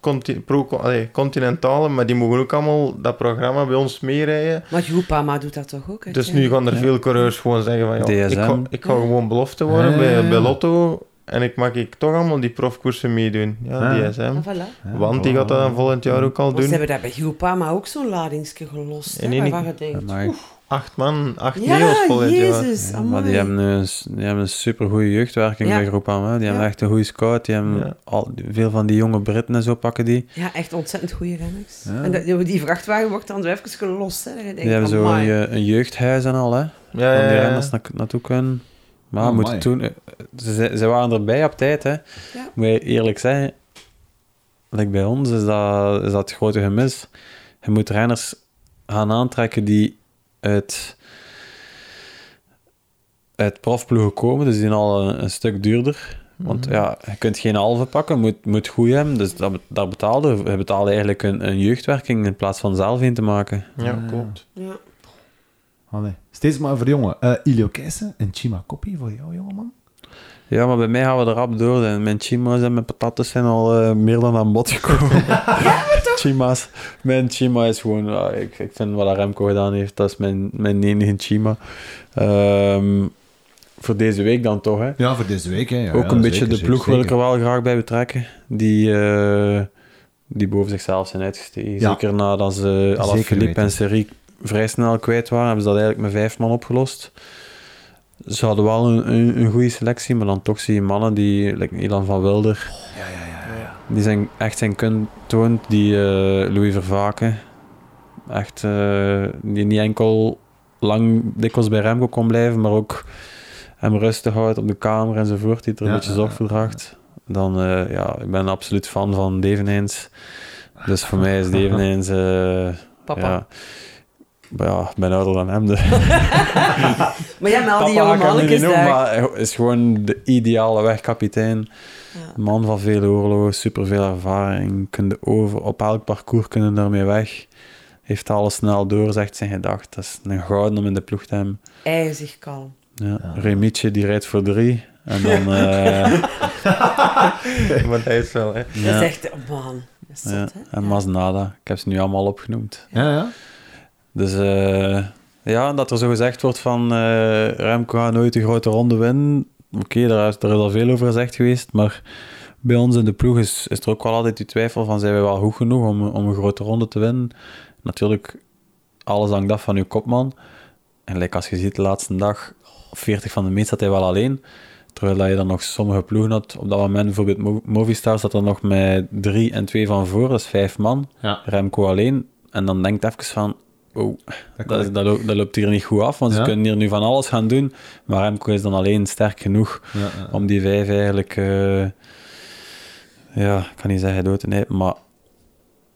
conti- pro allee, continentale, maar die mogen ook allemaal dat programma bij ons meerijden.
Maar Groupama doet dat toch ook?
Dus nu gaan er veel coureurs gewoon zeggen van ja, ik
DSM.
ga, ik ga gewoon belofte worden
Ja, ja, ja.
bij, bij Lotto en ik mag ik toch allemaal die profkoersen meedoen. Ja,
Ja.
DSM.
En Ah, voilà.
Ja,
Want die
voilà,
gaat dat dan
voilà.
volgend jaar ook al
Want ze
doen.
hebben daar bij Groupama ook zo'n ladingsje gelost.
In
Hè,
één-
waarvan je denkt...
Maar-
Acht man, acht
Ja,
neo's volgend jaar.
jezus,
Ja, maar die
amai.
hebben een, s- die hebben een supergoeie jeugdwerking
Ja.
bij Groep aan. Hè? Die hebben
Ja.
echt een goede scout. Die hebben
Ja.
al, veel van die jonge Britten en zo pakken die.
Ja, echt ontzettend goede renners.
Ja.
En dat- die vrachtwagen wordt dan zo even gelost. Hè, dat je denkt,
Die hebben zo een,
amai.
je- een jeugdhuis en al. Hè?
Ja,
Waar
ja,
die
ja.
renners na, naartoe kunnen. Maar we
Oh,
moeten
my.
toen, eh, ze, ze waren erbij op tijd. Hè? Moet je eerlijk zeggen, like bij ons is dat, is dat het grote gemis. Je moet renners gaan aantrekken die uit uit profploegen komen, dus die zijn al een, een stuk duurder. Want ja, je kunt geen halve pakken, moet, moet goed hebben. Dus dat, be- daar betaalde we betaalden eigenlijk een, een jeugdwerking in plaats van zelf een te maken.
Ja, klopt. [laughs]
Ja.
Allee. Steeds maar voor jongen. Eh, Ilio Keijsen, een Chima Koppie voor jou, jongeman.
Ja, maar bij mij gaan we er rap door. En mijn chima's en mijn patates zijn al eh, meer dan aan bod gekomen. chima's. Mijn chima is gewoon... ja, ik, ik vind wat Remco gedaan heeft, dat is mijn, mijn enige chima. Ehm, voor deze week dan toch, hè.
Ja, voor deze week. Hè. Ja,
Ook
ja,
een beetje
zeker,
de
zeker,
ploeg wil ik
zeker.
er wel graag bij betrekken. Die, eh, die boven zichzelf zijn uitgestegen.
Ja.
Zeker nadat ze Alaphilippe
weten.
en Serie vrij snel kwijt waren, hebben ze dat eigenlijk met vijf man opgelost. Ze hadden wel een, een, een goede selectie, maar dan toch zie je mannen die, like Ilan van Wilder, die zijn, echt zijn kun toont, die eh, Louis Vervaken, echt, eh, die niet enkel lang dikwijls bij Remco kon blijven, maar ook hem rustig houdt op de kamer enzovoort, die er een
Ja,
beetje
ja,
zorg
ja,
voor draagt. Dan, eh, ja, ik ben absoluut fan van Deveneens. Dus voor mij
[laughs]
is Deveneens... eh,
Papa.
ja. Maar ja, ik ben ouder dan hem. Dus.
Maar ja, met al die
Papa
jonge
kan ik hem
mannetjes
niet noemen,
daar.
maar hij is gewoon de ideale wegkapitein.
Ja.
Man van vele oorlogen, superveel ervaring. Kunde over, op elk parcours kunnen daarmee weg. Heeft alles snel door, zegt zijn gedacht. Dat is een gouden om in de ploeg te hebben.
IJzig kalm.
Ja. Remietje, die rijdt voor drie. En
[laughs]
dan... eh,
Want hij is wel, hè.
ja.
Dat is echt, oh, man. Dat is
Ja,
zot, hè?
en Masnada. Ik heb ze nu allemaal opgenoemd.
Ja, ja.
Dus eh, ja, dat er zo gezegd wordt van eh, Remco gaat nooit een grote ronde winnen. Oké, daar, is- daar is al veel over gezegd geweest, maar bij ons in de ploeg is, is er ook wel altijd die twijfel van zijn we wel goed genoeg om, om een grote ronde te winnen. Natuurlijk, alles hangt af van uw kopman. En like als je ziet, de laatste dag, 40 van de meet zat hij wel alleen. Terwijl dat je dan nog sommige ploegen had. Op dat moment, bijvoorbeeld Mo- Movistar, zat er nog met drie en twee van voor. Dat is vijf man.
Ja.
Remco alleen. En dan denkt even van, oh, dat,
kan
is- dat, loopt, dat loopt hier niet goed af. Want
Ja.
ze kunnen hier nu van alles gaan doen. Maar Remco is dan alleen sterk genoeg
ja, ja.
om die vijf eigenlijk... eh, ja, ik kan niet zeggen dood te nee, maar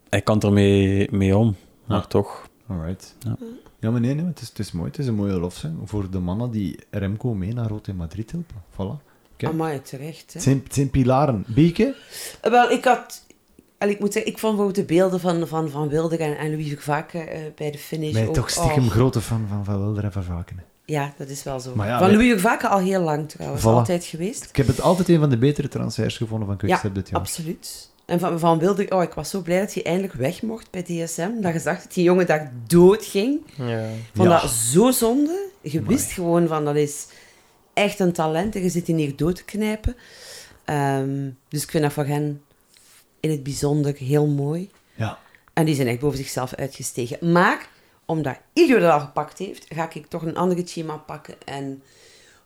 hij kan ermee mee om. Maar
Ja.
toch,
Alright. Ja.
Ja.
maar nee, nee, het is, het is mooi. Het is een mooie lofzang voor de mannen die Remco mee naar Rood in Madrid helpen. Voilà. Kijk.
Amai, terecht. Hè?
Het zijn, het zijn pilaren. Bieke?
Eh, Wel, ik had... en ik moet zeggen, ik vond bijvoorbeeld de beelden van Van, van Wilder en, en Louis Vervaken eh, bij de finish
Ben je
ook-
toch stiekem
oh,
grote fan van Van Wilder en Van Vaken.
Ja, dat is wel zo.
Maar ja,
van
wij-
Louis Vervaken al heel lang trouwens.
Voilà.
Altijd geweest.
Ik heb het altijd een van de betere transfers gevonden van
Ja,
Quickstep dit jaar.
absoluut. En van, van Wilder... Oh, ik was zo blij dat hij eindelijk weg mocht bij DSM. Dat je zag dat die jongen daar dood ging.
Ja.
vond
Ja.
dat zo zonde. Je wist gewoon van, dat is echt een talent en je zit die hier dood te knijpen. Ehm, dus ik vind dat voor hen in het bijzonder heel mooi.
Ja.
En die zijn echt boven zichzelf uitgestegen. Maar omdat Ilio dat al gepakt heeft, ga ik toch een andere Chima pakken. En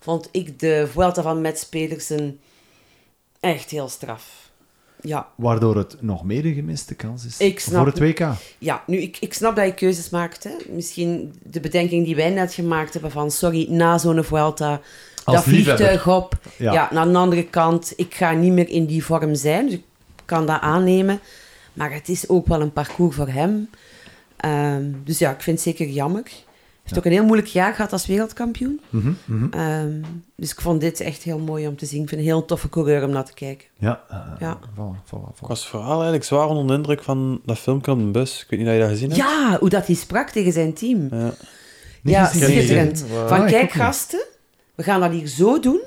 vond ik de Vuelta van Mets Pedersen echt heel straf. Ja,
Waardoor het nog meer een gemiste kans is
Ik snap
voor het WK.
ja, nu, ik, ik snap dat je keuzes maakt. Hè. Misschien de bedenking die wij net gemaakt hebben van... Sorry, na zo'n Vuelta...
Als
dat
liefhebber.
vliegtuig op.
Ja.
Ja. naar de andere kant. Ik ga niet meer in die vorm zijn. Dus ik kan dat aannemen. Maar het is ook wel een parcours voor hem. Ehm, dus ja, ik vind het zeker jammer. Hij heeft ook een heel moeilijk jaar gehad als wereldkampioen.
Mhm, mhm.
Ehm, dus ik vond dit echt heel mooi om te zien. Ik vind het een heel toffe coureur om naar te kijken.
Ja. eh,
Ja.
Voilà, voilà,
ik
voilà.
was vooral eigenlijk zwaar onder de indruk van dat filmpje op de bus. Ik weet niet dat je dat gezien hebt.
Ja, hoe dat hij sprak tegen zijn team.
Ja.
Niet
ja,
gezien.
schitterend.
Ah,
Van
ik ook
kijk
niet.
gasten, we gaan dat hier zo doen.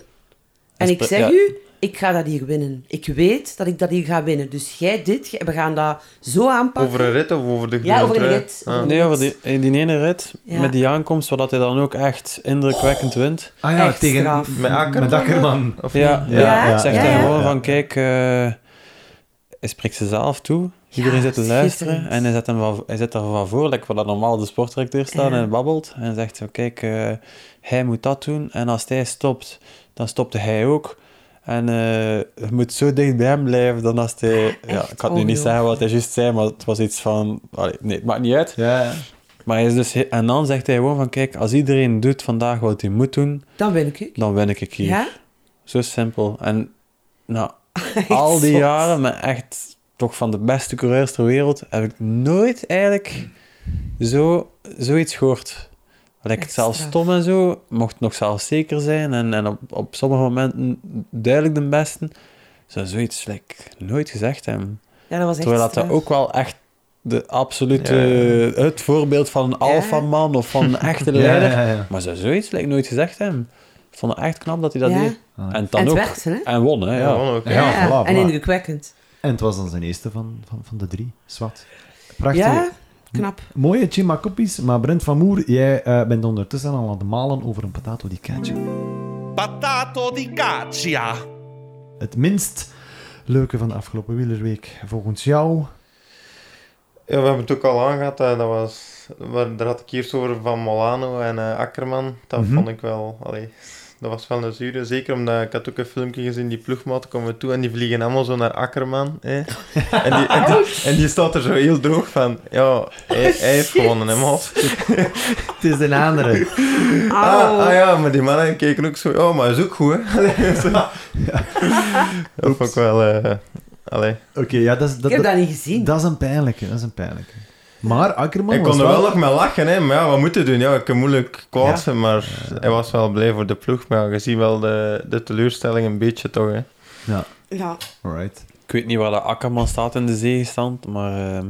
En ik
pre-
zeg
ja.
u, ik ga dat hier winnen. Ik weet dat ik dat hier ga winnen. Dus jij dit, jij- we gaan dat zo aanpakken.
Over een rit of over de
Ja,
groene
over een
trui?
rit.
Ah.
Nee, over die, in die ene rit,
Ja.
met die aankomst, waar dat hij dan ook echt indrukwekkend wint.
Ah ja,
Echt
tegen
straf.
Met Akkerman.
Met Akkerman.
Of
Ja,
Ja,
ja,
ja,
zegt
ja,
hij
ja.
gewoon
Ja.
van, kijk, eh, hij spreekt ze zelf toe. Iedereen
Ja,
zit te
schitterend.
luisteren en hij zet, hem van, hij zet er van voor, like waar dat normaal de sportdirecteur staat
Ja.
en babbelt. En zegt zo, kijk, eh, hij moet dat doen en als hij stopt, dan stopte hij ook. En eh, je moet zo dicht bij hem blijven dan als hij... Ja, ik kan nu
ongelooflijk.
niet zeggen wat hij juist zei, maar het was iets van... allee, nee, het maakt niet uit.
Ja, ja.
Maar hij is dus, he- en dan zegt hij gewoon van, kijk, als iedereen doet vandaag wat hij moet doen,
Dan win ik.
dan win ik hier.
Ja?
Zo simpel. En
[laughs]
nou, al die
zot.
jaren, met echt toch van de beste coureurs ter wereld, heb ik nooit eigenlijk zo, zoiets gehoord. Lijkt
Echt
het zelfs
straf.
stom en zo, mocht nog zelfs zeker zijn en, en op, op sommige momenten duidelijk de beste, zou zoiets like, nooit gezegd hebben.
Ja, dat was echt eh,
Terwijl dat, dat
straf.
ook wel echt de absolute,
Ja.
het voorbeeld van een alfaman of van een
[laughs]
echte
Ja,
leider.
ja, ja.
Maar zou zoiets like, nooit gezegd hebben. Ik vond het echt knap dat hij dat
Ja.
deed.
Ah.
En
En
dan
het
ook.
werkte, hè?
En won, hè.
Ja,
Ja.
man, ook,
Ja.
ja.
voilà, voilà.
en indrukwekkend.
En het was dan zijn eerste van, van, van de drie. Zwat. Prachtig.
Ja, knap.
Mooie chimacopies, maar Brent van Moer, jij eh, bent ondertussen al aan het malen over een patato di cacio.
Patato di caccia.
Het minst leuke van de afgelopen wielerweek, volgens jou.
Ja, we hebben het ook al aangehad. hè. Dat was, waar- daar had ik eerst over van Molano en eh, Akkerman. Dat
Mhm.
vond ik wel... Allee, dat was wel een zure. Zeker omdat ik had ook een filmpje gezien, die ploegmaat komen toe en die vliegen allemaal zo naar Akkerman. Hè. En, die, en, die, en die staat er zo heel droog van. Ja, hij, hij heeft gewonnen, hè, maat.
Het is een andere.
Oh.
Ah, ah ja, maar die mannen keken ook zo... Oh, maar is ook goed, hè. [laughs] Allee, zo. Dat vond ik wel... eh, allee.
[laughs] Oké, ja, dat is,
Ik
dat,
heb
dat,
dat niet gezien.
dat is een pijnlijke. Dat is een pijnlijke. Maar Akkerman
Ik
Oh, was
kon er wel nog mee lachen, hè, maar ja, wat moet je doen? Ja, ik kan moeilijk kwaad zijn, maar hij was wel blij voor de ploeg. Maar ja, je ziet wel de, de teleurstelling een beetje toch, hè.
Ja,
Ja,
alright.
Ik weet niet waar dat Akkerman staat in de zegenstand, maar ehm,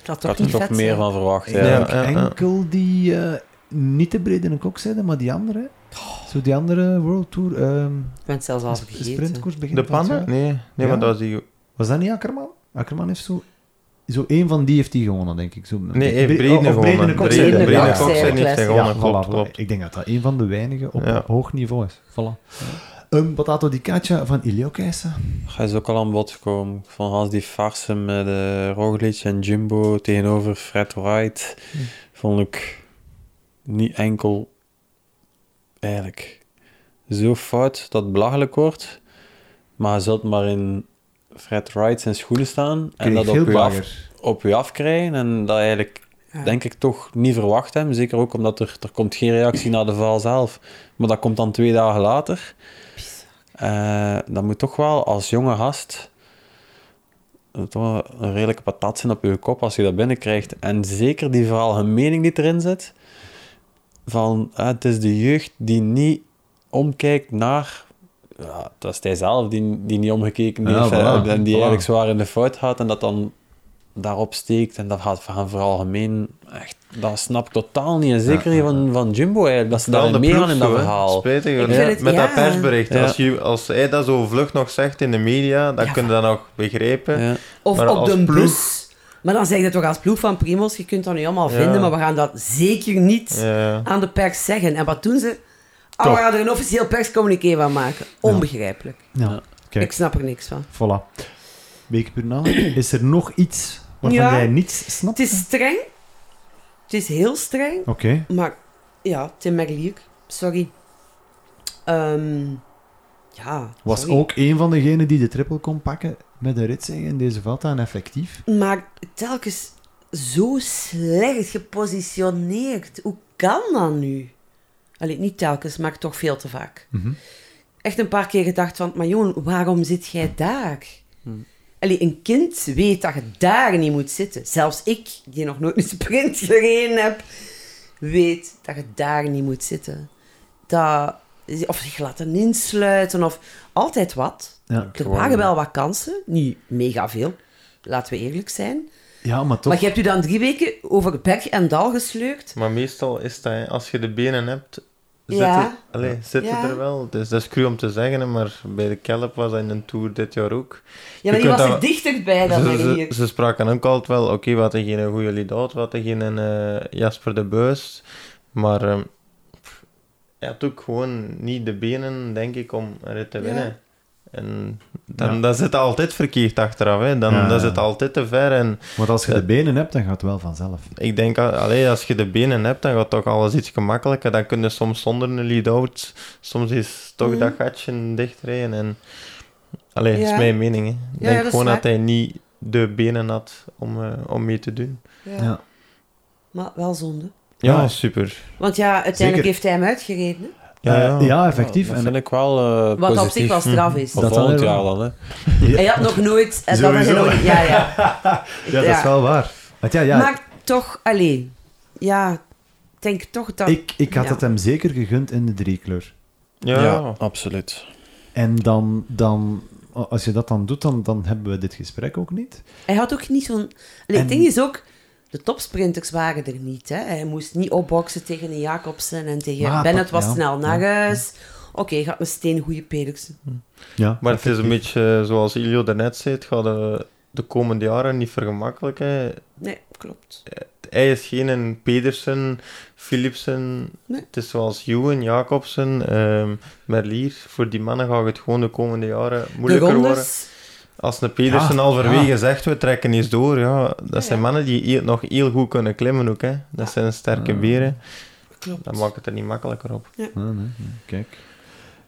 ik had
ik
toch
had er
niet
toch
vet
meer
zijn.
van verwacht.
Ik
Ja.
denk
Ja, ja, ja.
enkel die eh, niet te breed in een kok zetten, maar die andere. Zo die andere World Tour ehm,
Oh. Ik ben het zelfs al
sp-
vergeten.
sprintkoers begin
De
van het
pannen?
jaar.
Nee, nee
Ja.
maar dat was die...
Was dat niet Akkerman? Akkerman heeft zo... Zo één van die heeft hij gewonnen, denk ik. Zo,
Nee, hey,
Bre- of
Brede
eh, Brede in
gewonnen.
de kok
Brede-
zetten.
Brede in de
Ja,
kok
ja.
zetten.
heeft hij
Ja,
Ja,
gewonnen, klopt,
voilà, voilà.
klopt.
Ik denk dat dat een van de weinigen op
Ja.
op hoog niveau is. Voilà. Een patato di caccia van Ilio Keijsen.
Hij is ook al aan bod gekomen. Van Hans die farse met eh Roglic en Jimbo tegenover Fred Wright.
Hm.
Vond ik niet enkel eigenlijk zo fout dat het belachelijk wordt. Maar je zult maar in Fred Wright zijn schoenen staan en dat op je, af, op je afkrijgen. En dat eigenlijk,
Ja.
denk ik, toch niet verwacht hebben. Zeker ook omdat er, er komt geen reactie na de val zelf. Maar dat komt dan twee dagen later. Eh, dat moet toch wel als jonge gast eh, toch wel een redelijke patat zijn op je kop als je dat binnenkrijgt. En zeker die verhaal, een mening die erin zit, van eh, het is de jeugd die niet omkijkt naar... Ja, dat is hij zelf die, die niet omgekeken
Ja,
heeft eh,
voilà,
en die
voilà.
eigenlijk zwaar in de fout gaat en dat dan daarop steekt en dat gaat gaan vooral gemeen. Echt, dat snap ik totaal niet. En zeker niet van, van Jimbo eigenlijk, dat ze
Wel
daar
de
meer
ploeg
aan in dat
zo, hè.
verhaal.
Spijtig, hoor.
Ik vind het-
met
ja.
dat persbericht.
Ja.
Als, je, als hij dat zo vlug nog zegt in de media, dan
Ja.
kun je dat nog begrijpen.
Ja.
Of
Maar
op
als
de
ploeg-
bus. Maar dan zeg je toch als ploeg van Primos, je kunt dat nu allemaal
Ja.
vinden, maar we gaan dat zeker niet
Ja.
aan de pers zeggen. En wat doen ze? Oh, we gaan er een officieel perscommuniqué van maken. Onbegrijpelijk.
Ja,
Ja.
Kijk.
Ik snap er niks van.
voilà. Week per
[clears throat]
na. Is er nog iets waarvan
Ja.
jij niets snapt?
Het is streng. Het is heel streng.
Oké.
Maar ja, Tim Merlier, sorry. Ehm, ja,
Was
sorry.
ook een van degenen die de triple kon pakken met een ritzing in deze Vuelta en effectief.
Maar telkens zo slecht gepositioneerd. Hoe kan dat nu? Allee, niet telkens, maar toch veel te vaak.
Mhm.
Echt een paar keer gedacht van... Maar jongen, waarom zit jij daar? Allee, een kind weet dat je daar niet moet zitten. Zelfs ik, die nog nooit een sprint [laughs] gereden heb... weet dat je daar niet moet zitten. Dat, of zich laten insluiten, of altijd wat.
Ja.
Er waren wel wat kansen. Niet mega veel, laten we eerlijk zijn.
ja, maar toch.
Maar je hebt u dan drie weken over berg en dal gesleurd.
Maar meestal is dat, hè, als je de benen hebt, zit,
Ja.
het, allee, zit het
Ja.
er wel. Dus dat is cru om te zeggen, hè, maar bij de Kelp was dat in een tour dit jaar ook.
Ja, maar
Je
die
kunt
was er
dat-
dichterbij dan
Ze,
bij
ze,
hier.
ze spraken ook altijd wel, oké, we hadden geen goede lead-out, we hadden geen eh, Jasper de Buis, maar ehm pff, hij had ook gewoon niet de benen, denk ik, om een rit te
Ja.
winnen. En dan,
Ja.
dat zit altijd verkeerd achteraf, hè. Dan,
Ja,
dat
ja.
zit altijd te ver en...
Want als je de benen hebt, dan gaat het wel vanzelf.
Ik denk, al- allee, als je de benen hebt, dan gaat toch alles iets gemakkelijker. Dan kun je soms zonder een lead-out, soms is toch dat gatje dichtrijden. En... Allee, dat
Mhm. Ja.
is mijn mening. hè. Ik
ja,
denk
dat is
gewoon dat
waar.
hij niet de benen had om, eh, om mee te doen.
Ja.
Ja.
Maar wel zonde.
Ja,
Ja.
super.
Want ja, uiteindelijk
Zeker.
heeft hij hem uitgereden. hè.
Eh,
Ja,
Ja, effectief.
Ja,
en
dat vind ik wel eh,
Wat op
positief.
zich wel
Hm.
straf is.
Voor
Dat
volgend
dan
jaar
weer
dan, hè.
Hij had nog nooit... en dat had hij
[laughs] Sowieso.
nog, ja,
[laughs]
ja.
Ja, dat is
Ja.
wel waar. Want ja, ja,
Maar toch, alleen. Ja, denk toch dat...
Ik, ik had
ja.
het eh, hem zeker gegund in de driekleur.
Ja,
absoluut.
En dan, dan, als je dat dan doet, dan, dan hebben we dit gesprek ook niet.
Hij had ook niet zo'n... Allee,
En-
Het ding is ook, de topsprinters waren er niet. Hè. Hij moest niet opboksen tegen een Jacobsen en tegen
Maar
Bennett
dat-
was
ja,
snel naar huis. Oké, gaat met steen goede Pedersen.
Ja,
maar het is een beetje eh, zoals Ilio daarnet zei, het gaat eh, de komende jaren niet vergemakkelijken.
Nee, klopt.
Hij is geen een Pedersen, Philipsen.
Nee.
Het is zoals Juwen, Jacobsen, ehm, Merlier. Voor die mannen gaat het gewoon de komende jaren
De
moeilijker worden.
rondes,
Als een Pedersen
Ja,
halverwege
ja.
zegt, we trekken eens door. Ja, dat zijn
ja.
mannen die heel- nog heel goed kunnen klimmen ook. Hè. Dat zijn sterke beren.
klopt.
Dat maakt het er niet makkelijker op.
Nee, nee, nee, Kijk.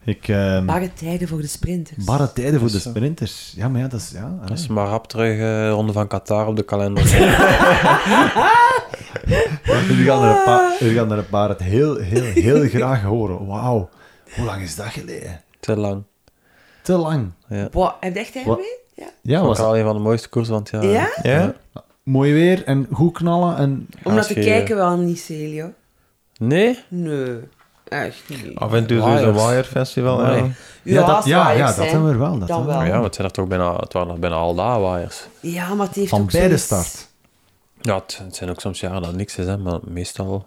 Ik, ehm,
Barre tijden voor de sprinters.
barre tijden voor de
Dus, eh,
sprinters. Ja, maar ja, dat is... Ja,
Dat is
hè.
maar rap terug eh, Ronde van Qatar op de
[laughs]
kalender.
Jullie gaan er een paar, jullie gaan er een paar het heel, heel, [laughs] heel graag horen. Wauw. Hoe lang is dat geleden?
Te lang.
Te lang.
Boah, heb je echt heimwee? Ja.
Ja,
Dat was
was
wel een van de mooiste koersen, want ja...
ja?
Ja?
mooi weer en goed knallen en...
Omdat
Als
te
je-
kijken wel niet, Celio.
Nee?
Nee, echt niet.
Af en toe zo'n
Waaiers.
waaierfestival. Ja.
Amai.
Ja, dat, ja, ja,
zwaaiers,
dat
hè.
hebben we wel. Dat
Dan
hebben we
Maar
wel.
ja, want het zijn er toch bijna... Het waren er bijna al dagen waaiers.
Ja, maar het heeft
Van
ook
bij de
zoiets-
start.
Ja, het, het zijn ook soms jaren dat niks is, hè, maar meestal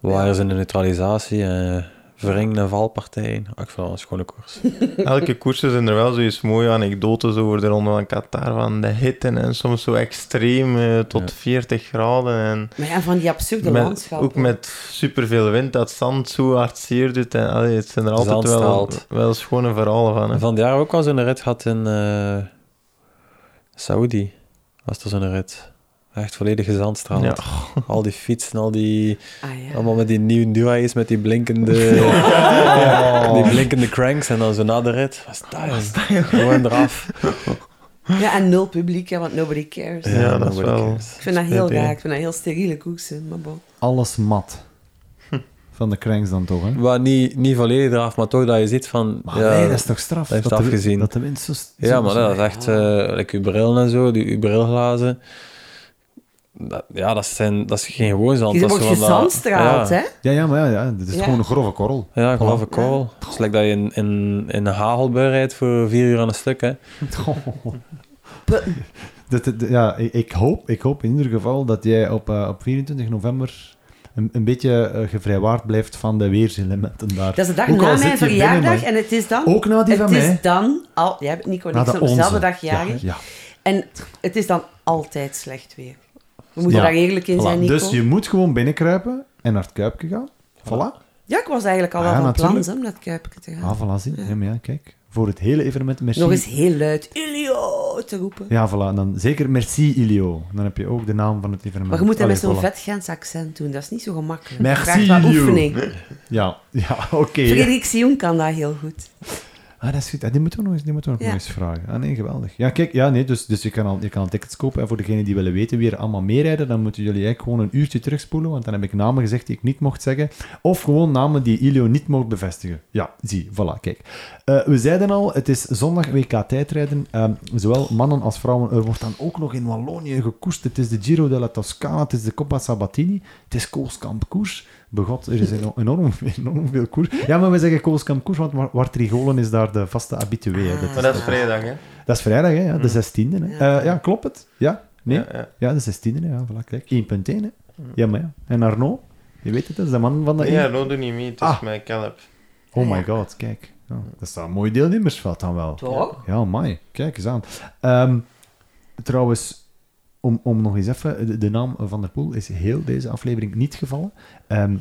waaiers in de neutralisatie, eh verringende valpartijen. Ah, ik vind dat een schone koers.
[laughs] Elke koers is er wel zoiets mooie anekdotes over de Ronde van Qatar. Van de hitte en soms zo extreem eh, tot 40 graden. En
Maar ja, van die absurde
Met-
landschappen.
ook met superveel wind, dat zand zo hard zeer doet. En, allee, het zijn er altijd
Zand
wel,
straalt.
wel schone verhalen van. Hè.
En van het jaar ook wel zo'n rit gehad in eh Saudi. Was er zo'n rit. Echt volledige zandstraal.
Ja.
[laughs] Al die fietsen, al die...
Ah, ja.
Allemaal met die nieuwe Nua's, met die blinkende... [laughs] Die blinkende cranks en dan zo na de rit. Was dat, joh? Gewoon eraf.
ja, en nul publiek, hè, want nobody cares.
Ja, dat is
nobody
wel-
cares.
Ik vind dat heel
Split, hè.
raar. Ik vind dat heel steriele koeksen. Maar bon.
Alles mat. Van de cranks dan toch, hè?
Maar niet, niet volledig eraf, maar toch dat je ziet van...
Maar
ja,
nee, dat is toch straf?
dat heeft
de wi-
afgezien.
Dat de winst zo... zo-
Ja, maar
zo-
dat is echt, eh like uw bril en zo, die uw brilglazen. Dat, ja, dat, zijn, dat is geen gewoon zand.
Je
dat is
wordt
zo van dat-
gezandstraald,
ja,
hè?
Ja, ja, maar ja, ja, dit is
Ja.
gewoon een grove korrel. [laughs]
Ja, ik geloof
Voilà.
ik wel. Het is like dat je in, in, in de hagelbui rijdt voor vier uur aan een stuk, hè.
Dit- dit- ja, ik, ik hoop, ik hoop in ieder geval dat jij op, eh, op 24 november een, een beetje eh, gevrijwaard blijft van de weerselementen daar.
Dat is de dag
Ook al
na
zit
mijn
je binnen,
verjaardag
maar-
en het is dan...
Ook na die
het
van
is
mij.
dan al... Jij bent Nico en
Na
ik
de
zijn op dezelfde
onze.
dag jarig.
Ja,
En het is dan altijd slecht weer. We moeten
Ja,
daar eerlijk in
ja.
zijn,
Voilà.
Nico.
Dus je moet gewoon binnenkruipen en naar het kuipje gaan. Voilà.
Ja, ik was eigenlijk al wel
Ja,
van plan
Ah, natuurlijk.
hè, om naar het Kuipje te gaan.
Ah, voilà, zie. Ja, maar ja, kijk. Voor het hele evenement, merci.
Nog eens heel luid Ilio te roepen.
Ja, voilà. En dan zeker merci, Ilio. Dan heb je ook de naam van het evenement.
Maar je moet dat met
Allee,
zo'n
voilà.
vet Gens accent doen. Dat is niet zo gemakkelijk.
Merci,
Vraagt wat
Ilio.
oefening.
Ja, [laughs] ja oké.
Frederik Sion kan dat heel goed.
Ah, dat is goed. Ah, die moeten we nog eens, die moeten we nog
Ja.
eens vragen. Ah, nee, geweldig. Ja, kijk, ja, nee, dus, dus je, kan al, je kan al tickets kopen. En voor degenen die willen weten wie er allemaal meerijden, dan moeten jullie eigenlijk gewoon een uurtje terugspoelen, want dan heb ik namen gezegd die ik niet mocht zeggen. Of gewoon namen die Ilio niet mocht bevestigen. Ja, zie, voilà, kijk. Eh, we zeiden al, het is zondag WK tijdrijden. Ehm, zowel mannen als vrouwen. Er wordt dan ook nog in Wallonië gekoerst. Het is de Giro della Toscana, het is de Coppa Sabatini, het is Koolskamp koers. Begot, er is eno- enorm, [laughs] enorm veel koers. Ja, maar we zeggen Koolskamp koers, want Mar- Wart Trigolen is daar de vaste habitué. hè. Dat,
Maar
is,
dat is vrijdag,
Ah,
hè?
dat is vrijdag, hè? Ja, de 16e. Hè?
Ja.
Eh, ja, klopt het? Ja? Nee?
Ja, ja.
Ja, de 16e, ja, voilà, kijk. 1.1, hè? Ja, maar ja. En Arnaud, je weet het, dat is de man van de...
Nee, Arno doet niet mee. Het is
Ah.
mijn kelp.
Oh my god, kijk. Ja, dat is wel een mooi deelnemersveld dan wel.
Toch?
Ja, mooi. Kijk eens aan. Ehm, trouwens, om, om nog eens even... De, de naam Van der Poel is heel deze aflevering niet gevallen. Ehm,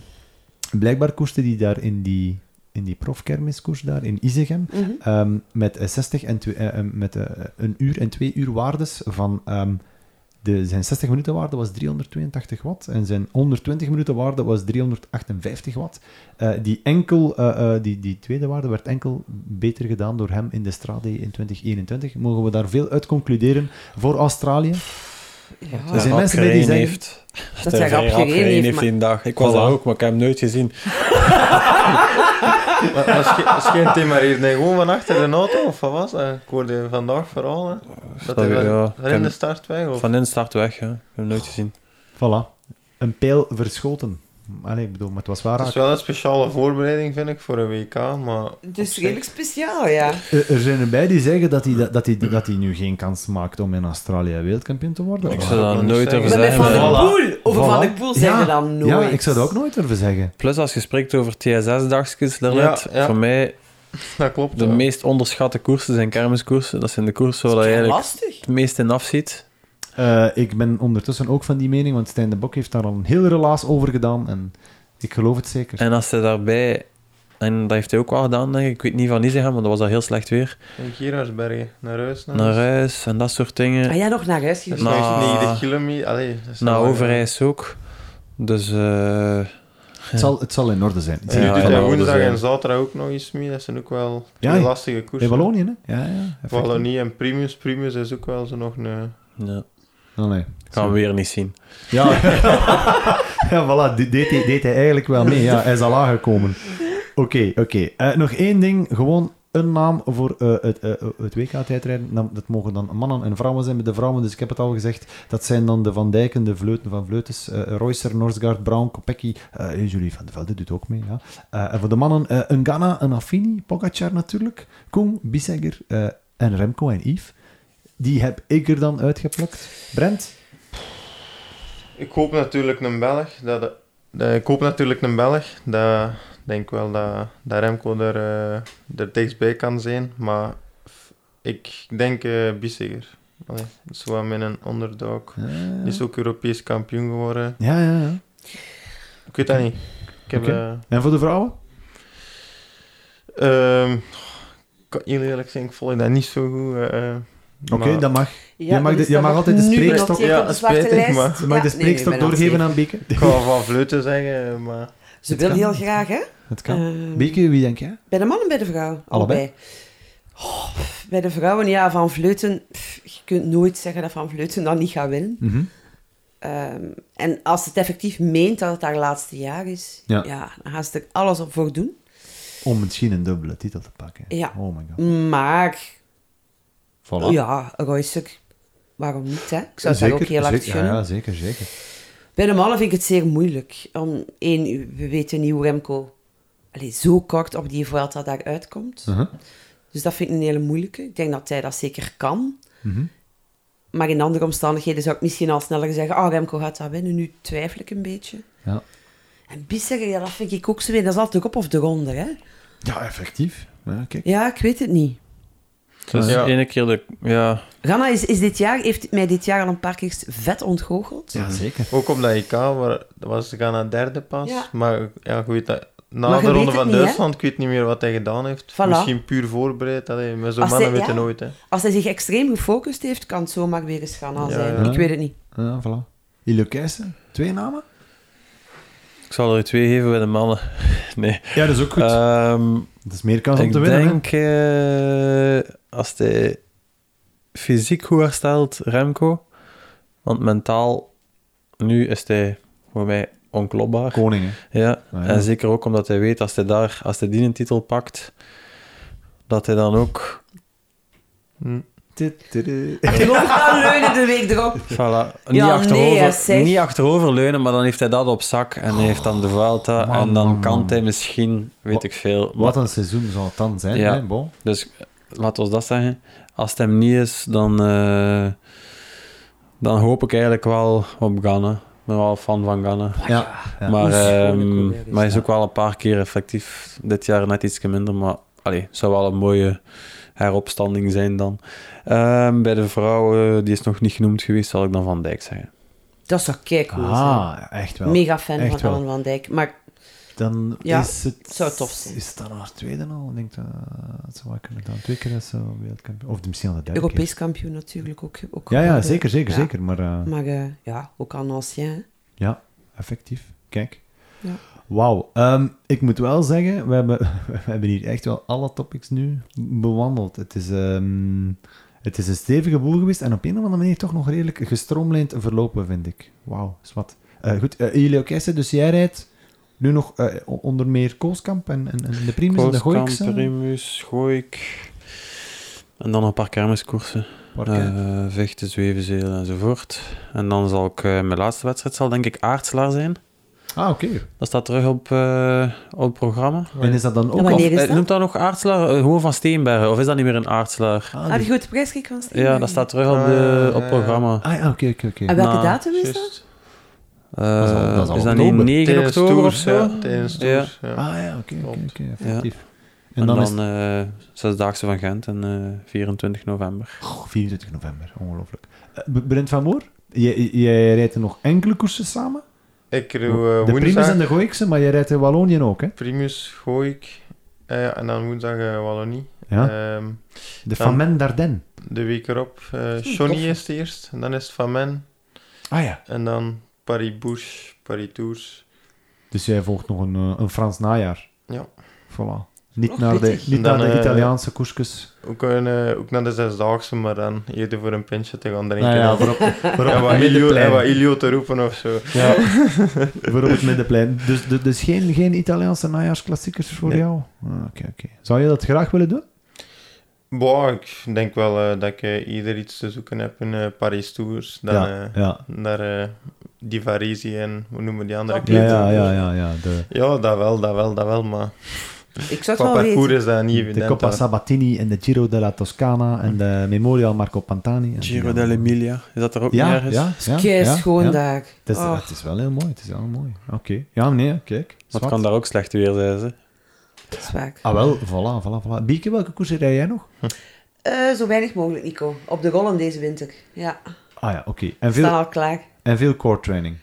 blijkbaar koerste die daar in die, in die profkermiskoers daar in Izegem
Mhm.
ehm, met eh, 60 en twee- eh, eh, met eh, een uur en twee uur waardes van... ehm, de, zijn 60 minuten waarde was 382 watt en zijn 120 minuten waarde was 358 watt. Eh, die, enkel, eh, eh, die, die tweede waarde werd enkel beter gedaan door hem in de strade in 2021. Mogen we daar veel uit concluderen voor Australië?
Ja.
Er zijn
Rap
mensen bij die
gereden
zeggen-
heeft.
Dat hij
Er
rap
rap
gereden
gereden
heeft,
heeft
maar-
die dag. Ik was
Voilà.
daar ook, maar ik heb hem nooit gezien.
Maar dat is geen- dat is geen thema hier. Nee, gewoon van achter de auto, of wat was dat? Ik hoorde vandaag vooral, hè? Dat
dat-
hij van,
ja.
van in de start weg, of?
Van in de start weg, ja. Ik heb hem nooit gezien.
Voilà. Een pijl verschoten. Allee, ik bedoel, maar het was waar.
Het is wel een speciale voorbereiding, vind ik, voor een WK, maar...
Dus
zich-
redelijk speciaal, ja.
Er er zijn er bij die zeggen dat hij, dat, dat, hij, dat hij nu geen kans maakt om in Australië wereldkampioen te worden.
Ik
Ik
Voilà.
zou
zou
dat
dat
nooit
niet
durven
zeggen.
Maar met Van
zeggen. eh.
der
Voilà.
Poel, over Van der Poel zeggen
eh, Ja,
we dan nooit.
Ja, ik zou dat ook nooit durven zeggen.
Plus, als je spreekt over TSS-dagjes daarnet,
Ja, ja.
voor mij
Dat klopt,
de
ja.
meest onderschatte koersen zijn kermiskoersen. Dat zijn de koersen waar je
Ja,
eigenlijk
lastig.
het meest in afziet.
Eh, ik ben ondertussen ook van die mening, want Stijn de Bok heeft daar al een heel relaas over gedaan en ik geloof het zeker.
En als ze daarbij, en dat heeft hij ook wel gedaan, denk ik, ik weet niet van Izegem, want dat was al heel slecht weer,
In Gerardsbergen, naar huis. Naar,
naar huis en dat soort dingen.
Ah ja, nog naar huis
Dat is
geweest.
nog
Nou, Na-
90 kilometer. Allee, dat is
Naar
wel-
Overijs ook. Dus eh,
Het, zal, het zal in orde zijn.
En nu
Ja,
doet
van
hij
alles,
woensdag
ja.
en zaterdag ook nog iets mee. Dat zijn ook wel
Ja,
twee
ja.
lastige koersen.
In Wallonië, hè? Ja, ja. effectief.
Wallonië en Primus. Primus is ook wel zo nog een... eh,
ja,
Allee.
gaan we weer niet zien.
Ja, [laughs] ja voilà, die deed, hij- deed hij eigenlijk wel mee. Ja, hij is al aangekomen. Oké, oké. Eh, nog één ding, gewoon een naam voor eh, het, eh, het WK-tijdrijden. Nou, Dat mogen dan mannen en vrouwen zijn met de vrouwen, dus ik heb het al gezegd. Dat zijn dan de Van Dijken, de Vleuten van Vleutens, eh Royster, Norsgaard, Brown, Kopecky, eh Julie van der Velde doet ook mee. Ja. Eh, en voor de mannen, eh, een Ghana, een Affini, Pogacar natuurlijk, Koen, Bissegger eh, en Remco en Yves. Die heb ik er dan uitgeplukt. Brent?
Ik hoop natuurlijk een Belg. Dat de- de- ik hoop natuurlijk een Belg. Dat ik denk wel dat, dat Remco er, eh er dichtstbij kan zijn. Maar f- ik denk eh Bissiger. Allee, dat is wel mijn underdog. Die is ook Europees kampioen geworden.
Ja, ja, ja.
Ik weet dat niet. Ik heb...
Oké.
eh,
En voor de vrouwen?
Ehm, ik kan heel eerlijk zijn, ik volg dat niet zo goed. eh, eh,
Oké,
maar-
dat mag.
Ja, dus
Je mag
dat
de-
is
je
dan
mag
ook
altijd de
nu
spreekstok-
genoteerd op
Ja,
de zwarte
spijtig,
lijst.
maar-
Je mag de
Ja, nee,
spreekstok
ik ben aan het
doorgeven
zeven.
aan Bieke.
Ik ga van fluiten zeggen, maar
Ze
kan.
wil heel graag, hè?
Het kan.
Ehm,
Bieke, wie denk jij?
Bij de man en bij de vrouw?
Allebei.
Oh, pff, bij de vrouwen, ja, Van Vleuten... pff, je kunt nooit zeggen dat Van Vleuten dan niet gaat winnen.
Mhm.
Ehm, en als het effectief meent dat het haar laatste jaar is,
Ja.
ja. dan gaan ze er alles op voor doen.
Om misschien een dubbele titel te pakken.
Ja.
Oh my god.
Maar,
Voilà.
ja, Royster, waarom niet, hè? Ik zou het haar ook heel hard
zeker, ja,
gunnen.
ja, zeker, zeker.
Bij de mannen vind ik het zeer moeilijk. Om, één, we weten niet hoe Remco allee, zo kort op die Vuelta daaruit komt.
Mhm.
Dus dat vind ik een hele moeilijke. Ik denk dat hij dat zeker kan.
Mhm.
Maar in andere omstandigheden zou ik misschien al sneller zeggen... Ah, Remco gaat dat winnen. Nu twijfel ik een beetje.
ja.
En Bissegger, ja, dat vind ik ook zo weer. Dat is altijd op of de ronde, hè?
ja, effectief. Ja, kijk.
Ja, ik weet het niet.
Dus
Ja.
ene keer de... Ja,
Ganna is, is dit jaar, heeft mij dit jaar al een paar keer vet ontgoocheld.
Ja, zeker.
ook op dat IK waar, was ik aan het derde pas.
Ja.
Maar ja, je weet dat, na
Maar je
de
weet
ronde
het
van
niet, hè?
Duitsland, ik weet niet meer wat hij gedaan heeft.
Voilà.
Misschien puur voorbereid, allee, maar zo'n
Als
mannen
hij-
weten
ja.
nooit. Hè.
Als hij zich extreem gefocust heeft, kan het zomaar weer eens Ganna
Ja,
zijn.
ja.
Ik weet het niet.
Ja, voilà. Ile Keijsen, twee namen?
ik zal er twee geven bij de mannen. [laughs] Nee.
Ja, dat is ook goed. Eh,
Ehm,
dat is meer kans om
ik
te winnen.
denk, eh, als hij fysiek goed herstelt, Remco. Want mentaal, nu is hij voor mij onklopbaar.
hè. Koningen.
Ja,
Ah, ja.
en zeker ook omdat hij weet als hij daar, als hij die een titel pakt, dat hij dan ook,
Hm.
Ik loop aan leunen de week erop.
voilà, niet,
nee, hè,
achterover,
zeg.
niet achteroverleunen, maar dan heeft hij dat op zak en hij heeft dan de Vuelta
man,
en
Oh, man,
dan kan
man.
hij misschien, weet
Wat-
ik veel.
Wat een seizoen zal het dan zijn,
Ja.
hè, Bon?
Dus eh, laat ons dat zeggen. Als het hem niet is, dan, eh, dan hoop ik eigenlijk wel op Ghana. Ik ben wel fan van Ghana.
Ja. ja.
Maar,
Hoe schoon ik
ehm,
ook weer is,
maar hij is
ja.
ook wel een paar keer effectief. Dit jaar net iets minder, maar allee, het zou wel een mooie heropstanding zijn dan. Ehm, bij de vrouwen, die is nog niet genoemd geweest, zal ik dan Van Dijk zeggen.
Dat zou kijk cool zijn.
Ah, echt wel.
Mega fan
Echt
van
wel.
Alan van Dijk. Maar
Dan
Ja,
is het...
zou tof zijn.
Is het dan haar tweede al? Ik denk dat het zou wel kunnen dan twee keer is ze wereldkampioen. Of misschien al de derde
Europees kampioen natuurlijk ook. ook
keer. Ja, ja,
geworden.
zeker, zeker,
Ja.
zeker. Maar eh,
Maar eh, ja, ook aan ancien. hè.
ja, effectief. Kijk.
Ja.
Wauw. Ehm, ik moet wel zeggen, we hebben, [laughs] we hebben hier echt wel alle topics nu bewandeld. Het is, ehm, het is een stevige boel geweest en op een of andere manier toch nog redelijk gestroomlijnd verlopen, vind ik. Wauw, is wat. Eh, goed, eh Elio Keijsen, dus jij rijdt nu nog eh, o- onder meer Kooskamp en, en, en de Primus en de
Kooskamp,
Gooikse.
Primus, Gooik. En dan nog een paar kermiskoersen.
Parkei.
Eh, vechten, zwevenzeel enzovoort. En dan zal ik, eh, mijn laatste wedstrijd zal denk ik Aartslaar zijn.
Ah, oké.
Dat staat terug op, eh, op het programma.
En is dat dan ook...
Ja, Wanneer
Of,
is
eh,
dat?
Noemt dat nog Aartselaar? Eh, Gewoon van Steenbergen? Of is dat niet meer een Aartselaar?
Ah,
Ah,
die-
de grote prijskijk van Steenbergen.
Ja, dat staat terug op, de,
Ah,
op
ja.
het programma.
Ah, ja, oké, oké, oké.
En welke
Nou,
datum is dat?
Juist.
Eh,
is al- dat is al
is dat
oktober.
niet 9
Tijdens
oktober of
tours,
zo?
ja. Tijdens tours, ja.
Ah, ja, oké, oké,
Klopt.
oké, effectief.
En dan,
is
eh, Zesdaagse van Gent en eh, 24 november.
Goh, 24 november, ongelooflijk. Eh, B- Brent van Moor, jij, jij rijdt er nog enkele koersen samen?
Ik doe
de
eh
Primus
woensdag
en de Gooikse, maar jij rijdt in Wallonië ook, hè?
Primus, gooi ik. Eh, en dan woensdag eh Wallonie.
Ja?
Ehm,
de
dan-
Famen d'Ardenne.
de week erop eh
Oeh,
Johnny
tof.
is het eerst. En dan is het Van Men.
Ah ja.
En dan Paris-Bourges, Paris-Tours.
Dus jij volgt nog een, eh, een Frans najaar.
Ja.
Voilà. Niet
nog
naar de,
pittig.
niet
Dan,
naar de
eh,
Italiaanse koersjes.
Ook, een, eh, ook naar de zesdaagse, maar dan eerder voor een pintje te gaan drinken.
Nou ja,
en
voor op,
[laughs]
voor op
en wat
het
Ilio, en wat
middenplein.
Ilio te roepen of zo.
Ja, voor op het middenplein. Dus, dus, dus geen, geen Italiaanse najaarsklassiekers voor
Nee.
jou? Ah, Oké, oké. Zou je dat graag willen doen?
Boah, ik denk wel eh, dat ik eh, ieder iets te zoeken heb in eh, Paris-Tours. Dan
ja,
eh,
ja.
naar eh, die Varese en hoe noemen die andere
Ja,
keten?
ja, ja, ja, ja. De,
Ja, dat wel, dat wel, dat wel, maar
Ik zou het wel
qua parcours
weten.
is dat niet
de
evident.
Coppa
hè.
Sabatini en de Giro della Toscana en de Memorial Marco Pantani. En
Giro
ja.
dell'Emilia, is dat er ook
Ja,
niet
ja,
ergens?
ja. ja,
Keis gewoon
ja.
daar.
Het is,
Oh.
het is wel heel mooi, het is heel mooi. Oké. Ja, nee, kijk.
Want
zwart.
het kan daar ook slecht weer zijn. Ze.
Dat is waar.
Ah wel, voilà, voilà, voilà. Bieke, welke koers rij jij nog?
Eh, zo weinig mogelijk, Nico. Op de rollen deze winter. Ja,
Ah ja, oké. En,
staan
veel,
al klaar.
en veel core training.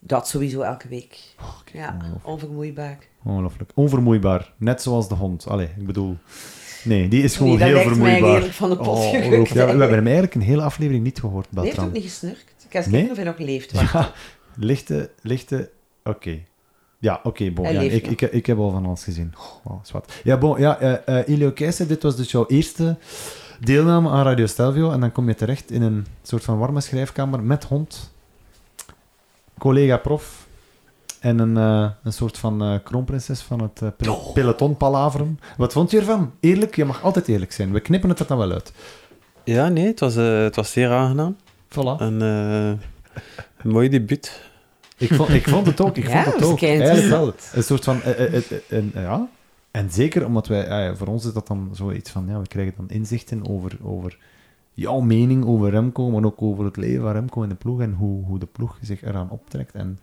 Dat sowieso elke week.
kijk,
Ja,
ongelooflijk.
onvermoeibaar.
Ongelooflijk. Onvermoeibaar. Net zoals de hond. Allee, ik bedoel... Nee, die is gewoon
Nee, dat
heel
lijkt mij
vermoeibaar. Oh,
redelijk van de pot gerukt,
ongelooflijk. Ja, we hebben hem
eigenlijk.
eigenlijk een hele aflevering niet gehoord,
Die heeft
Beltran.
ook niet gesnurkt. Ik ga eens
Nee?
kijken of hij nog leeft.
Ja, lichte, lichte... Oké. Ja, oké, bon.
Hij
Ja,
leeft
ik,
nog.
ik, ik heb al van alles gezien. Oh, zwart. Ja, bon, ja, eh eh, Ilio Keijsen, dit was dus jouw eerste deelname aan Radio Stelvio. En dan kom je terecht in een soort van warme schrijfkamer met hond, collega prof en een, eh, een soort van eh, kroonprinses van het eh, pel- peloton palaveren. Wat vond je ervan? Eerlijk? Je mag altijd eerlijk zijn. We knippen het er dan wel uit.
Ja, nee, het was, eh, het was zeer aangenaam.
Voilà.
En, eh, een mooi debuut.
Ik vond, ik vond het ook. Ik
Ja,
vond het
dat is
ook.
kei
Eigenlijk wel.
interessant.
Een soort van... eh, eh, eh, eh, een- ja. En zeker omdat wij... ah ja, voor ons is dat dan zoiets van... Ja, we krijgen dan inzichten over, over jouw mening over Remco, maar ook over het leven van Remco in de ploeg en hoe, hoe de ploeg zich eraan optrekt. En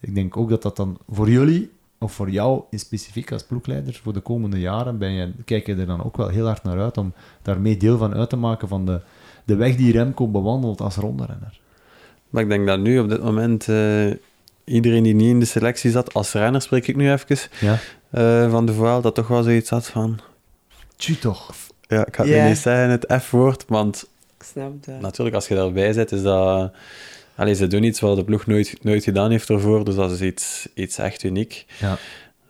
ik denk ook dat dat dan voor jullie, of voor jou in specifiek als ploegleider, voor de komende jaren ben je, kijk je er dan ook wel heel hard naar uit om daarmee deel van uit te maken van de, de weg die Remco bewandelt als rondrenner.
Maar ik denk dat nu op dit moment eh, iedereen die niet in de selectie zat, als renner spreek ik nu even,
Ja.
eh, van de Vuel, dat toch wel zoiets had van...
Tju toch.
Ja, ik ga het
Ja.
nu niet zeggen, het F-woord, want
Ik snap dat.
Natuurlijk, als je daarbij zit, is dat... Allee, ze doen iets wat de ploeg nooit, nooit gedaan heeft ervoor, dus dat is iets, iets echt uniek.
Ja.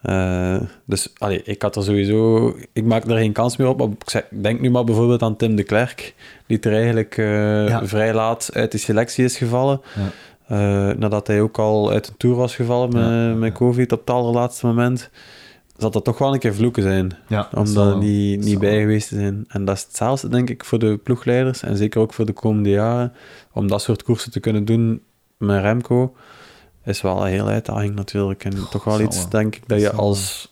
Eh, dus allee, ik had er sowieso... Ik maak er geen kans meer op, maar ik zeg- denk nu maar bijvoorbeeld aan Tim de Klerk, die er eigenlijk eh,
Ja.
vrij laat uit de selectie is gevallen.
Ja.
Eh, nadat hij ook al uit een tour was gevallen met,
Ja.
met COVID op het allerlaatste moment, zal dat toch wel een keer vloeken zijn
Ja, dat
om
zal
daar
wel.
niet, niet
zal
bij
wel.
geweest te zijn. En dat is hetzelfde, denk ik, voor de ploegleiders en zeker ook voor de komende jaren. Om dat soort koersen te kunnen doen met Remco is wel een hele uitdaging natuurlijk. En toch wel
zal
iets,
wel.
denk ik, dat je
zal wel.
als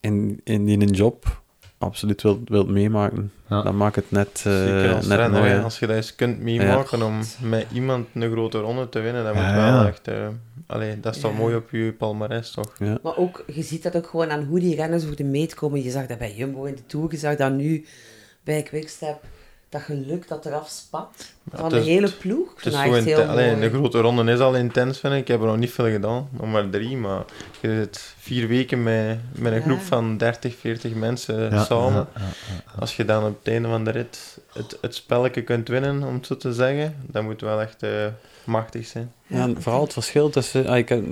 in, in, in een job absoluut wilt, wilt meemaken.
Ja.
Dan maakt het net, eh,
Zeker als
net
renner,
mooier.
hè. als je dat eens kunt meemaken om met iemand een grote ronde te winnen, dat moet
Ja,
wel
ja.
echt... eh, allee, dat staat
Ja.
mooi op je palmarès, toch?
Ja.
Maar ook, je ziet dat ook gewoon aan hoe die renners voor de meet komen. Je zag dat bij Jumbo in de Tour, je zag dat nu bij Quickstep. Dat geluk dat eraf spat van
het
de
is-
hele ploeg.
Het is
Dat
zo
echt heel
inten- allee,
mooi.
de grote ronde is al intens, vind ik. Ik heb er nog niet veel gedaan, nog maar drie, maar je zit vier weken met, met een
Ja.
groep van 30, 40 mensen
Ja,
samen.
ja, ja, ja.
Als je dan op het einde van de rit het, het spelletje kunt winnen, om het zo te zeggen, dan moet wel echt eh, machtig zijn.
Ja, en vooral het verschil tussen... ah, ik heb,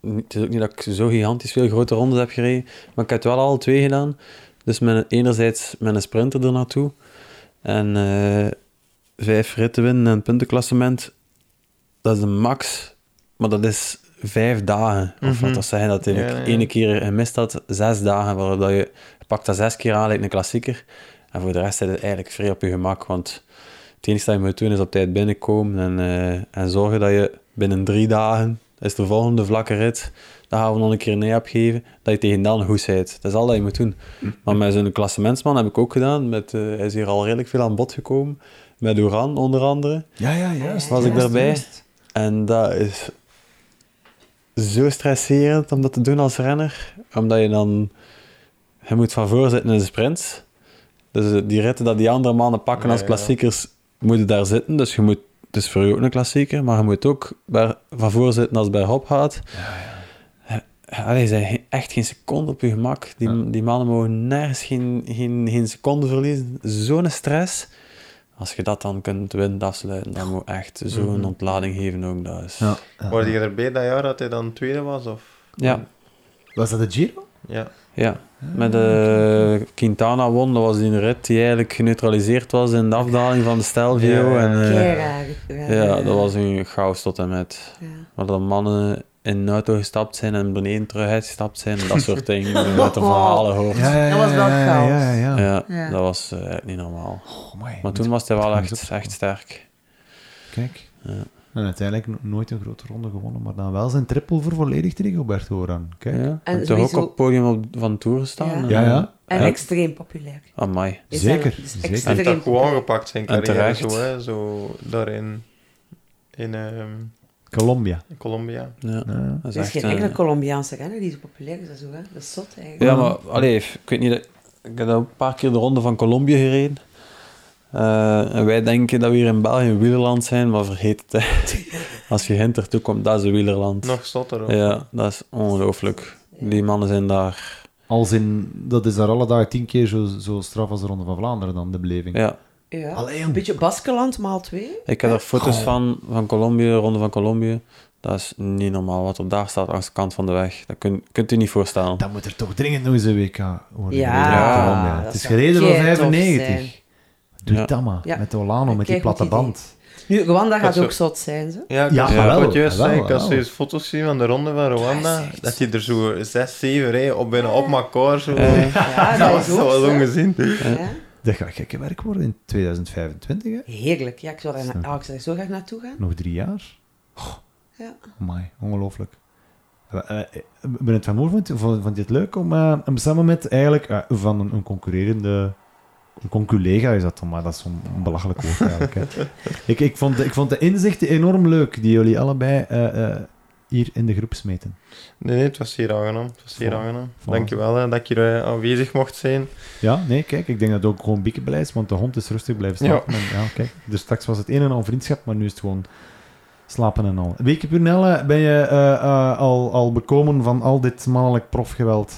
niet- het is ook niet dat ik zo gigantisch veel grote rondes heb gereden, maar ik heb het wel al twee gedaan. Dus met een- enerzijds met een sprinter ernaartoe en eh, vijf ritten winnen en een puntenklassement. Dat is de max, maar dat is vijf dagen. Of
Mhm.
wat dat zeggen, dat ik
Ja, ja.
ene keer gemist had, zes dagen, waarop dat je, je pakt dat zes keer aan, lijkt een klassieker. En voor de rest is het eigenlijk vrij op je gemak, want het enige dat je moet doen is op tijd binnenkomen en, eh, en zorgen dat je binnen drie dagen Dat is de volgende vlakke rit. Daar gaan we nog een keer nee op geven. Dat je tegen dan goed bent. Dat is al dat je moet doen. Maar met zo'n klassementsman heb ik ook gedaan. Met, eh, hij is hier al redelijk veel aan bod gekomen. Met Oran onder andere.
Ja, ja, juist.
Was ik
juist,
daarbij.
juist.
En dat is zo stresserend om dat te doen als renner. Omdat je dan... Je moet van voor zitten in de sprint. Dus eh, die ritten dat die andere mannen pakken
Ja,
als
ja.
klassiekers, moeten daar zitten. Dus je moet... Het is voor jou ook een klassieker, maar je moet ook bij, van voor zitten als het bij Hop gaat. Eh, Allee, ze zijn ge- echt geen seconde op je gemak. Die, die mannen mogen nergens geen, geen, geen seconde verliezen. Zo'n stress. Als je dat dan kunt winnen, afsluiten, dan moet echt zo'n
Mhm.
ontlading geven ook. Dat is...
Ja,
Was
ja.
je erbij dat jaar dat hij dan tweede was? Of?
Ja,
Was dat de Giro?
Ja.
ja. Met eh Quintana won, dat was die rit die eigenlijk geneutraliseerd was in de afdaling van de Stelvio.
Ja, ja.
En, eh,
Kei raar.
ja, dat was een chaos tot en met.
Ja.
Waar de mannen in een auto gestapt zijn en beneden terug uitgestapt zijn. Dat soort dingen, die je met de verhalen hoort. Ja,
Dat was wel
ja, ja,
chaos.
ja, ja.
Ja.
dat was eh, echt niet normaal.
Oh, amai.
Maar toen was hij wel
moet ik
echt,
opzoeken.
echt sterk.
Kijk.
Ja.
En uiteindelijk no- nooit een grote ronde gewonnen, maar dan wel zijn triple voor volledig tegen Roberto Oran. Kijk. Ja,
Ja. En toch ook
sowieso-
op het podium op, van de Tour gestaan.
Ja.
ja.
En
Ja.
extreem populair.
Amai.
Is
Zeker,
dat- is
zeker.
Hij heeft
Extreem
dat goed
populair.
aangepakt, zijn
En
carrière. Zo,
terecht.
hè, zo daarin in ehm,
Colombia.
Colombia.
Ja.
Ja.
Dat
Er is
echt
geen
eh,
een-
enkele Colombiaanse renner die zo populair is als Oran. Dat is zot eigenlijk.
Ja, maar allee, ik weet niet. Ik heb een paar keer de ronde van Colombë gereden. Eh, en wij denken dat we hier in België wielerland zijn, maar vergeet het. hè. [laughs] Als je Gent ertoe komt, dat is een wielerland.
Nog stotter ook.
Ja, Nou, dat is ongelooflijk. Die mannen zijn daar.
Als in, dat is daar alle dagen tien keer zo, zo straf als de Ronde van Vlaanderen dan, de beleving.
Ja,
Ja.
Allee,
Een
jong.
beetje Baskeland maal twee.
ik heb daar foto's van, van Colombë, ronde van Colombë. Dat is niet normaal wat er daar staat aan de kant van de weg. Dat kun, kunt u niet voorstellen.
Dat moet er toch dringend nog eens een WK worden
Ja,
gereden in Colombia.
dat
Het is
zou
gereden door
kei tof
95. Doe
Ja.
dat maar,
Ja.
met Olano, met die
Kijk, goed
platte
idee.
band.
Nu, Rwanda gaat
zo-
ook zot zijn, ze.
Ja, ik
Ja, maar
was- ik
wel,
wou het juist
wel,
zeggen, ik had
wel.
zoiets foto's zien van de ronde van Rwanda,
echt.
dat hij er zo zes, zeven rijden op bijna op elkaar zo. [laughs]
Ja, Ah,
Dat
dat
was
is ook
wel
zo.
ongezien.
Ja.
Dat gaat gekke werk worden in 2025, hè?
Heerlijk. Ja, ik zou, daar na- ah, ik zou er zo graag naartoe gaan.
Nog drie jaar.
Ja.
Amai, ongelooflijk. Eh, eh, Ben het van Moor vond, vond vond je het leuk om eh, om samen met eigenlijk eh, van een, een concurrerende... Een conculega is dat dan, maar dat is zo'n belachelijk woord eigenlijk. Hè. [laughs] ik, ik, vond, de- ik vond de inzichten enorm leuk die jullie allebei eh, eh, hier in de groep smeten.
Nee, nee, het was hier aangenaam. Het was hier
Voilà.
aangenaam.
Voilà.
Dankjewel hè, dat ik hier eh, aanwezig mocht zijn.
Ja, nee, kijk, ik denk dat het ook gewoon biekenbeleid is, want de hond is rustig blijven slapen. Ja. En, ja, kijk, dus straks was het een en al vriendschap, maar nu is het gewoon slapen en al. Weke Purnelle, ben je eh, eh, al, al bekomen van al dit mannelijk profgeweld?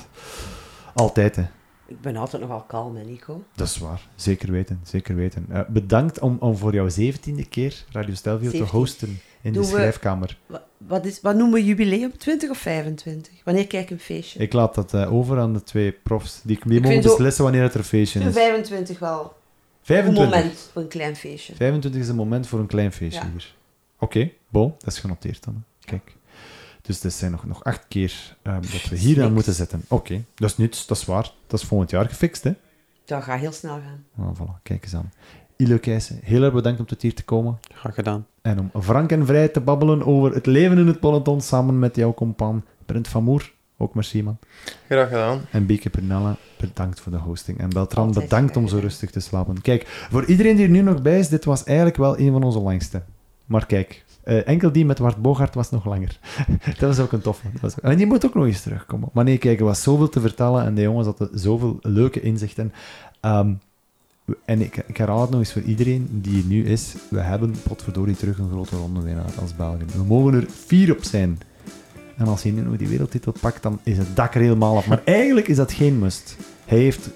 Altijd, hè.
Ik ben altijd nogal kalm, hè, Nico.
Dat is waar. Zeker weten, zeker weten. Eh, bedankt om, om voor jouw zeventiende keer Radio Stelvio te
17e.
hosten in
Doen
de
we-
schrijfkamer.
Wa- Wat, is, wat noemen we jubileum? 20 of 25? Wanneer kijk ik een feestje?
Ik laat dat eh, over aan de twee profs. Die, die mogen
vind ook-
beslissen wanneer het er een
Ik
feestje
vind
is.
25 wel een
25.
moment voor een klein feestje.
25 is een moment voor een klein feestje
Ja.
hier. Oké, bon, dat is genoteerd dan. hè. Kijk. Dus dat zijn nog, nog acht keer ehm, dat we hier aan
niks.
moeten zetten. Oké, dat is niets, dat is waar. Dat is volgend jaar gefixt, hè?
Dat gaat heel snel gaan.
Nou, voilà, kijk eens aan. Ilo Keijsen, heel erg bedankt om tot hier te komen.
Graag gedaan.
En om frank en vrij te babbelen over het leven in het peloton samen met jouw compaan Brent van Moer. Ook merci, man.
Graag gedaan.
En Bieke Pernella, bedankt voor de hosting. En Beltran,
Altijd
bedankt om zo
gedaan.
rustig te slapen. Kijk, voor iedereen die er nu nog bij is, dit was eigenlijk wel een van onze langste. Maar kijk, eh, enkel die met Wart Bogart was nog langer. [laughs] dat was ook een toffe. Dat was... En die moet ook nog eens terugkomen. Maar nee, kijk, er was zoveel te vertellen en de jongens hadden zoveel leuke inzichten. Ehm, we- en ik, ik herhaal het nog eens voor iedereen die hier nu is. We hebben potverdorie terug een grote rondewinnaar als België. We mogen er fier op zijn. En als hij nu nog die wereldtitel pakt, dan is het dak er helemaal af. Maar eigenlijk is dat geen must. Hij heeft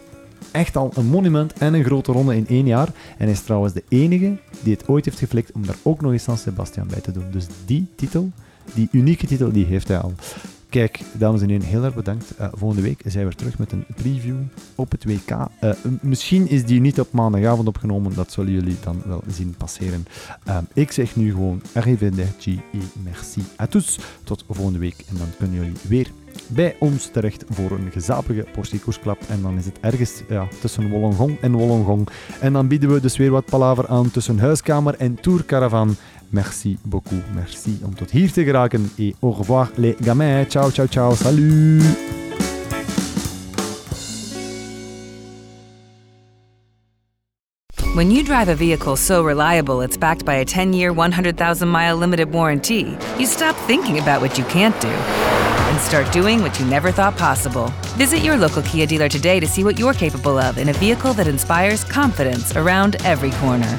echt al een monument en een grote ronde in één jaar. En hij is trouwens de enige die het ooit heeft geflikt om daar ook nog eens San Sebastian bij te doen. Dus die titel, die unieke titel, die heeft hij al. Kijk, dames en heren, heel erg bedankt. Eh, volgende week zijn we weer terug met een preview op het WK. Eh, m- misschien is die niet op maandagavond opgenomen. Dat zullen jullie dan wel zien passeren. Eh, ik zeg nu gewoon arrivederci et E merci à tous. Tot volgende week. En dan kunnen jullie weer bij ons terecht voor een gezapige portie koersklap. En dan is het ergens ja, tussen Wollongong en Wollongong. En dan bieden we dus weer wat palaver aan tussen huiskamer en tourcaravaan. Merci beaucoup. Merci om tot hier te geraken. Et au revoir les gamins. Ciao, ciao, ciao. Salut.
When you drive a vehicle so reliable it's backed by a 10 year, 100,000 mile limited warranty, you stop thinking about what you can't do and start doing what you never thought possible. Visit your local Kia dealer today to see what you're capable of in a vehicle that inspires confidence around every corner.